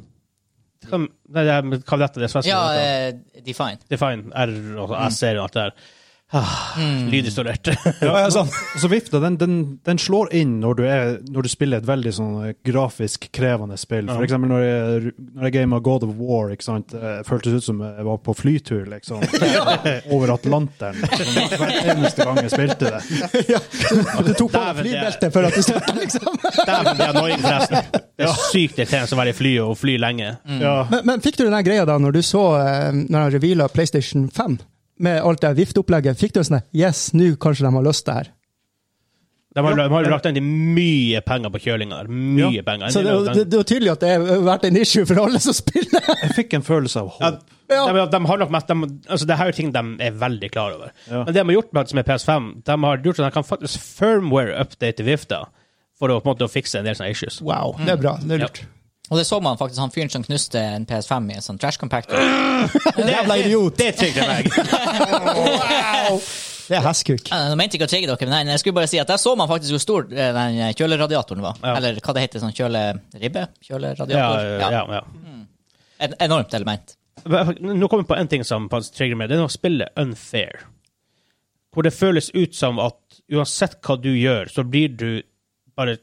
[SPEAKER 3] Hva- Nei, det er, hva heter det svenske?
[SPEAKER 1] Ja, eh, Define.
[SPEAKER 3] Define, R og S-serien og alt det der. Ah, Lydisolert.
[SPEAKER 2] Og jeg er sånn,
[SPEAKER 4] Og så vifta, den, den, den slår inn når du, er, når du spiller et veldig sånn eh, grafisk krevende spill. For eksempel når jeg, når jeg gamet God of War, ikke sant? eh, føltes ut som jeg var på flytur, liksom. Over Atlanteren. Sånn, Hver eneste gang jeg spilte det.
[SPEAKER 2] du tok
[SPEAKER 3] Dæven,
[SPEAKER 2] på deg
[SPEAKER 3] det er-
[SPEAKER 2] flybeltet før at du støtta, liksom.
[SPEAKER 3] Dæven, det er annoying, forresten. Det er sykt irriterende å være i fly og fly lenge.
[SPEAKER 4] Ja.
[SPEAKER 2] Men, men fikk du den der greia da når du så eh, når han reveala PlayStation 5 med alt det vifteopplegget? Fikk du en sånn der, Yes, nå kanskje de har lyst til det her.
[SPEAKER 3] De har, de har jo lagt inn mye penger på kjølinga. der. Mye penger.
[SPEAKER 2] Så det, det, det er jo tydelig at det har vært en issue for alle som spiller.
[SPEAKER 4] Jeg fikk en følelse av
[SPEAKER 3] Ja,
[SPEAKER 4] håp.
[SPEAKER 3] de, de har nok mest, de, altså, det her er jo ting de er veldig klar over.
[SPEAKER 4] Ja.
[SPEAKER 3] Men det de har gjort med, som er PS5, de har gjort sånn at de kan faktisk firmware-update vifta for å på en måte å fikse en del sånne issues.
[SPEAKER 2] Wow, det er bra. Det er lurt.
[SPEAKER 1] Og det så man faktisk, han fyren som knuste en PS5 i en sånn trash compactor.
[SPEAKER 2] Jævla idiot.
[SPEAKER 3] Det trigger meg.
[SPEAKER 2] Det er hestkuk.
[SPEAKER 1] Ja, Jeg Eh, mente ikke å trigge dere, men nei, jeg skulle bare si at der så man faktisk hvor stor eh, den kjøleradiatoren var.
[SPEAKER 3] Ja.
[SPEAKER 1] Eller hva det heter, sånn kjøleribbe?
[SPEAKER 3] Ja,
[SPEAKER 1] Kjøleradiator?
[SPEAKER 3] ja, ja.
[SPEAKER 1] Et enormt element.
[SPEAKER 3] Nå kommer jeg på en ting som faktisk trigger meg. Det er når spillet unfair. Hvor det føles ut som at uansett hva du gjør, så blir du bare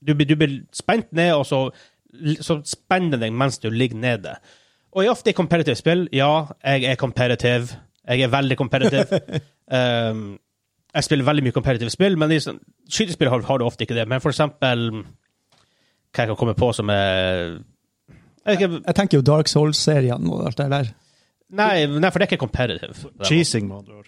[SPEAKER 3] Du, blir- du blir spent ned, og så, så spenner den deg mens du ligger nede. Og i ofte i competitive spill, ja, jeg er competitive. Jeg er veldig competitive. um, jeg spiller veldig mye competitive spill, men i sånn- skytespill har, har du ofte ikke det. Men for eksempel Hva jeg kan komme på som er jeg vet ikke,
[SPEAKER 2] Jeg tenker jo Dark Souls-serien og alt det der.
[SPEAKER 3] Nei, nei, for det er ikke competitive.
[SPEAKER 4] Cheesing, med andre ord.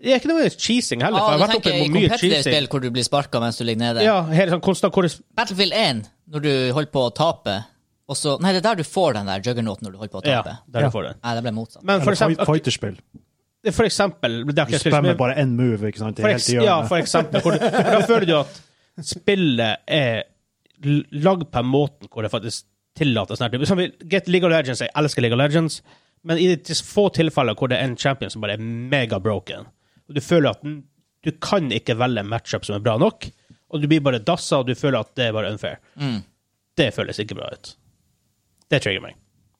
[SPEAKER 3] Det er ikke nødvendigvis cheesing heller.
[SPEAKER 1] Ja,
[SPEAKER 3] for jeg
[SPEAKER 1] Ah, du
[SPEAKER 3] har vært oppe
[SPEAKER 1] tenker i
[SPEAKER 3] på mye
[SPEAKER 1] kompetitive
[SPEAKER 3] cheesing.
[SPEAKER 1] spill hvor du blir sparka mens du ligger nede.
[SPEAKER 3] Ja, helt sånn konstant hvor det-
[SPEAKER 1] Battlefield 1, når du holder på å tape, og så Nei, det er der du får den der juggernauten når du holder på å
[SPEAKER 3] Ja,
[SPEAKER 1] tape.
[SPEAKER 3] der
[SPEAKER 2] Ja.
[SPEAKER 3] du får det.
[SPEAKER 1] Nei, det ble motsatt.
[SPEAKER 3] Men for
[SPEAKER 4] Eller
[SPEAKER 3] eksempel,
[SPEAKER 4] fight, fighterspill.
[SPEAKER 3] for eksempel det er
[SPEAKER 4] Du
[SPEAKER 3] ikke
[SPEAKER 4] spammer bare én move, ikke sant?
[SPEAKER 3] for,
[SPEAKER 4] Det er
[SPEAKER 3] eks,
[SPEAKER 4] helt i
[SPEAKER 3] ja,
[SPEAKER 4] hjørnet.
[SPEAKER 3] for eksempel. Hvor, du- for da føler du at spillet er l- lagd på en måte hvor det faktisk tillater sånn her type. Som vi- Get League of Legends, jeg elsker League of Legends, men i de tis- få tilfeller hvor det er en champion som bare er mega broken, og du føler at den- du kan ikke velge en matchup som er bra nok, og du blir bare dassa, og du føler at det er bare unfair. Det føles ikke bra ut. Det trigger meg.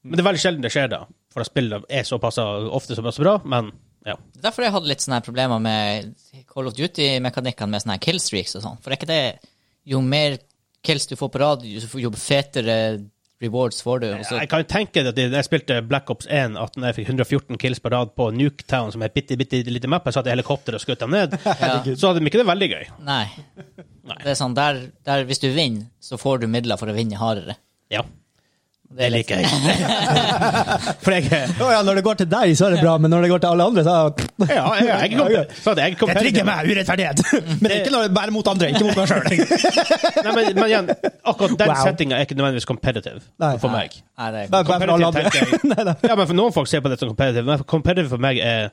[SPEAKER 3] Men det er veldig sjelden det skjer, da. For at spillet er såpass ofte såpass bra, men ja.
[SPEAKER 1] Det er Derfor jeg hadde litt sånne her problemer med Call of Duty-mekanikkene med sånne her killstreaks og sånn. For er ikke det Jo mer kills du får på rad, jo- jo fetere rewards får du. Og så,
[SPEAKER 3] Jeg kan jo tenke det at det- jeg spilte Black Ops 1, at når jeg fikk 114 kills på rad på Nuketown, som er et bitte, bitte lite map, jeg satt i helikopter og skjøt dem ned, så hadde de ikke det veldig gøy.
[SPEAKER 1] nei.
[SPEAKER 3] Nei.
[SPEAKER 1] Det er sånn, der, der Hvis du vinner, så får du midler for å vinne hardere.
[SPEAKER 3] Ja.
[SPEAKER 1] Det er litt-
[SPEAKER 3] jeg. For jeg er
[SPEAKER 2] Å ja, når det går til deg, så er det bra, men når det går til alle andre, så
[SPEAKER 3] Ja, jeg, jeg, kom, så jeg, kom,
[SPEAKER 2] meg urettferdighet! Men ikke når det bare mot andre, ikke mot meg sjøl.
[SPEAKER 3] Nei, men, men igjen, akkurat den
[SPEAKER 2] Wow.
[SPEAKER 3] settinga er ikke nødvendigvis competitive
[SPEAKER 2] Nei.
[SPEAKER 3] for meg.
[SPEAKER 1] Nei, sånn. det er
[SPEAKER 2] Bare bare for alle andre.
[SPEAKER 3] Competitive,
[SPEAKER 2] Nei, nei.
[SPEAKER 3] Ja, men for Noen folk ser på det som competitive, men competitive for meg er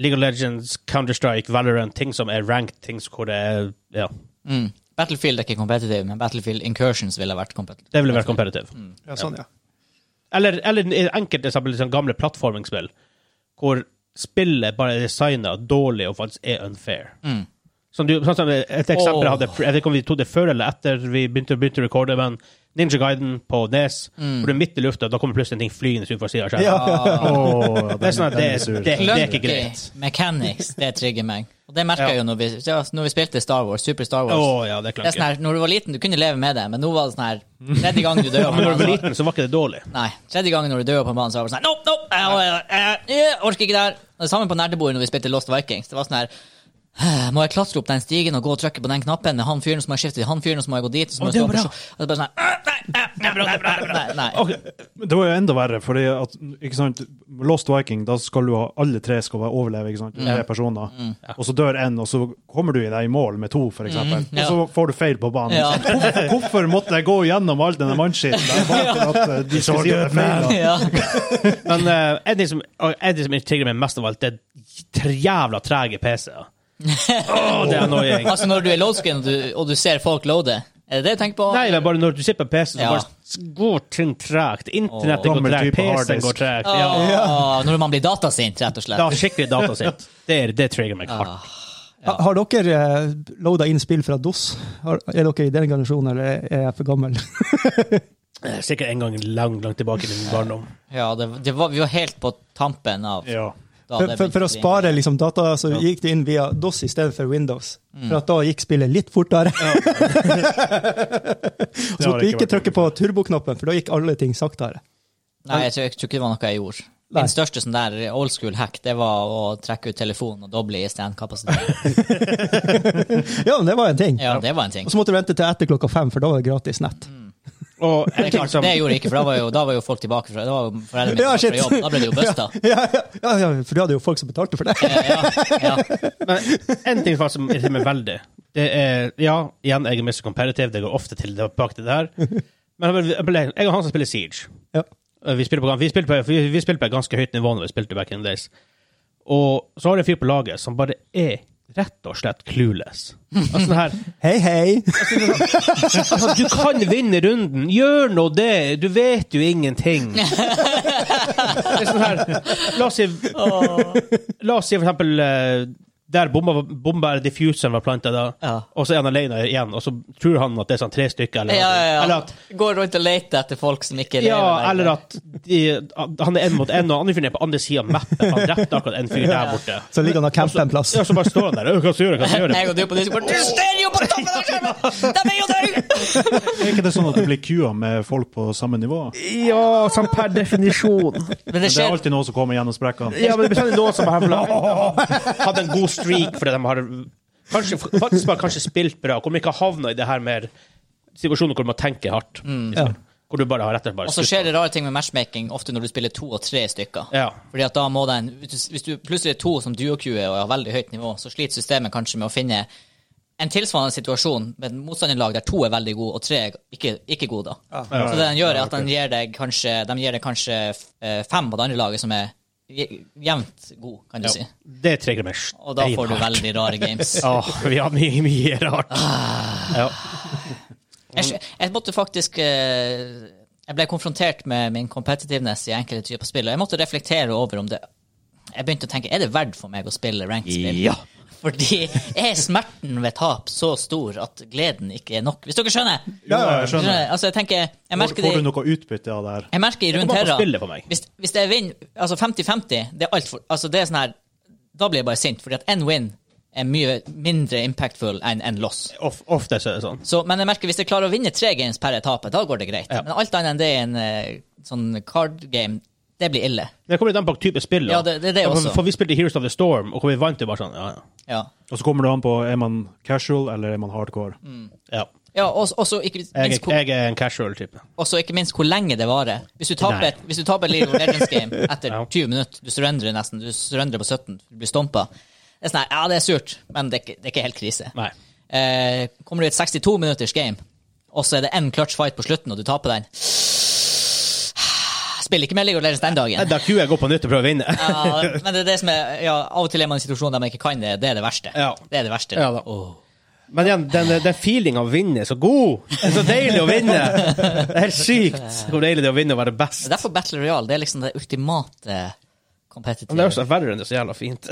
[SPEAKER 3] League of Legends, Counter-Strike, Valorant, ting som er ranked, ting hvor det er Ja,
[SPEAKER 1] mm. Battlefield er ikke competitive, men Battlefield Incursions ville vært competitive.
[SPEAKER 3] det ville vært competitive.
[SPEAKER 1] Mm.
[SPEAKER 2] Ja, sånn, ja.
[SPEAKER 3] Eller, eller enkelte eksempel, liksom gamle plattformingsspill, hvor spillet bare er designa dårlig og faktisk er unfair.
[SPEAKER 1] Mm.
[SPEAKER 3] Som du, sånn som et eksempel jeg
[SPEAKER 1] Åh.
[SPEAKER 3] hadde, Jeg vet ikke om vi tok det før eller etter vi begynte, begynte å recorde, men Ninja Guiden på Nes,
[SPEAKER 1] Mm.
[SPEAKER 3] hvor du er midt i lufta, da kommer plutselig en ting flygende ut fra sida av skjermen.
[SPEAKER 2] Ja, ja, ja.
[SPEAKER 4] Åh,
[SPEAKER 3] Det er sånn at det,
[SPEAKER 4] den
[SPEAKER 3] det,
[SPEAKER 4] sur.
[SPEAKER 3] det, er
[SPEAKER 1] Clunky
[SPEAKER 3] ikke greit.
[SPEAKER 1] mechanics, det trigger meg. Og det merka
[SPEAKER 3] Ja.
[SPEAKER 1] jeg jo når vi, ja, når vi spilte Star Wars, Super Star
[SPEAKER 3] Å
[SPEAKER 1] Wars.
[SPEAKER 3] ja, det er
[SPEAKER 1] Det er sånn
[SPEAKER 3] clunky.
[SPEAKER 1] her, når du var liten, du kunne leve med det, men nå var det sånn her Tredje gang du dør altså.
[SPEAKER 3] Ja,
[SPEAKER 1] på
[SPEAKER 3] men når du var
[SPEAKER 1] banen, så-
[SPEAKER 3] liten, så var ikke det dårlig.
[SPEAKER 1] Nei, tredje gangen når du dør på banen, så var det sånn her Nope, nope, jeg, jeg, jeg, jeg orker ikke det her. Og Det samme på nerdebordet når vi spilte Lost Vikings. Det var sånn her «Hæ, Må jeg klatre opp den stigen og gå og trykke på den knappen med han fyren som har skiftet, han fyren som må jeg gå dit og så må
[SPEAKER 3] Å,
[SPEAKER 1] jeg
[SPEAKER 3] det
[SPEAKER 1] stå
[SPEAKER 3] var
[SPEAKER 1] på sj- Og det er bare sånn her «Æ, Nei, æ, nei, nei, nei, nei, nei, nei.
[SPEAKER 3] Ok,
[SPEAKER 4] Men Det var jo enda verre, fordi at ikke sant, Lost Viking, da skal du ha alle tre skal være overleve, ikke sant?
[SPEAKER 1] Mm.
[SPEAKER 4] tre personer. Og så dør én, og så kommer du i deg i mål med to, for eksempel.
[SPEAKER 1] Mm, ja.
[SPEAKER 4] Og så får du feil på banen.
[SPEAKER 1] Ja.
[SPEAKER 4] Hvorfor, hvorfor måtte jeg gå gjennom all denne mannskitten? der, bare for at, eh, de skal si at det er feil, da?
[SPEAKER 1] Ja.
[SPEAKER 3] Men eh, en ting som, og en ting som intrigerer meg mest av alt, det er tre- jævla trege PC-er. Åh, det er annoying.
[SPEAKER 1] Altså, når du er loadscreen og, du- og du ser folk loade, er det det du tenker på?
[SPEAKER 3] Nei, men bare når du sitter på PC, så
[SPEAKER 1] Ja.
[SPEAKER 3] bare s- går ting tregt. Internettet
[SPEAKER 4] Åh.
[SPEAKER 3] går
[SPEAKER 4] Gammel type
[SPEAKER 3] tregt, PC-en
[SPEAKER 4] harddisk.
[SPEAKER 3] går tregt. Ja.
[SPEAKER 1] Åh, Når man blir datasint, rett og slett.
[SPEAKER 3] Det har skikkelig datasint. Det, er- det trigger meg hardt.
[SPEAKER 2] Ha- Har dere eh, loada inn spill fra DOS? Har, er dere i den generasjonen, eller er jeg for gammel?
[SPEAKER 3] Det er Eh, Sikkert en gang langt, langt tilbake i min barndom.
[SPEAKER 1] Ja, det, det var, vi var helt på tampen av
[SPEAKER 4] Ja.
[SPEAKER 1] da
[SPEAKER 2] For,
[SPEAKER 1] det
[SPEAKER 2] for, for å
[SPEAKER 1] begynte bli-
[SPEAKER 2] spare liksom, data, så gikk det inn via DOS istedenfor Windows. For at da gikk spillet litt fortere.
[SPEAKER 4] Det
[SPEAKER 2] Så
[SPEAKER 4] har
[SPEAKER 2] måtte du
[SPEAKER 4] ikke
[SPEAKER 2] ikke
[SPEAKER 4] vært
[SPEAKER 2] trykke på turboknappen, for da gikk alle ting saktere.
[SPEAKER 1] Nei, jeg tror, jeg tror ikke det var noe jeg gjorde.
[SPEAKER 2] Nei.
[SPEAKER 1] Min største sånn der old school hack det var å trekke ut telefonen og doble ISDN-kapasiteten.
[SPEAKER 2] Ja, men det var en ting.
[SPEAKER 1] Ja, det var en ting.
[SPEAKER 2] Og så måtte du vente til etter klokka fem, for da var det gratis nett.
[SPEAKER 3] Og
[SPEAKER 1] Det,
[SPEAKER 3] en
[SPEAKER 1] er
[SPEAKER 3] ting
[SPEAKER 1] klart,
[SPEAKER 3] som
[SPEAKER 1] det gjorde jeg ikke, for da var jo, da var jo folk tilbake fra, da var jo foreldrene mine
[SPEAKER 2] Ja,
[SPEAKER 1] tilbake
[SPEAKER 2] shit.
[SPEAKER 1] fra jobb. Da ble det jo busta.
[SPEAKER 2] Ja, ja, ja, ja, for du hadde jo folk som betalte for det.
[SPEAKER 1] Ja,
[SPEAKER 3] Men en ting faktisk som irriterer meg veldig, det er Ja, igjen, jeg er Mr. Competitive, det går ofte til tilbake til det her. Men jeg ble- jeg og han som spiller Siege eh,
[SPEAKER 2] Ja.
[SPEAKER 3] Vi spilte på, vi spilte på, vi vi spilte på et ganske høyt nivå når vi spilte back in the days. Og så har jeg en fyr på laget som bare er rett og slett clueless. Altså, sånn her,
[SPEAKER 2] Hei, hei!
[SPEAKER 3] altså, du kan vinne runden, gjør nå det! Du vet jo ingenting. Det er sånn her La oss si, la oss si for eksempel eh, der bomba, bomba eller diffuseren var planta da,
[SPEAKER 1] Ja.
[SPEAKER 3] og så er han alene igjen, og så tror han at det er sånn tre stykker,
[SPEAKER 1] ja,
[SPEAKER 3] eller,
[SPEAKER 1] ja, ja.
[SPEAKER 3] eller at
[SPEAKER 1] Går rundt og leter etter folk som ikke lever
[SPEAKER 3] ja,
[SPEAKER 1] lenger.
[SPEAKER 3] eller at de, at han er én mot én, og andre fyren er på andre sida av mappen. Han drepte akkurat en fyr der borte.
[SPEAKER 2] Så ligger han og camper en plass.
[SPEAKER 3] Ja, så bare står han der. «Øy, Hva skal jeg gjøre? Hva skal jeg gjøre?
[SPEAKER 1] Jeg og du på Discord Du står jo på toppen av skjermen! De er jo døde!
[SPEAKER 4] Er ikke det sånn at du blir kua med folk på samme nivå?
[SPEAKER 3] Ja, sånn per definisjon.
[SPEAKER 1] Men det
[SPEAKER 4] Det er
[SPEAKER 1] skjer
[SPEAKER 4] alltid noen som kommer gjennom sprekkene.
[SPEAKER 3] Ja, men det blir bestandig noen som har hatt en god streak fordi de har kanskje, faktisk bare kanskje spilt bra. Hvor de ikke har havna i det her mer situasjonen hvor man tenker hardt. liksom. Hvor du bare har rett og slett bare
[SPEAKER 1] Mm. Og så skjer det rare ting med matchmaking ofte når du spiller to og tre stykker.
[SPEAKER 3] Ja.
[SPEAKER 1] Fordi at da må den, hvis du- Hvis du plutselig er to som duo-queuer og har veldig høyt nivå, så sliter systemet kanskje med å finne en tilsvarende situasjon med et motstanderlag der to er veldig gode og tre er ikke, ikke gode. da. Så det den gjør, er at den gir deg kanskje, de gir deg kanskje eh, fem på det andre laget som er je- jevnt god, kan du si.
[SPEAKER 3] Ja. Det trigger meg
[SPEAKER 1] Og da får du
[SPEAKER 3] steinhardt.
[SPEAKER 1] veldig rare games.
[SPEAKER 3] Ja, vi har mye, mye rart.
[SPEAKER 1] Ah.
[SPEAKER 3] Ja.
[SPEAKER 1] Jeg, skj- jeg måtte faktisk eh, Jeg ble konfrontert med min competitiveness i enkelte typer spill, og jeg måtte reflektere over om det Jeg begynte å tenke er det verdt for meg å spille ranked spill.
[SPEAKER 3] Ja.
[SPEAKER 1] Fordi er smerten ved tap så stor at gleden ikke er nok? Hvis dere skjønner?
[SPEAKER 4] Ja, ja, jeg skjønner.
[SPEAKER 1] Altså, jeg tenker Jeg
[SPEAKER 4] Får,
[SPEAKER 1] merker
[SPEAKER 4] får du
[SPEAKER 1] det
[SPEAKER 4] noe utbytte av det her?
[SPEAKER 1] jeg merker i rundt
[SPEAKER 3] kommer an på
[SPEAKER 1] herra
[SPEAKER 3] spillet for meg.
[SPEAKER 1] hvis, hvis jeg vinner Altså 50-50, det er altfor altså, det er sånn her, Da blir jeg bare sint, fordi at én win er mye mindre impactful enn en loss.
[SPEAKER 3] Of, ofte så er det sånn.
[SPEAKER 1] Så, men jeg merker hvis jeg klarer å vinne tre games per etape, da går det greit. Men alt annet enn det i en eh, sånn card game, det blir ille.
[SPEAKER 3] Det kommer litt an på type spill. da.
[SPEAKER 1] Ja, det- det er det
[SPEAKER 3] for,
[SPEAKER 1] også.
[SPEAKER 3] For vi spilte Heroes of the Storm, og hvor vi vant jo bare sånn. Ja,
[SPEAKER 1] Ja. Mm.
[SPEAKER 4] Og så kommer det an på er man casual eller er man hardcore.
[SPEAKER 3] ja. ja.
[SPEAKER 1] Ja, og og så ikke
[SPEAKER 3] Jeg,
[SPEAKER 1] minst
[SPEAKER 3] er- jeg er en casual type.
[SPEAKER 1] Og så ikke minst hvor lenge det varer. Hvis du taper,
[SPEAKER 3] Nei.
[SPEAKER 1] et- hvis du taper et League of Legends-game
[SPEAKER 3] Ja.
[SPEAKER 1] etter 20 minutter, du surrendrer nesten, du surrendrer på 17, du blir stompa. Det er sånn her, ja, det er surt, men det er ikke, det er ikke helt krise.
[SPEAKER 3] Nei.
[SPEAKER 1] Eh, kommer du i et 62 minutters game, og så er det én clutch fight på slutten, og du taper den Spiller ikke med League of Legends den dagen.
[SPEAKER 3] Da queuer jeg opp på nytt og prøver å vinne.
[SPEAKER 1] Ja, men det er det som er ja, Av og til er man i en situasjon der man ikke kan det. Det er det verste.
[SPEAKER 3] Ja.
[SPEAKER 1] Det er det verste.
[SPEAKER 3] Ja da.
[SPEAKER 1] Åh.
[SPEAKER 3] Men igjen, den, den feelinga av å vinne er så god! Det er så deilig å vinne! Det er helt sykt hvor deilig det er å vinne og være
[SPEAKER 1] Det
[SPEAKER 3] best.
[SPEAKER 1] er Derfor Battle Royale det er liksom det ultimate competitive.
[SPEAKER 3] Men det er også verre enn det er så jævla fint.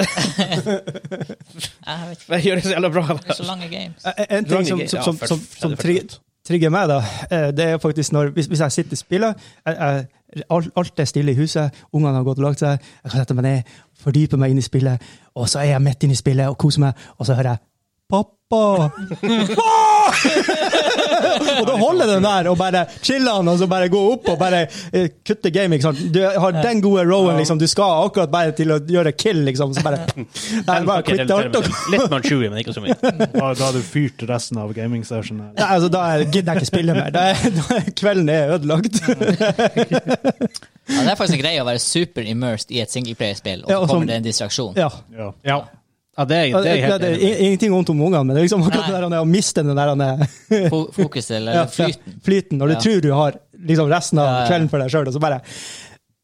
[SPEAKER 1] Jeg vet ikke,
[SPEAKER 3] Jeg gjør det så jævla bra.
[SPEAKER 1] det er så lange games.
[SPEAKER 2] Eh, En ting som,
[SPEAKER 3] Lange-
[SPEAKER 2] som,
[SPEAKER 3] ja,
[SPEAKER 2] som,
[SPEAKER 3] først-
[SPEAKER 2] som, som
[SPEAKER 3] først-
[SPEAKER 2] trigger, trigger meg, da, eh, det er faktisk når Hvis, hvis jeg sitter i spillet, jeg, jeg, alt, alt er stille i huset, ungene har gått og lagt seg, jeg kan sette meg ned, fordype meg inn i spillet, og så er jeg midt inne i spillet og koser meg, og så hører jeg 'Pappa!' og da holder den der og bare chiller han, og så bare går opp og bare eh, kutter game. ikke sant? Du har den gode rowen, liksom. Du skal akkurat bare til å gjøre kill, liksom. Så bare, nei, bare
[SPEAKER 3] Ok,
[SPEAKER 2] quitte alt og
[SPEAKER 3] Litt Manchuria, men ikke så mye.
[SPEAKER 4] Da, da har du fyrt resten av gaming-sessionen.
[SPEAKER 2] Nei, altså, da er- gidder jeg ikke spille mer. Da er, da er kvelden er ødelagt.
[SPEAKER 1] Ja, det er faktisk en greie å være super immersed i et singleplayerspill, og så
[SPEAKER 2] Ja, og
[SPEAKER 1] kommer
[SPEAKER 2] som-
[SPEAKER 1] det en distraksjon.
[SPEAKER 2] Ja.
[SPEAKER 4] Ja.
[SPEAKER 3] Ja. det er,
[SPEAKER 2] Det,
[SPEAKER 3] det er
[SPEAKER 2] er
[SPEAKER 3] helt enig.
[SPEAKER 2] in- ingenting vondt om ungene, men det er liksom akkurat
[SPEAKER 1] Nei.
[SPEAKER 2] det der å miste den der ja,
[SPEAKER 1] Fo- Fokuset eller
[SPEAKER 2] ja,
[SPEAKER 1] flyten.
[SPEAKER 2] flyten, når du
[SPEAKER 1] Ja.
[SPEAKER 2] tror du har liksom resten
[SPEAKER 1] Ja,
[SPEAKER 2] av
[SPEAKER 1] ja.
[SPEAKER 2] kvelden for deg sjøl, og så bare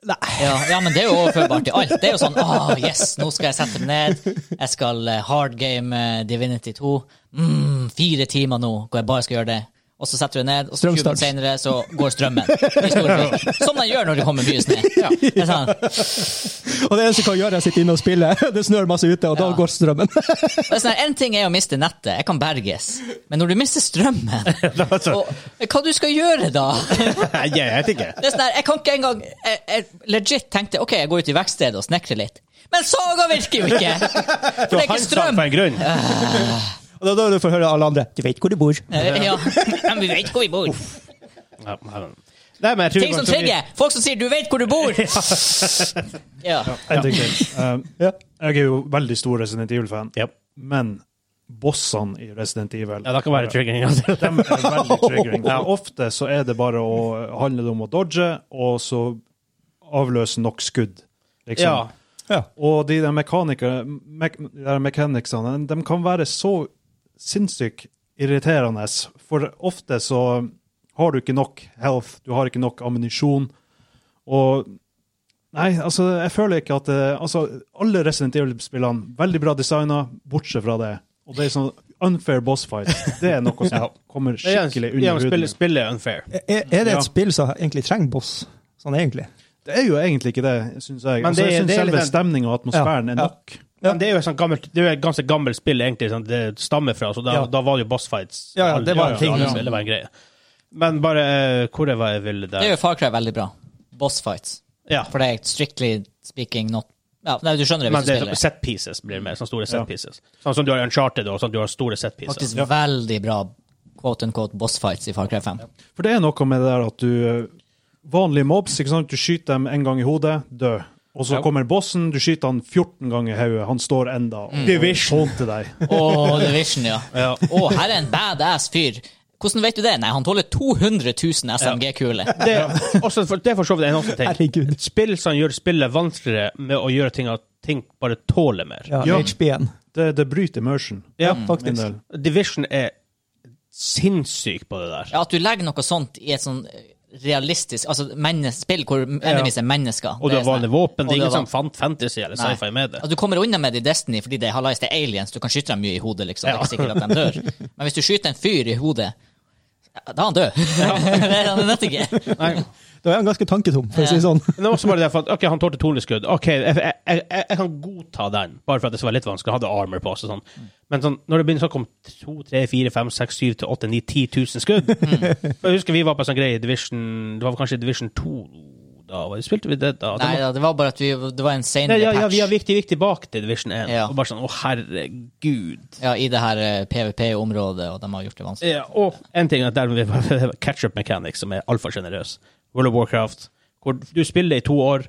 [SPEAKER 1] Ja, ja, men det er jo overførbart til alt. Det er jo sånn ah, yes, nå skal jeg sette meg ned. Jeg skal eh, hard game eh, Divinity 2. Mm, fire timer nå hvor jeg bare skal gjøre det. Og så setter du deg ned, og så 20
[SPEAKER 2] Strømstans.
[SPEAKER 1] minutter senere så går strømmen. I Storbritannia. Som den gjør når det kommer mye snø. Det er sånn,
[SPEAKER 2] Og det eneste jeg kan gjøre, er å sitte inne og spille. Det snør masse ute, og da
[SPEAKER 1] Ja.
[SPEAKER 2] går strømmen.
[SPEAKER 1] Og det er sånn, her, en ting er å miste nettet, jeg kan berges. Men når du mister strømmen, og, hva du skal gjøre da?
[SPEAKER 3] Nei, jeg vet ikke.
[SPEAKER 1] Det er sånn her, jeg kan ikke engang jeg, jeg legit tenkte ok, jeg går ut i verkstedet og snekrer litt. Men saga virker jo ikke! For det er ikke strøm.
[SPEAKER 3] For en grunn.
[SPEAKER 2] Og det er da du får høre alle andre 'Du vet hvor du bor'.
[SPEAKER 1] Eh, Ja, Men vi vet hvor vi bor.
[SPEAKER 3] Ja, ja. Nei, men jeg tror
[SPEAKER 1] Ting som
[SPEAKER 3] kanskje vi-
[SPEAKER 1] trigger. Folk som sier 'du vet hvor du bor'. Ja.
[SPEAKER 4] En ting til. Um,
[SPEAKER 2] Ja.
[SPEAKER 4] jeg er jo veldig stor Resident Evil-fan,
[SPEAKER 3] Yep.
[SPEAKER 4] men bossene i Resident Evil
[SPEAKER 3] Ja, det kan være triggering. Altså.
[SPEAKER 4] De er veldig triggering.
[SPEAKER 3] Ja.
[SPEAKER 4] For Ofte så er det bare å handle om å dodge, og så avløse nok skudd. Liksom.
[SPEAKER 3] Ja.
[SPEAKER 4] Og de der, mekanika- mek de der mechanicsene, de kan være så sinnssykt irriterende. For ofte så har du ikke nok health, du har ikke nok ammunisjon. Og Nei, altså, jeg føler ikke at eh, Altså, alle Resident Evil-spillene, veldig bra designa, bortsett fra det. Og det er sånn unfair boss fight. Det er noe som kommer
[SPEAKER 3] Det er-
[SPEAKER 4] skikkelig
[SPEAKER 3] ja,
[SPEAKER 4] under
[SPEAKER 3] spille,
[SPEAKER 4] huden.
[SPEAKER 3] spille er unfair.
[SPEAKER 2] Er, er det et
[SPEAKER 4] Ja.
[SPEAKER 2] spill som egentlig trenger boss? Sånn egentlig.
[SPEAKER 4] Det er jo egentlig ikke det, syns jeg.
[SPEAKER 3] Men
[SPEAKER 4] Altså,
[SPEAKER 3] det er-
[SPEAKER 4] jeg
[SPEAKER 3] det
[SPEAKER 4] syns
[SPEAKER 3] er litt
[SPEAKER 4] selve
[SPEAKER 3] den-
[SPEAKER 4] stemninga og atmosfæren er
[SPEAKER 2] Ja.
[SPEAKER 4] nok.
[SPEAKER 2] Ja.
[SPEAKER 3] Men det er jo et sånt gammelt, det er jo et ganske gammelt spill egentlig, som det stammer fra, så da,
[SPEAKER 2] Ja.
[SPEAKER 3] da var det jo bossfights.
[SPEAKER 2] Ja, ja, det var en
[SPEAKER 3] Alle-
[SPEAKER 2] ting,
[SPEAKER 3] alle
[SPEAKER 2] ja.
[SPEAKER 3] spill, Det var en greie. Men bare eh, hvor jeg var jeg ville
[SPEAKER 1] Det
[SPEAKER 3] der.
[SPEAKER 1] gjør Far Cry veldig bra. Bossfights.
[SPEAKER 3] Ja,
[SPEAKER 1] For det er strictly speaking not ja, nei, Du skjønner det
[SPEAKER 3] men
[SPEAKER 1] hvis du
[SPEAKER 3] det
[SPEAKER 1] spiller.
[SPEAKER 3] er sånn
[SPEAKER 1] det.
[SPEAKER 3] set pieces blir med, sånne store set
[SPEAKER 4] Ja.
[SPEAKER 3] pieces. Sånn som du har i Uncharted og sånn du har store set pieces.
[SPEAKER 1] Faktisk veldig bra quote unquote bossfights i Far Cry 5.
[SPEAKER 4] For det er noe med det der at du Vanlige mobs, ikke sant? du skyter dem en gang i hodet, dø. Og så
[SPEAKER 3] Ja.
[SPEAKER 4] kommer bossen, du skyter han 14 ganger i hodet, han står enda og
[SPEAKER 3] Mm. Division.
[SPEAKER 4] hånter deg.
[SPEAKER 1] Åh, Division, ja.
[SPEAKER 3] Ja.
[SPEAKER 1] Åh, her er en badass fyr. Hvordan vet du det? Nei, han tåler 200 000 SMG-kuler.
[SPEAKER 3] Det, er også, for- det er for så vidt en annen ting.
[SPEAKER 2] Herregud.
[SPEAKER 3] Et spill som gjør spillet vanskeligere med å gjøre ting at ting bare tåler mer.
[SPEAKER 2] Ja,
[SPEAKER 4] Ja.
[SPEAKER 2] HB-en.
[SPEAKER 4] Det, det bryter immersion.
[SPEAKER 3] Ja,
[SPEAKER 4] min
[SPEAKER 2] Faktisk.
[SPEAKER 4] del.
[SPEAKER 3] Division er sinnssyk på det der.
[SPEAKER 1] Ja, at du legger noe sånt i et sånn realistisk altså menneske, spill hvor enemies er mennesker.
[SPEAKER 3] Og du
[SPEAKER 1] Det
[SPEAKER 3] har
[SPEAKER 1] er sånn-
[SPEAKER 3] vanlig våpen. Det
[SPEAKER 1] Og
[SPEAKER 3] er
[SPEAKER 1] du
[SPEAKER 3] ingen
[SPEAKER 1] har
[SPEAKER 3] som fant fantasy eller
[SPEAKER 1] Nei.
[SPEAKER 3] sci-fi med det.
[SPEAKER 1] Altså, du kommer unna med det i Destiny fordi det er hallais, det er aliens, du kan skyte dem mye i hodet, liksom. Det er ikke sikkert at de dør. Men hvis du skyter en fyr i hodet, da er han død. det er han nødt ikke.
[SPEAKER 3] Nei.
[SPEAKER 2] Da er han ganske tanketom, for å si det sånn.
[SPEAKER 3] Men det var også bare det for at, ok, han tålte 200 skudd. Ok, jeg, jeg, jeg, jeg kan godta den, bare for at det skal være litt vanskelig. Han hadde armor på seg. Sånn. Men sånn, når det begynner å snakke om 2, 3, 4, 5, 6, 7, 8, 9, 10 000 skudd
[SPEAKER 1] Mm.
[SPEAKER 3] For Jeg husker vi var på en sånn greie i Division Det var kanskje Division 2 da? var det- Spilte vi det da? Det
[SPEAKER 1] Nei
[SPEAKER 3] må-
[SPEAKER 1] da, det var bare at vi, det var en
[SPEAKER 3] Nei,
[SPEAKER 1] senere
[SPEAKER 3] ja, ja,
[SPEAKER 1] patch
[SPEAKER 3] vi har viktig, viktig bak til Division 1.
[SPEAKER 1] Ja.
[SPEAKER 3] Og bare sånn, å herregud.
[SPEAKER 1] ja, i det her eh, PVP-området, og de har gjort det vanskelig.
[SPEAKER 3] Ja, og en ting er at der vi catch-up mechanics, som er altfor sjenerøs. World of Warcraft, hvor du spiller i to år,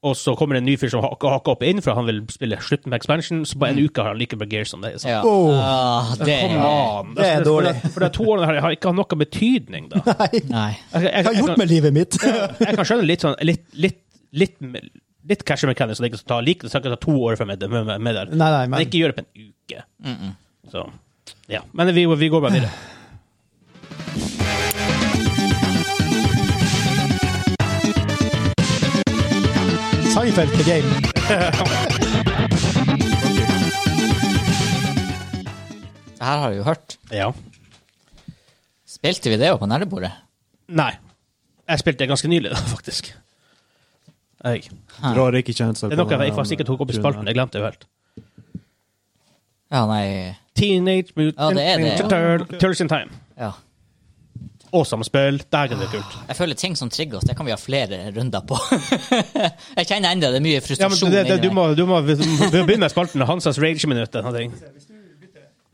[SPEAKER 3] Og så kommer det en ny fyr som hakker, hakker opp inn, for han vil spille slutten på expansion. Så på en uke har han like mye gear som det. Så.
[SPEAKER 1] Ja.
[SPEAKER 2] Oh.
[SPEAKER 1] Ah, det
[SPEAKER 3] Come on!
[SPEAKER 2] Det er dårlig.
[SPEAKER 3] For, det- for det to årene her har ikke hatt noe betydning, da.
[SPEAKER 2] Nei.
[SPEAKER 1] Nei.
[SPEAKER 3] Jeg, jeg,
[SPEAKER 2] Hva har jeg gjort
[SPEAKER 3] kan,
[SPEAKER 2] med livet mitt?
[SPEAKER 3] jeg kan skjønne litt sånn litt, litt, litt, litt cash mechanics, så det ikke skal ta, like, det skal ikke ta to år for meg med, med, med der.
[SPEAKER 2] Nei, nei,
[SPEAKER 3] Men
[SPEAKER 2] men
[SPEAKER 3] ikke gjør det på en uke. Så, ja. Men vi, vi går bare videre.
[SPEAKER 2] Seinfeld the game.
[SPEAKER 1] Det her har vi jo hørt.
[SPEAKER 3] Ja.
[SPEAKER 1] Spilte vi det jo på nerdebordet?
[SPEAKER 3] Nei. Jeg spilte det ganske nylig, da, faktisk. Jeg.
[SPEAKER 4] Rar ikke kjennelse.
[SPEAKER 3] Det er noe jeg faktisk ikke tok opp i spalten. Jeg glemte det jo helt.
[SPEAKER 1] Ja, nei
[SPEAKER 3] Teenage
[SPEAKER 1] Ja,
[SPEAKER 3] Mutant
[SPEAKER 1] det er det, ja.
[SPEAKER 3] Ninja Tur- Turtles in Time.
[SPEAKER 1] Ja.
[SPEAKER 3] Awesome spill. Dægen, det er kult.
[SPEAKER 1] Jeg føler ting som trigger oss, det kan vi ha flere runder på. jeg kjenner enda det er mye
[SPEAKER 3] Ja, men
[SPEAKER 1] frustrasjon
[SPEAKER 3] det, det,
[SPEAKER 1] inni
[SPEAKER 3] du,
[SPEAKER 1] meg.
[SPEAKER 3] må, du, må, du må begynne med spalten Hansas rage-minutt. eller noe ting.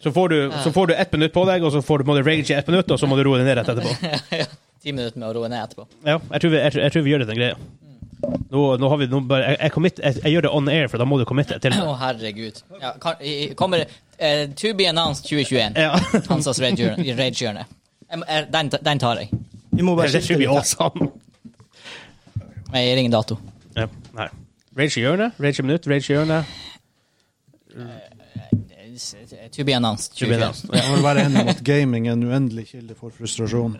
[SPEAKER 3] Så får, du, så får du ett minutt på deg, og så får du, må du rage i ett minutt, og så må du roe deg ned rett etterpå.
[SPEAKER 1] Ti minutter med å roe ned etterpå.
[SPEAKER 3] Ja, jeg tror vi, jeg, tror- jeg tror vi gjør det til en greie. Nå, nå har vi, nå bare, jeg, jeg, commit, jeg, jeg gjør det on air, for da må du committe til
[SPEAKER 1] Å,
[SPEAKER 3] det.
[SPEAKER 1] herregud. Ja, kan, i- i- kommer eh, To be announced 2021.
[SPEAKER 3] Ja.
[SPEAKER 1] Hansas Rage-hjørne- Rage-hjørne. Jeg må- eh, Den, den tar jeg.
[SPEAKER 2] Vi må bare
[SPEAKER 3] Det
[SPEAKER 2] skifte
[SPEAKER 3] tror vi
[SPEAKER 2] litt.
[SPEAKER 3] awesome.
[SPEAKER 1] Men Jeg gir ingen dato.
[SPEAKER 3] Ja, nei. Rage i hjørnet, rage i minutt, rage i hjørnet.
[SPEAKER 1] eh, To be announced
[SPEAKER 3] To be
[SPEAKER 1] 2021.
[SPEAKER 3] announced.
[SPEAKER 4] Jeg må vel være enig om at gaming er en uendelig kilde for frustrasjon.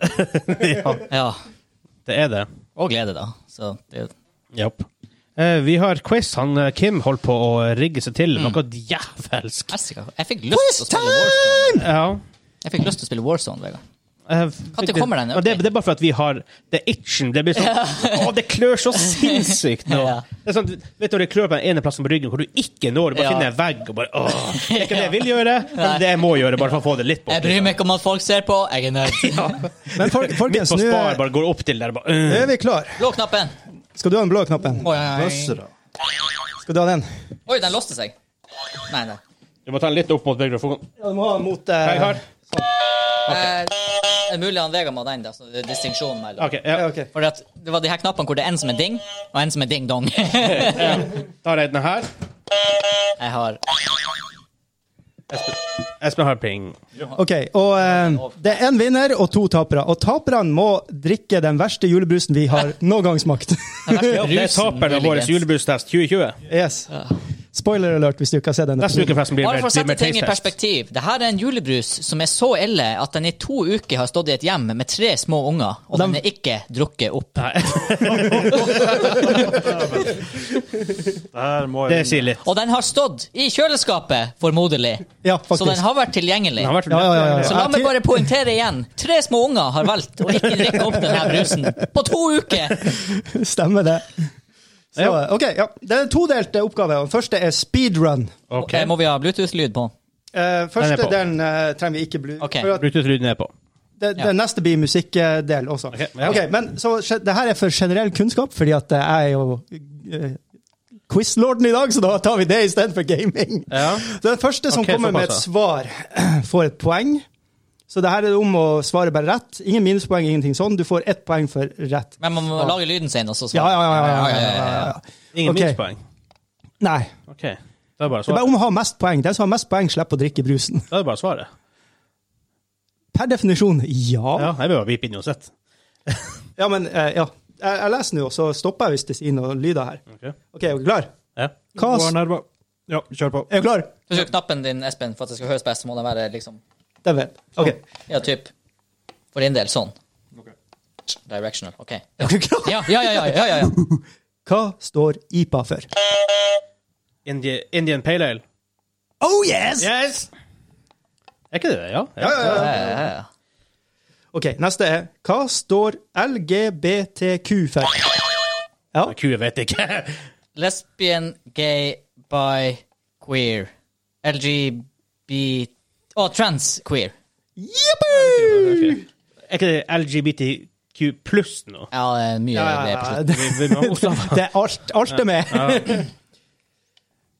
[SPEAKER 3] Ja,
[SPEAKER 1] Ja.
[SPEAKER 3] det er det.
[SPEAKER 1] Og glede, da. Så det,
[SPEAKER 3] Japp. Eh, vi har quiz. Han, eh, Kim holdt på å rigge seg til
[SPEAKER 1] Mm.
[SPEAKER 3] noe djevelsk.
[SPEAKER 1] Jessica, jeg fikk lyst til å spille Warzone.
[SPEAKER 3] Ja.
[SPEAKER 1] Jeg fikk lyst til å spille Warzone, Vegard.
[SPEAKER 3] Eh,
[SPEAKER 1] Når kommer den?
[SPEAKER 3] Ja, Det, det er bare for at vi har det itchen. Det blir sånn Å, det klør så sinnssykt nå!
[SPEAKER 1] Ja.
[SPEAKER 3] Det er sånn, vet du når det klør på den ene plassen på ryggen hvor du ikke når, du bare
[SPEAKER 1] Ja.
[SPEAKER 3] finner en vegg og bare Åh, det er ikke det jeg vil gjøre, men det jeg må gjøre, bare for å få det litt bort.
[SPEAKER 1] Jeg bryr meg ikke om at folk ser på. Jeg er nerd.
[SPEAKER 2] Men folk-
[SPEAKER 3] Midt
[SPEAKER 2] folkens,
[SPEAKER 3] på
[SPEAKER 2] nå
[SPEAKER 3] spar
[SPEAKER 2] er-
[SPEAKER 3] bare går opp til der bare øh.
[SPEAKER 2] nå er vi klar.
[SPEAKER 1] Blå knappen.
[SPEAKER 2] Skal du ha den blå knappen?
[SPEAKER 1] Oi, oi, oi.
[SPEAKER 4] Bøssere.
[SPEAKER 2] Skal du ha den?
[SPEAKER 1] Oi, den låste seg. Nei, nei.
[SPEAKER 3] Du må ta den litt opp mot mikrofonen.
[SPEAKER 2] Ja, du må ha den mot
[SPEAKER 3] Jeg har.
[SPEAKER 1] Eh, Det er mulig han Vegard må ha den, da. Så det er distinksjonen mellom.
[SPEAKER 3] OK. Ja.
[SPEAKER 1] For at det var de her knappene hvor det er en som er ding, og en som er ding-dong. jeg
[SPEAKER 3] Da har jeg den her.
[SPEAKER 1] har
[SPEAKER 3] Espen, Espen har pling.
[SPEAKER 2] OK. Og eh, det er én vinner og to tapere. Og taperne må drikke den verste julebrusen vi har noen gang smakt.
[SPEAKER 3] Det er taperen av vår
[SPEAKER 1] muligens.
[SPEAKER 3] julebrustest 2020.
[SPEAKER 2] yes. Spoiler alert hvis du ikke har sett den.
[SPEAKER 3] Neste uke forresten blir
[SPEAKER 1] Bare
[SPEAKER 3] det
[SPEAKER 1] for å
[SPEAKER 3] blir
[SPEAKER 1] sette
[SPEAKER 3] mer
[SPEAKER 1] ting i
[SPEAKER 3] taste test.
[SPEAKER 1] perspektiv. Det her er en julebrus som er så ille at den i to uker har stått i et hjem med tre små unger, og den er ikke drukket opp.
[SPEAKER 4] Der må
[SPEAKER 3] Det
[SPEAKER 4] jeg
[SPEAKER 3] sier litt.
[SPEAKER 1] Og den har stått i kjøleskapet, formodelig.
[SPEAKER 2] Ja,
[SPEAKER 1] Så
[SPEAKER 2] faktisk.
[SPEAKER 1] den har vært tilgjengelig.
[SPEAKER 3] Den har vært
[SPEAKER 2] Ja, ja, ja, ja.
[SPEAKER 1] Så la meg bare poengtere igjen. Tre små unger har valgt å ikke drikke opp denne brusen på to uker!
[SPEAKER 2] Stemmer det. Så,
[SPEAKER 3] Ja.
[SPEAKER 2] OK. Ja. Det er todelte oppgaver. Den første er speedrun.
[SPEAKER 3] Ok.
[SPEAKER 1] Eh, Må vi ha Bluetooth-lyd på?
[SPEAKER 2] Eh, første
[SPEAKER 3] Den er på.
[SPEAKER 2] delen eh, trenger vi ikke blu...
[SPEAKER 1] Ok.
[SPEAKER 2] For at
[SPEAKER 3] Bluetooth-lyden er på.
[SPEAKER 2] det,
[SPEAKER 1] Ja.
[SPEAKER 2] det neste blir musikkdel også.
[SPEAKER 3] Ok, ja.
[SPEAKER 2] Ok, men så, skje- Det her er for generell kunnskap, fordi at eh, jeg er jo eh, quizlorden i dag, så da tar vi det istedenfor gaming.
[SPEAKER 3] Ja.
[SPEAKER 2] Så Den første som
[SPEAKER 3] Ok,
[SPEAKER 2] kommer med et
[SPEAKER 3] såpass,
[SPEAKER 2] svar, får et poeng. Så det her er det om å svare bare rett. Ingen minuspoeng, ingenting sånn. Du får ett poeng for rett.
[SPEAKER 1] Men man må lage lyden sin, og så
[SPEAKER 2] Ja,
[SPEAKER 1] svare.
[SPEAKER 2] ja, ja. ja, ja, ja,
[SPEAKER 1] ja,
[SPEAKER 2] ja.
[SPEAKER 3] Ingen
[SPEAKER 2] Ok.
[SPEAKER 3] minuspoeng.
[SPEAKER 2] Nei.
[SPEAKER 3] Ok. Da er det bare
[SPEAKER 2] Det er bare
[SPEAKER 3] svaret.
[SPEAKER 2] om å ha mest poeng. Den som har mest poeng, slipper å drikke brusen.
[SPEAKER 3] Da er det bare svaret.
[SPEAKER 2] Per definisjon, ja.
[SPEAKER 3] Ja, jeg vil bare vipe inn uansett.
[SPEAKER 2] Ja, men eh, ja. Jeg, jeg leser nå, så stopper jeg hvis det sier noen lyder her.
[SPEAKER 3] Ok.
[SPEAKER 2] OK, er du klar?
[SPEAKER 3] Ja.
[SPEAKER 2] Hva
[SPEAKER 4] Var nærme. Ja, kjør på.
[SPEAKER 2] Er du klar?
[SPEAKER 1] Hvis du knappen din, Espen, for at det skal høres best, så må den være liksom
[SPEAKER 2] Det er vel. Ok.
[SPEAKER 1] Ja, typ. For din del, sånn. Directional. OK.
[SPEAKER 2] Er du klar?
[SPEAKER 1] Ja, ja, ja. ja, ja, ja, ja.
[SPEAKER 2] Hva står IPA for?
[SPEAKER 3] Indi Indian Pale Ale.
[SPEAKER 2] Oh yes!
[SPEAKER 3] Yes! Er ikke det det? Ja. ja.
[SPEAKER 1] Ja, ja, ja, ja.
[SPEAKER 2] Ok, neste er Hva står LGBTQ for? Ja,
[SPEAKER 3] Ku, jeg vet ikke.
[SPEAKER 1] Lesbian, gay, bi, queer. LGB... Å, trans, queer.
[SPEAKER 2] jippi!
[SPEAKER 3] Er ikke det LGBTQ pluss nå?
[SPEAKER 1] Ja, det er mye
[SPEAKER 2] Ja,
[SPEAKER 1] det er på
[SPEAKER 2] ja,
[SPEAKER 1] slutten.
[SPEAKER 2] det,
[SPEAKER 3] Vi, vi må også ha
[SPEAKER 2] det er alt, alt er med.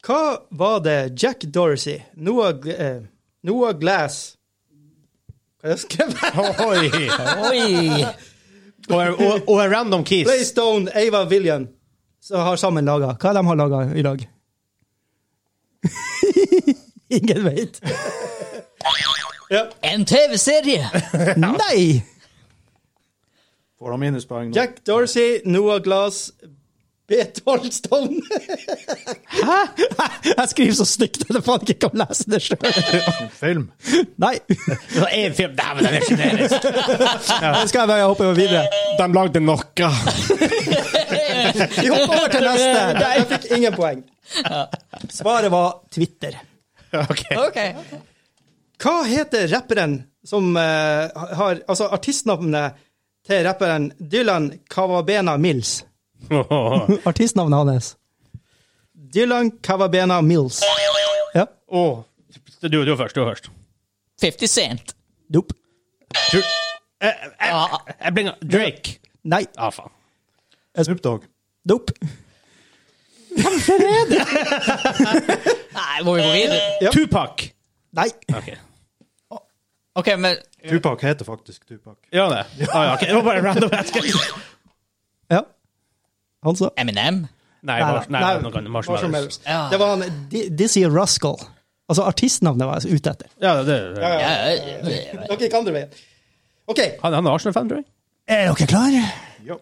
[SPEAKER 2] Hva var det Jack Dorsey, Noah, Gl- eh, Noah Glass Hva er det skrevet?
[SPEAKER 3] Oi!
[SPEAKER 1] Oi!
[SPEAKER 3] Og, og, og en random keys.
[SPEAKER 2] Playstone, Ava Villian som har sammen laga. Hva de har laga i lag? Ingen veit.
[SPEAKER 1] En TV-serie!
[SPEAKER 2] Nei!
[SPEAKER 4] Får han minuspoeng nå?
[SPEAKER 2] Jack Dorsey, Noah Glass, B. Tolstone. Hæ? Jeg skriver så stygt at jeg faen ikke kan lese det sjøl.
[SPEAKER 4] Film.
[SPEAKER 2] Nei.
[SPEAKER 3] Det var én film! Dæven, den er generisk!
[SPEAKER 2] Nå skal jeg bare hoppe videre.
[SPEAKER 3] De lagde noe.
[SPEAKER 2] Vi hopper over til neste. Jeg fikk ingen poeng. Svaret var Twitter.
[SPEAKER 3] OK.
[SPEAKER 1] Ok.
[SPEAKER 2] Hva heter rapperen som eh, har Altså artistnavnet til rapperen Dylan Kavabena Mills.
[SPEAKER 3] Åh,
[SPEAKER 2] Artistnavnet hans. Dylan Kavabena Mills. Ja.
[SPEAKER 3] åh. Du, du er først. Du er først.
[SPEAKER 1] 50 Cent.
[SPEAKER 2] Nope.
[SPEAKER 3] Du, jeg, jeg, Eh, jeg bringer Drake.
[SPEAKER 2] Nei.
[SPEAKER 3] Ah, faen.
[SPEAKER 4] Snoop Dogg.
[SPEAKER 2] Nope.
[SPEAKER 1] Nei, må vi gå videre?
[SPEAKER 2] Ja.
[SPEAKER 3] Tupac.
[SPEAKER 2] Nei.
[SPEAKER 3] OK.
[SPEAKER 1] Ok, men
[SPEAKER 4] Tupac heter faktisk Tupac.
[SPEAKER 3] Gjør det? Ah, ja, ok. Det var bare en random jeg skulle-
[SPEAKER 2] Ja. Han sa
[SPEAKER 1] Eminem?
[SPEAKER 3] Nei,
[SPEAKER 2] Nei,
[SPEAKER 3] Mars, nei,
[SPEAKER 2] nei,
[SPEAKER 3] det var noe annet. Marshall
[SPEAKER 2] Marshall
[SPEAKER 3] Mathers.
[SPEAKER 2] Mathers.
[SPEAKER 1] Ja.
[SPEAKER 2] Det var han Di- Dizzy Rascal. Altså artistnavnet var jeg ute etter.
[SPEAKER 3] Ja, det, det, det.
[SPEAKER 1] Ja, ja, ja.
[SPEAKER 2] Dere gikk andre veien. OK.
[SPEAKER 3] Han, han er Arsenal-fan, tror jeg.
[SPEAKER 2] Er dere klare?
[SPEAKER 4] Ja.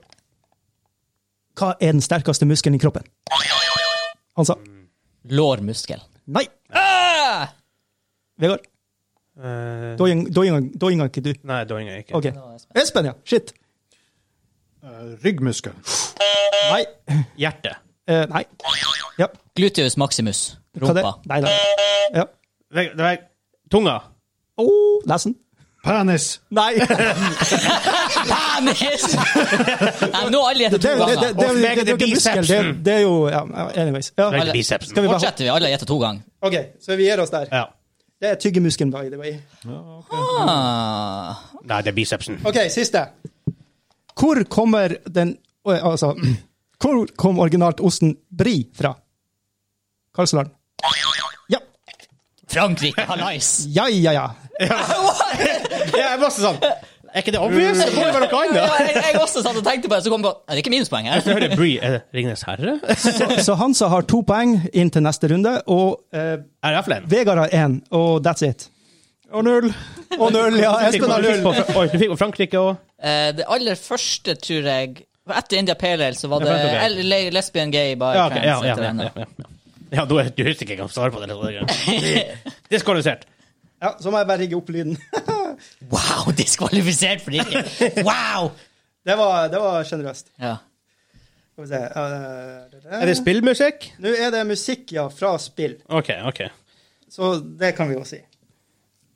[SPEAKER 2] Hva er den sterkeste muskelen i kroppen? Han sa
[SPEAKER 1] Lårmuskel.
[SPEAKER 2] nei.
[SPEAKER 1] Ah!
[SPEAKER 2] Vegard, da gjeng- da gjeng- da gjenger ikke du.
[SPEAKER 3] nei, da ringer jeg ikke.
[SPEAKER 2] OK. Espen, ja. Shit.
[SPEAKER 4] Eh, ryggmuskel.
[SPEAKER 2] Nei.
[SPEAKER 3] Hjerte.
[SPEAKER 2] Eh, nei. Ja.
[SPEAKER 1] Gluteus maximus.
[SPEAKER 2] Hva det?
[SPEAKER 1] Rumpa.
[SPEAKER 2] Nei, nei. Ja.
[SPEAKER 3] Veg- det er- Tunga.
[SPEAKER 2] Oh, nesen.
[SPEAKER 4] Penis.
[SPEAKER 2] Nei. Det,
[SPEAKER 1] Penis! Nei, nå har alle gjettet to
[SPEAKER 2] det, det, det,
[SPEAKER 1] ganger.
[SPEAKER 2] det, det, det, det er jo ikke muskel. Det, det er jo ja, Anyways. Ja.
[SPEAKER 3] Veg-
[SPEAKER 1] Alle-
[SPEAKER 3] bicepsen.
[SPEAKER 2] Skal vi bare
[SPEAKER 1] Fortsetter vi, alle har gjettet to ganger.
[SPEAKER 2] OK, så vi gir oss der.
[SPEAKER 3] Ja.
[SPEAKER 2] Det er tyggemuskelen, by the way.
[SPEAKER 1] Ah.
[SPEAKER 3] Nei, det er bicepsen.
[SPEAKER 2] OK, siste. Hvor kommer den Oi, Altså Hvor kom originalt osten Brie fra? Karlsland. Ja.
[SPEAKER 1] Frankrike, hallais!
[SPEAKER 2] Ja, ja, ja.
[SPEAKER 3] Ja, jeg var også sånn. Er ikke det obvious? Det må jo
[SPEAKER 2] Mm.
[SPEAKER 3] være noe
[SPEAKER 1] Ja,
[SPEAKER 3] annet.
[SPEAKER 1] jeg, jeg også satt og tenkte på det, så kom jeg på Er det ikke minuspoeng her?
[SPEAKER 3] Jeg hører Bree. Er det eh, Ringnes Herre?
[SPEAKER 2] Så, så Hansa har to poeng inn til neste runde, og eh,
[SPEAKER 3] Er det Flen?
[SPEAKER 2] Vegard har én, og that's it.
[SPEAKER 4] Og null.
[SPEAKER 2] Og null, ja. Espen har null.
[SPEAKER 3] Oi, du fikk på Frankrike og
[SPEAKER 1] Eh, Det aller første, tror jeg var Etter India Pale Ale så var det
[SPEAKER 3] Ja, for det tok jeg.
[SPEAKER 1] L- lesbian gay by
[SPEAKER 3] Ja, ok, ja,
[SPEAKER 1] trans,
[SPEAKER 3] ja,
[SPEAKER 1] heter
[SPEAKER 3] ja,
[SPEAKER 1] det
[SPEAKER 3] ja,
[SPEAKER 1] nå.
[SPEAKER 3] ja, ja. ja du, du husker ikke hva svaret på det. det er- Diskvalifisert.
[SPEAKER 2] Ja, så må jeg bare rigge opp lyden.
[SPEAKER 1] Wow, diskvalifisert for ikke Wow!
[SPEAKER 2] Det var, det var generøst.
[SPEAKER 1] Ja.
[SPEAKER 2] Skal vi se eh,
[SPEAKER 3] Er det spillmusikk?
[SPEAKER 2] Nå er det musikk, ja, fra spill,
[SPEAKER 3] OK, OK.
[SPEAKER 2] så det kan vi jo si.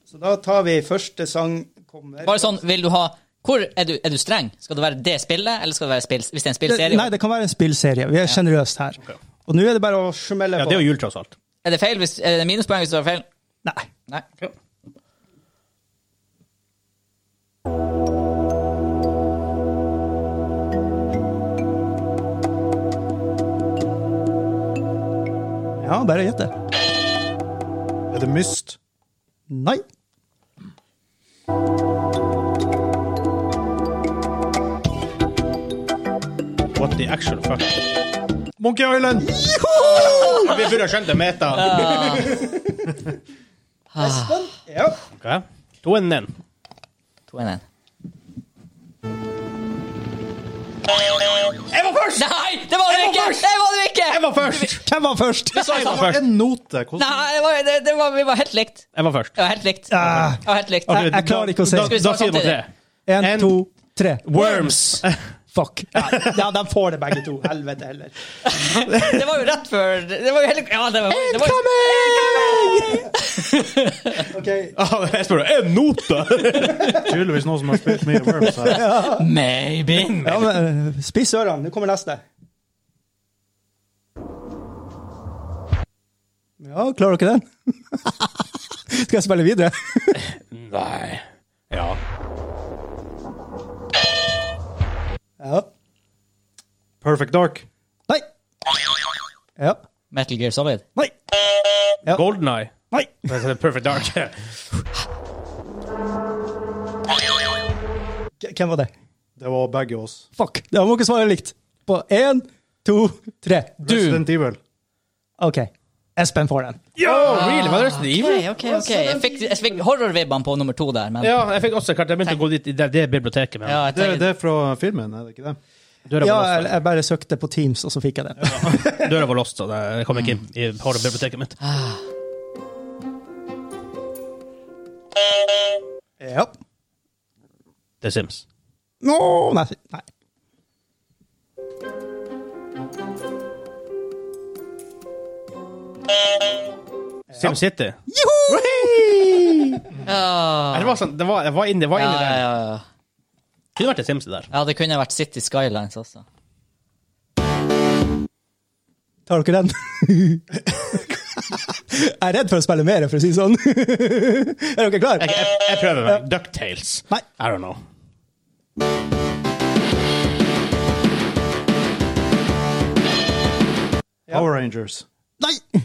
[SPEAKER 2] Så da tar vi første sang kommer
[SPEAKER 1] Bare sånn, vil du ha hvor er du, er du streng? Skal det være det spillet, eller skal det være spill, hvis det er en
[SPEAKER 2] det,
[SPEAKER 1] spillserie?
[SPEAKER 2] Nei, det kan være en spillserie. Vi er generøst her. Og nå er det bare å smelle
[SPEAKER 3] Ja,
[SPEAKER 2] på.
[SPEAKER 3] det er jo jul, tross alt.
[SPEAKER 1] Er det feil? Hvis, er det minuspoeng hvis det var feil?
[SPEAKER 2] Nei.
[SPEAKER 1] Nei.
[SPEAKER 2] Ja, bare gjett det.
[SPEAKER 4] Er det Myst?
[SPEAKER 2] Nei.
[SPEAKER 3] What the actual fuck?
[SPEAKER 4] Monkey Island!
[SPEAKER 3] Vi burde ha skjønt det meta.
[SPEAKER 2] Ja.
[SPEAKER 3] Okay. To enn en.
[SPEAKER 1] To en en.
[SPEAKER 3] Jeg var først!
[SPEAKER 1] Nei, det var det ikke! Det var det ikke!
[SPEAKER 3] Jeg var først!
[SPEAKER 2] Hvem var først?
[SPEAKER 1] Vi sa
[SPEAKER 3] Jeg var
[SPEAKER 1] sånn.
[SPEAKER 3] først!
[SPEAKER 4] En note. Hvordan?
[SPEAKER 1] Nei, det var, det, det var, vi var helt likt.
[SPEAKER 3] Jeg var først.
[SPEAKER 1] Det var helt likt.
[SPEAKER 2] Ah.
[SPEAKER 1] Det var helt likt.
[SPEAKER 2] Jeg, jeg klarer ikke å se.
[SPEAKER 3] Da, da sier du tre.
[SPEAKER 2] En,
[SPEAKER 3] en-
[SPEAKER 2] to, tre.
[SPEAKER 3] Worms.
[SPEAKER 2] Fuck. Ja, ja, de får det begge to. Helvete heller.
[SPEAKER 1] Det var jo rett før Det var jo hele Ja, det var, det var
[SPEAKER 2] Ok,
[SPEAKER 3] Jeg spør en note!
[SPEAKER 4] Tydeligvis noen som har spilt mye Worms her.
[SPEAKER 1] Maybe.
[SPEAKER 2] ja, men, eh, Spiss ørene, nå kommer neste. Ja, klarer dere den? Skal jeg spille videre?
[SPEAKER 3] Nei. Ja.
[SPEAKER 2] Ja.
[SPEAKER 4] Perfect Dark.
[SPEAKER 2] Nei. Ja.
[SPEAKER 1] Metal Gear Solid.
[SPEAKER 2] Nei.
[SPEAKER 3] Golden Eye.
[SPEAKER 2] Nei.
[SPEAKER 3] Perfect Dark.
[SPEAKER 2] K- Hvem var det?
[SPEAKER 4] Det var begge oss.
[SPEAKER 2] Fuck. Da må dere svare likt. På én, to, tre.
[SPEAKER 1] Doom.
[SPEAKER 4] Resident Evil.
[SPEAKER 2] OK. Espen får den.
[SPEAKER 3] Yo, really? Var det Resident Evil?
[SPEAKER 1] Ok, ok, ok. Jeg fikk, jeg fikk horrorvibbene på nummer to der, men
[SPEAKER 3] Ja, jeg fikk også kart. Jeg begynte å gå dit i det, det biblioteket. Men.
[SPEAKER 1] Ja, jeg
[SPEAKER 4] Det,
[SPEAKER 1] tenker-
[SPEAKER 4] det er fra filmen, er det ikke det?
[SPEAKER 3] Døra,
[SPEAKER 2] Ja,
[SPEAKER 3] var
[SPEAKER 2] jeg, jeg bare søkte på Teams, og så fikk jeg den.
[SPEAKER 3] låst, døra var låst, så det- jeg kom ikke inn i horrorbiblioteket mitt.
[SPEAKER 2] Ja.
[SPEAKER 3] The Sims.
[SPEAKER 2] Nå, nei, nei.
[SPEAKER 3] SimCity.
[SPEAKER 1] Ja,
[SPEAKER 3] Det var sånn, det var, jeg var inne, jeg var
[SPEAKER 1] ja,
[SPEAKER 3] inne
[SPEAKER 1] ja,
[SPEAKER 3] der.
[SPEAKER 1] ja.
[SPEAKER 3] Kunne vært et Sims der.
[SPEAKER 1] ja, det kunne vært City Skylines også.
[SPEAKER 2] Tar dere den? jeg er redd for å spille mer, for å si det sånn. er dere klare?
[SPEAKER 3] Jeg, jeg, jeg prøver meg. Ducktales.
[SPEAKER 2] Nei.
[SPEAKER 3] I don't know.
[SPEAKER 4] Power Rangers.
[SPEAKER 2] Nei!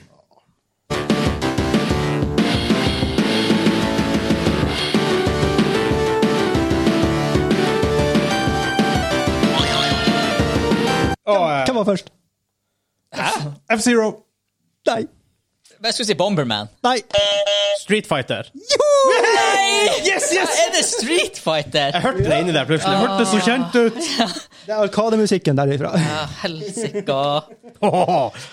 [SPEAKER 3] Å, eh,
[SPEAKER 2] Hvem var først?
[SPEAKER 4] F-Zero.
[SPEAKER 2] Nei.
[SPEAKER 1] Men Jeg skulle si Bomberman.
[SPEAKER 2] Nei.
[SPEAKER 3] Street Fighter.
[SPEAKER 1] Yes, yes! Er det Street Fighter?
[SPEAKER 3] Jeg hørte det inni der
[SPEAKER 2] Ah.
[SPEAKER 3] plutselig. Jeg hørte det så kjent ut.
[SPEAKER 2] Det er arkademusikken derifra.
[SPEAKER 1] Ja, helsika.
[SPEAKER 3] Åh,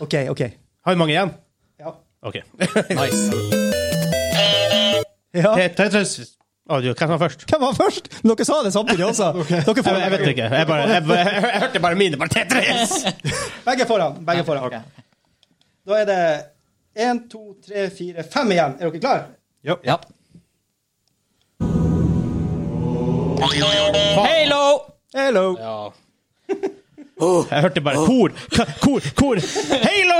[SPEAKER 2] OK, OK.
[SPEAKER 3] Har vi mange igjen?
[SPEAKER 2] Ja.
[SPEAKER 3] OK.
[SPEAKER 1] Nice.
[SPEAKER 2] Ja.
[SPEAKER 3] Te- Tetris Å, du, Hvem var først?
[SPEAKER 2] Hvem var først? Men Dere sa det samtidig også. Dere
[SPEAKER 3] Jeg,
[SPEAKER 2] får
[SPEAKER 3] jeg vet ikke. Jeg, bare, jeg, jeg, jeg, hørte bare mine. Bare Tetris!
[SPEAKER 2] Begge foran. Begge foran.
[SPEAKER 1] Ok.
[SPEAKER 2] Da er det én, to, tre, fire, fem igjen. Er dere klare?
[SPEAKER 1] Ja. Halo!
[SPEAKER 2] Hello.
[SPEAKER 3] Jeg hørte bare kor, k- kor, kor. Halo!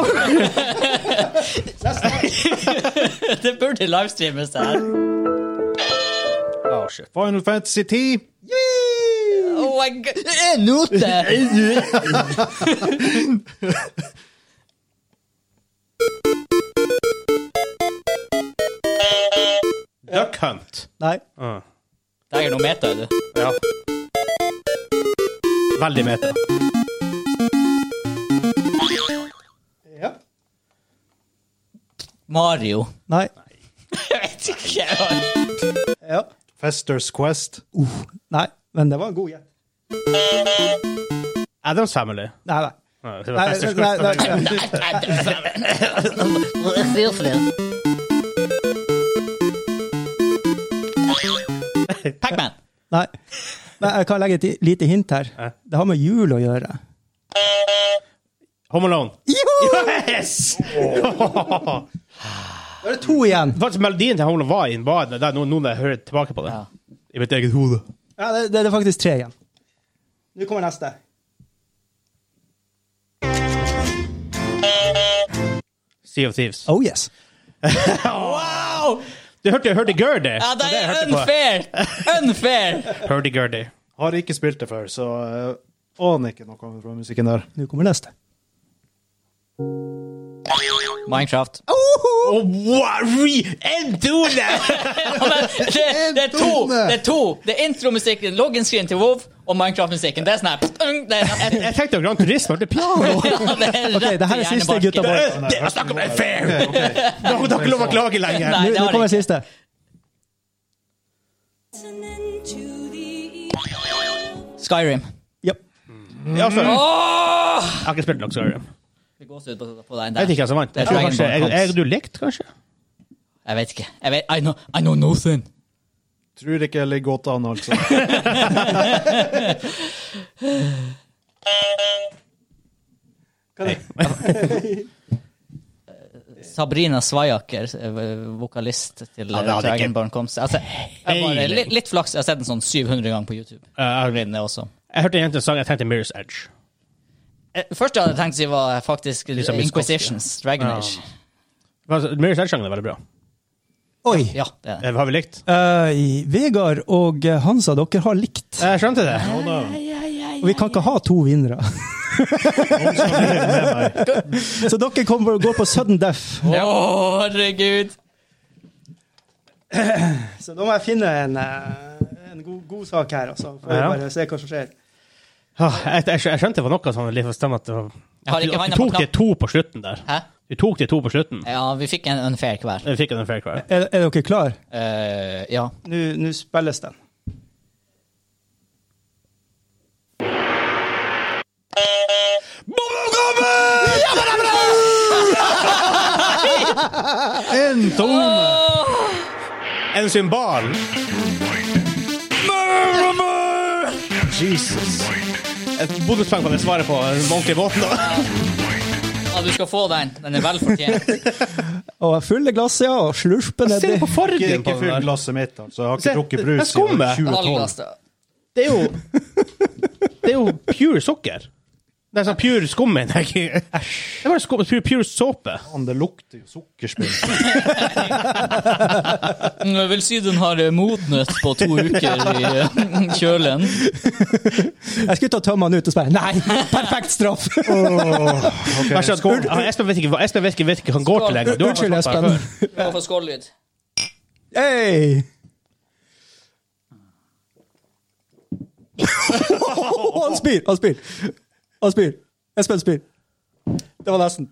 [SPEAKER 1] Det burde livestreames, det her.
[SPEAKER 3] Oh, shit.
[SPEAKER 4] Final Fantasy 10.
[SPEAKER 1] Oh my god, det er en note!
[SPEAKER 3] Duck Hunt.
[SPEAKER 2] Nei.
[SPEAKER 3] Ah.
[SPEAKER 1] Det er noe meta, du.
[SPEAKER 3] Ja. Veldig meta.
[SPEAKER 2] Ja.
[SPEAKER 1] Mario.
[SPEAKER 2] Nei.
[SPEAKER 1] Jeg vet ikke.
[SPEAKER 2] Ja.
[SPEAKER 4] Festers Quest.
[SPEAKER 2] Uh. Nei. Men det var en god gjett.
[SPEAKER 3] Adams Family.
[SPEAKER 2] Nei, nei.
[SPEAKER 3] Nei,
[SPEAKER 2] Nei, nei, nei, nei.
[SPEAKER 1] Pac-Man.
[SPEAKER 2] nei. Men jeg kan legge et lite hint her. Det har med jul å gjøre.
[SPEAKER 3] Home Alone.
[SPEAKER 2] Joho!
[SPEAKER 3] Yes!
[SPEAKER 2] Da er det to igjen.
[SPEAKER 3] Faktisk, melodien til Home Alone var inn, var det der nå nå når jeg hører tilbake på det.
[SPEAKER 1] Ja.
[SPEAKER 3] I mitt eget hode.
[SPEAKER 2] Ja, det, det er faktisk tre igjen. Nå kommer neste.
[SPEAKER 3] Sea of Thieves.
[SPEAKER 2] Oh yes.
[SPEAKER 1] Wow!
[SPEAKER 3] Du hørte Hurdy-gurdy?
[SPEAKER 1] Ja, det er
[SPEAKER 3] hørte jeg på.
[SPEAKER 1] unfair! Unfair!
[SPEAKER 3] Hurdy-gurdy.
[SPEAKER 4] Har ikke spilt det før, så eh, aner ikke noe fra musikken der.
[SPEAKER 2] Nå kommer neste.
[SPEAKER 1] Minecraft.
[SPEAKER 3] Oh, wow, re- en tone!
[SPEAKER 1] Det, det er to! Det er to. Det er intromusikken, login-screen til WoW og Minecraft-musikken. Det er sånn her det er,
[SPEAKER 3] jeg, jeg tenkte jo Gran Turismo hørte piano.
[SPEAKER 1] ja, det er
[SPEAKER 2] Ok, det her er siste, gutta boys.
[SPEAKER 3] Det- det- Jeg snakker om en fair! Da har dere lov å klage lenger.
[SPEAKER 1] Nei,
[SPEAKER 2] Nå,
[SPEAKER 1] det
[SPEAKER 2] nå
[SPEAKER 1] har
[SPEAKER 2] kommer
[SPEAKER 1] jeg ikke.
[SPEAKER 2] siste.
[SPEAKER 5] listening to the
[SPEAKER 1] Skyrim.
[SPEAKER 2] Ja.
[SPEAKER 3] Ja, altså. sorry. jeg
[SPEAKER 1] Åh!
[SPEAKER 3] har ikke spilt nok Skyrim.
[SPEAKER 1] Det går så ut på, på den
[SPEAKER 3] Jeg
[SPEAKER 1] der.
[SPEAKER 3] vet ikke hvem som vant. Jeg tror kanskje jeg, jeg, du likte, kanskje?
[SPEAKER 1] Jeg vet ikke. Jeg vet, I, know, I know nothing.
[SPEAKER 4] Tror ikke jeg ligger godt an, altså.
[SPEAKER 1] Sabrina Svajaker, eh, vokalist til
[SPEAKER 3] Ja,
[SPEAKER 1] ja,
[SPEAKER 3] det hadde ikke-
[SPEAKER 1] Dragonborn, kom seg altså, jeg bare, litt, litt flaks. Jeg har sett den sånn 700 ganger på YouTube.
[SPEAKER 3] Eh, jeg-
[SPEAKER 1] Den er også.
[SPEAKER 3] jeg hørte en jente sang, jeg tenkte Mirror's Edge.
[SPEAKER 1] Eh, Første jeg hadde tenkt å si, var faktisk
[SPEAKER 3] Lisa Miskovsky.
[SPEAKER 1] Inquisitions. Dragon Age.
[SPEAKER 3] Men altså, Mirror's Edge-sangen er veldig bra.
[SPEAKER 2] Oi.
[SPEAKER 1] Ja, det er det.
[SPEAKER 3] Eh, Har vi likt?
[SPEAKER 2] Eh, Vegard og Hansa, dere har likt.
[SPEAKER 3] Jeg skjønte det.
[SPEAKER 2] Og vi kan ikke ha to vinnere. Så dere kommer og går på sudden death.
[SPEAKER 1] Å, herregud!
[SPEAKER 2] Så da må jeg finne en, eh, en god, god sak her, altså. Får
[SPEAKER 3] Ja.
[SPEAKER 2] vi bare se hva som skjer.
[SPEAKER 3] Ah, Jeg, jeg, jeg skjønte det var noe sånn litt stemmer at, det var-
[SPEAKER 1] Jeg har
[SPEAKER 3] at, du-
[SPEAKER 1] ikke
[SPEAKER 3] at
[SPEAKER 1] hånda
[SPEAKER 3] du
[SPEAKER 1] på
[SPEAKER 3] tok de
[SPEAKER 1] knappen.
[SPEAKER 3] to på slutten der.
[SPEAKER 1] Hæ?
[SPEAKER 3] Du tok de to på slutten.
[SPEAKER 1] Ja, vi fikk en unfair hver.
[SPEAKER 3] Jeg fikk en fair hver.
[SPEAKER 2] Er, er dere klare?
[SPEAKER 1] Eh, ja.
[SPEAKER 2] Nå nå spilles den.
[SPEAKER 4] En tone!
[SPEAKER 3] En symbal! Jesus. Et bonuspoeng på det svaret på Monkey Båten.
[SPEAKER 1] ja, du skal få den. Den er vel fortjent.
[SPEAKER 2] Og fulle glass, ja, og slurpe
[SPEAKER 3] Se
[SPEAKER 2] nedi.
[SPEAKER 3] på
[SPEAKER 4] Ikke,
[SPEAKER 3] fargen på
[SPEAKER 4] ikke
[SPEAKER 3] den
[SPEAKER 4] fyll
[SPEAKER 3] der.
[SPEAKER 4] glasset mitt, altså. Jeg har
[SPEAKER 3] Se,
[SPEAKER 4] ikke drukket
[SPEAKER 3] det
[SPEAKER 4] brus siden
[SPEAKER 3] skummer.
[SPEAKER 4] 2012.
[SPEAKER 1] Allglass, da.
[SPEAKER 3] Det er jo Det er jo pure sukker. Det er sånn pure skum, mener jeg. Det er bare skum, pure, pure såpe.
[SPEAKER 4] Faen, Det lukter jo sukkerspill.
[SPEAKER 1] Mm, Jeg vil si den har eh, modnet på to uker i eh, kjølen.
[SPEAKER 2] Jeg skulle ta tømmene ut og spørre. Nei! Perfekt straff!
[SPEAKER 4] Ok,
[SPEAKER 3] Vær så god.
[SPEAKER 4] skål.
[SPEAKER 3] Han- Espen vet ikke hva Espen vet ikke, vet ikke hva han går til lenger. Du har
[SPEAKER 2] Unnskyld,
[SPEAKER 3] vært sånn
[SPEAKER 2] Espen.
[SPEAKER 3] før.
[SPEAKER 1] Du må få skållyd.
[SPEAKER 2] Hey. han spyr, han spyr. Han spyr. Espen spyr. Det var nesten.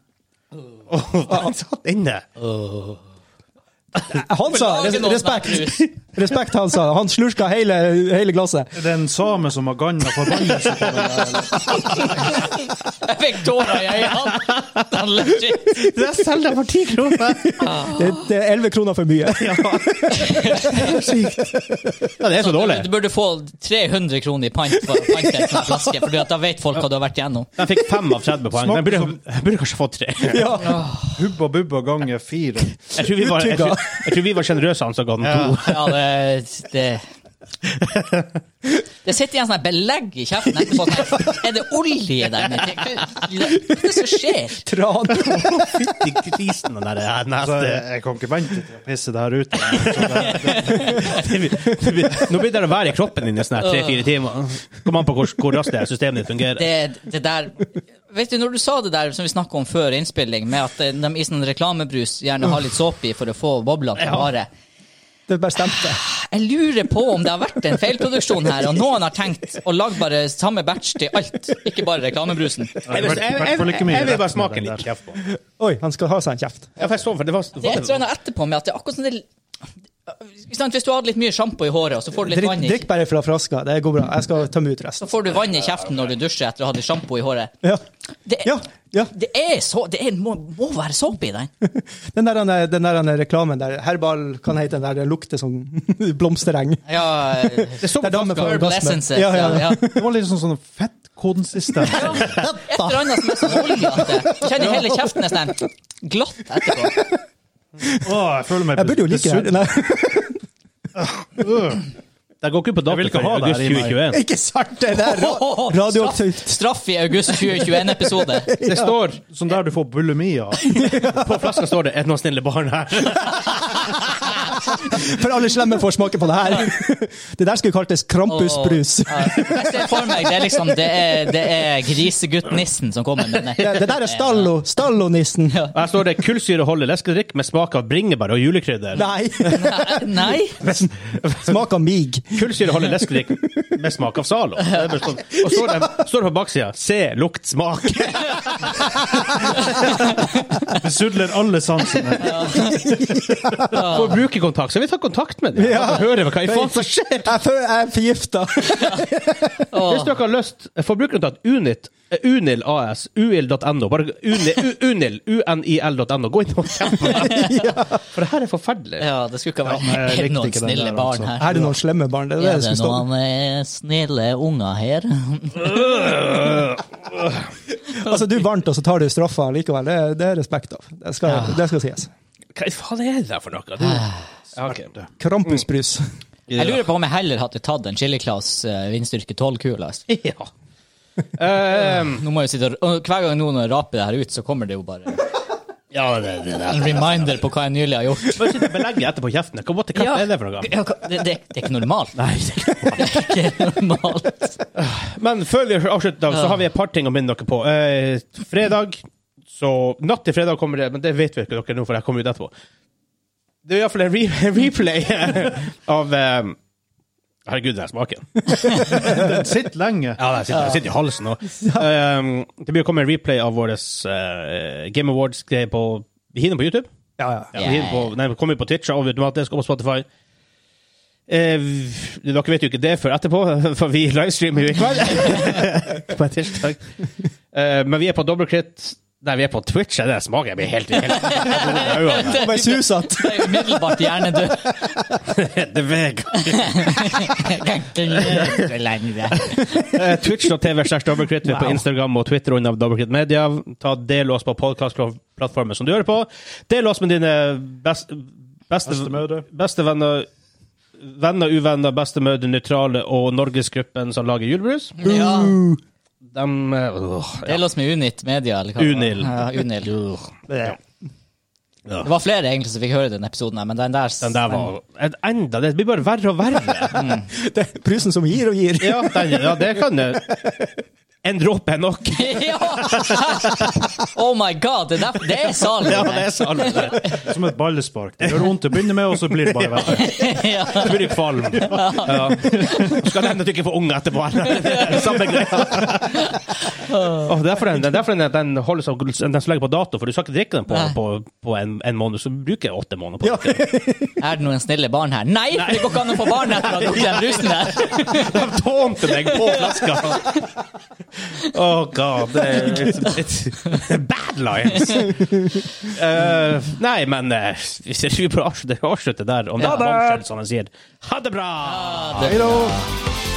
[SPEAKER 3] Åh, Han satt inne.
[SPEAKER 2] Han sa
[SPEAKER 1] Lage
[SPEAKER 2] res
[SPEAKER 1] noen
[SPEAKER 2] respekt.
[SPEAKER 1] smerterus.
[SPEAKER 2] Respekt, han sa. Han slurka hele, hele glasset.
[SPEAKER 4] Er det en same som har ganna forbannelse på den der? eller?
[SPEAKER 1] Jeg fikk tårer i øynene. Den legit.
[SPEAKER 3] Det er selv det for ti kroner.
[SPEAKER 2] Det, det er elleve kroner for mye.
[SPEAKER 3] Ja, det er så dårlig.
[SPEAKER 1] Du burde få 300 kroner i pant for pantet for en sånn flaske, for da vet folk hva du har vært igjennom.
[SPEAKER 3] Jeg fikk fem av 30 poeng. Jeg burde, jeg burde kanskje fått tre.
[SPEAKER 2] Ja.
[SPEAKER 4] Hubba bubba ganger fire.
[SPEAKER 3] Jeg tror vi var, jeg tror, jeg tror vi var generøse han som ga den to.
[SPEAKER 1] Ja, det, det Det sitter igjen sånn her belegg i kjeften etterpå. sånn her, Er det olje der nede? Hva hva er det som skjer?
[SPEAKER 2] Tran.
[SPEAKER 3] Fytti grisen, den der
[SPEAKER 4] Så
[SPEAKER 3] her
[SPEAKER 4] jeg,
[SPEAKER 3] neste
[SPEAKER 4] jeg kan ikke vente til å pisse det her ut. Så det-
[SPEAKER 3] Det blir- det blir- Nå begynner det å være i kroppen din i sånn her tre-fire timer. Kommer an på hvor, hvor raskt det her systemet ditt fungerer.
[SPEAKER 1] det, det der Vet du, når du sa det der som vi snakka om før innspilling, med at eh, de i sånn reklamebrus gjerne har litt såpe i for å få boblene til å vare
[SPEAKER 2] Det bare stemte.
[SPEAKER 1] Jeg lurer på om det har vært en feilproduksjon her, og noen har tenkt å lage bare samme batch til alt, ikke bare reklamebrusen.
[SPEAKER 3] Jeg, vil- jeg, jeg, jeg, jeg vil bare smake litt kjeft på.
[SPEAKER 2] Oi, han skal ha seg en kjeft.
[SPEAKER 3] Ja, for jeg så for det var,
[SPEAKER 1] Det er et eller annet etterpå med at det er akkurat som det Ikke sant, Hvis du hadde litt mye sjampo i håret, og så får du litt
[SPEAKER 2] Drikk,
[SPEAKER 1] vann i
[SPEAKER 2] drikk bare fra flaska. Det går bra. Jeg skal tømme ut
[SPEAKER 1] så
[SPEAKER 2] resten.
[SPEAKER 1] får du vann i kjeften når du dusjer etter å ha hatt sjampo i håret.
[SPEAKER 2] Ja.
[SPEAKER 1] Det,
[SPEAKER 2] Ja. ja.
[SPEAKER 1] det er så Det er, må, må være såpe i den.
[SPEAKER 2] Den der, den der, den der reklamen der Herbal kan hete den der det lukter som blomstereng.
[SPEAKER 1] Ja,
[SPEAKER 2] Det er damer fra
[SPEAKER 1] herbal
[SPEAKER 2] orgasme.
[SPEAKER 1] essences.
[SPEAKER 2] Sånn Ja, ja, ja.
[SPEAKER 4] Det var litt sånn sånn fettkonsistens.
[SPEAKER 1] Et eller annet som er sånn oljete. Jeg Kjenner hele kjeften er sånn glatt etterpå.
[SPEAKER 4] Åh, jeg føler meg
[SPEAKER 2] Jeg burde jo like
[SPEAKER 4] besutt.
[SPEAKER 2] det. Nei,
[SPEAKER 4] Øh.
[SPEAKER 3] Det går ikke ut på dato
[SPEAKER 4] Jeg vil ikke
[SPEAKER 3] før i
[SPEAKER 4] ha det
[SPEAKER 3] august
[SPEAKER 4] her i meg.
[SPEAKER 3] 2021.
[SPEAKER 2] ikke sant! Det der ra-
[SPEAKER 1] Straff,
[SPEAKER 2] radioaktivt.
[SPEAKER 1] straff i august 2021-episode.
[SPEAKER 3] Det står
[SPEAKER 4] Sånn der du får bulimi av.
[SPEAKER 3] På flaska står det 'Er det noen snille barn her?'
[SPEAKER 2] For alle slemme får smake på det her. Det der skulle kaltes krampusbrus.
[SPEAKER 1] Jeg ser for meg det er liksom Det er, det er grisegutt-nissen som kommer med
[SPEAKER 2] Det, det der er stallo. Stallonissen.
[SPEAKER 3] Og Her står det 'Kullsyreholdig leskedrikk med smak av bringebær og julekrydder'.
[SPEAKER 2] Nei.
[SPEAKER 1] Nei?
[SPEAKER 2] Smak av mig.
[SPEAKER 3] Kullsyreholdig leskedrikk med smak av Zalo. Det er bare sånn- Og står det står det på baksida 'Se, lukt, smak'.
[SPEAKER 4] Besudler alle sansene.
[SPEAKER 3] Får brukerkontakt, så vi tar kontakt med dem.
[SPEAKER 2] Ja.
[SPEAKER 3] Ja. Hører hva i faen som skjer.
[SPEAKER 2] Jeg føler jeg er forgifta.
[SPEAKER 3] Hvis dere har lyst, forbrukerkontakt Unit, eh, Unil AS, uil.no. Bare uni- u- Unil, unil.no. Gå inn og kjemp på det. For det her er forferdelig.
[SPEAKER 1] Ja, det skulle ikke
[SPEAKER 4] Ja, men jeg
[SPEAKER 1] vært
[SPEAKER 4] likte
[SPEAKER 1] noen
[SPEAKER 4] ikke den
[SPEAKER 1] snille
[SPEAKER 4] der,
[SPEAKER 1] barn
[SPEAKER 4] altså.
[SPEAKER 1] her.
[SPEAKER 2] Er det noen slemme barn? Det er det
[SPEAKER 1] Er
[SPEAKER 2] det
[SPEAKER 1] det
[SPEAKER 2] skulle stå.
[SPEAKER 1] noen eh, snille unger her?
[SPEAKER 2] Altså, du er varmt, og så tar du straffa likevel. Det, er- det er respekt av. Det skal, det skal sies.
[SPEAKER 3] Hva i faen er det for noe? Du? Ja, ok.
[SPEAKER 2] Krampusbrus.
[SPEAKER 1] Jeg lurer på om jeg heller hadde tatt en Chili Claus eh, vindstyrke 12-kula. altså.
[SPEAKER 3] Ja. Ehm,
[SPEAKER 1] Nå må jeg sitte og, og Hver gang noen raper det her ut, så kommer det jo bare
[SPEAKER 3] ja, det, det, det.
[SPEAKER 1] en reminder på hva jeg nylig har gjort.
[SPEAKER 3] Bare sitt og belegge etterpå kjeften. Hva what the crap
[SPEAKER 1] Ja.
[SPEAKER 3] er det for noe?
[SPEAKER 1] Ja, hva- Det, det, det er ikke normalt. Nei, det er ikke normalt.
[SPEAKER 3] Men før vi avslutter, i dag, så har vi et par ting å minne dere på. Eh, fredag, så Natt til fredag kommer det, men det vet vi ikke dere nå, for jeg kommer ut etterpå. Det er iallfall en re replay av eh, Herregud, den smaken.
[SPEAKER 4] Den sitter lenge.
[SPEAKER 3] Ja, den sitter, den sitter i halsen nå. Ehm, det blir å komme en replay av vår Game Awards-greie på Vi hinner på YouTube.
[SPEAKER 2] Ja, ja.
[SPEAKER 3] Ja, vi hinner på, nei, vi kommer på Twitch og automatisk og på Spotify. Eh, dere vet jo ikke det før etterpå, for vi livestreamer jo i kveld. på en tirsdag. Eh, men vi er på dobbeltkritt. Nei, vi er på Twitch. Det smaker jeg blir helt, helt
[SPEAKER 2] Og bare susatt.
[SPEAKER 1] Det er umiddelbart hjernedød.
[SPEAKER 3] Det er Vegard.
[SPEAKER 1] Kan ikke gjøre det lenger.
[SPEAKER 3] Eh, Twitch.tv slash dobbeltkritt. Vi er på Instagram og Twitter under Dobbeltkritt Media. Ta Del oss på podkastplattformen som du hører på. Del oss med dine best, beste,
[SPEAKER 4] Bestemødre.
[SPEAKER 3] beste venner Venner, uvenner, bestemødre, nøytrale og Norgesgruppen som lager julebrus.
[SPEAKER 1] Ja.
[SPEAKER 3] Dem eh, åh, ja.
[SPEAKER 1] Del oss med Unit Media. Eller hva det var.
[SPEAKER 3] Unil.
[SPEAKER 1] Ja, Unil.
[SPEAKER 2] Ja.
[SPEAKER 1] Det var flere egentlig som fikk høre den episoden, her, men den der,
[SPEAKER 3] Den der var en- enda Det blir bare verre og verre.
[SPEAKER 2] Det er prusen som gir og gir.
[SPEAKER 3] Ja, den, ja det kan jeg. En dråpe er nok.
[SPEAKER 1] ja! Oh my god, det, der, det er salen.
[SPEAKER 3] Ja, det er sånn. Det
[SPEAKER 4] Som et ballespark. Det gjør vondt å begynne med, og så blir det bare verre.
[SPEAKER 1] Ja.
[SPEAKER 3] blir kvalm. Ja. Skal det hende at du ikke får unge etterpå. Samme greia. Åh, det er derfor den, det er derfor den, den holder seg den som legger på dato, for du skal ikke drikke den på,
[SPEAKER 1] Nei.
[SPEAKER 3] på, på en, en måned, så bruker jeg åtte måneder på
[SPEAKER 2] Ja.
[SPEAKER 3] det.
[SPEAKER 1] Er det noen snille barn her? Nei, det går ikke an å få barn etter å ha drukket den brusen der.
[SPEAKER 3] De tånte meg på flaska! Oh god, det er it's, it's bad lines! Eh, nei, men eh, vi ser vi bør avslutte, avslutte der, om det er bombshell, som han sier. Ha det bra!
[SPEAKER 1] Det-
[SPEAKER 4] Hei da!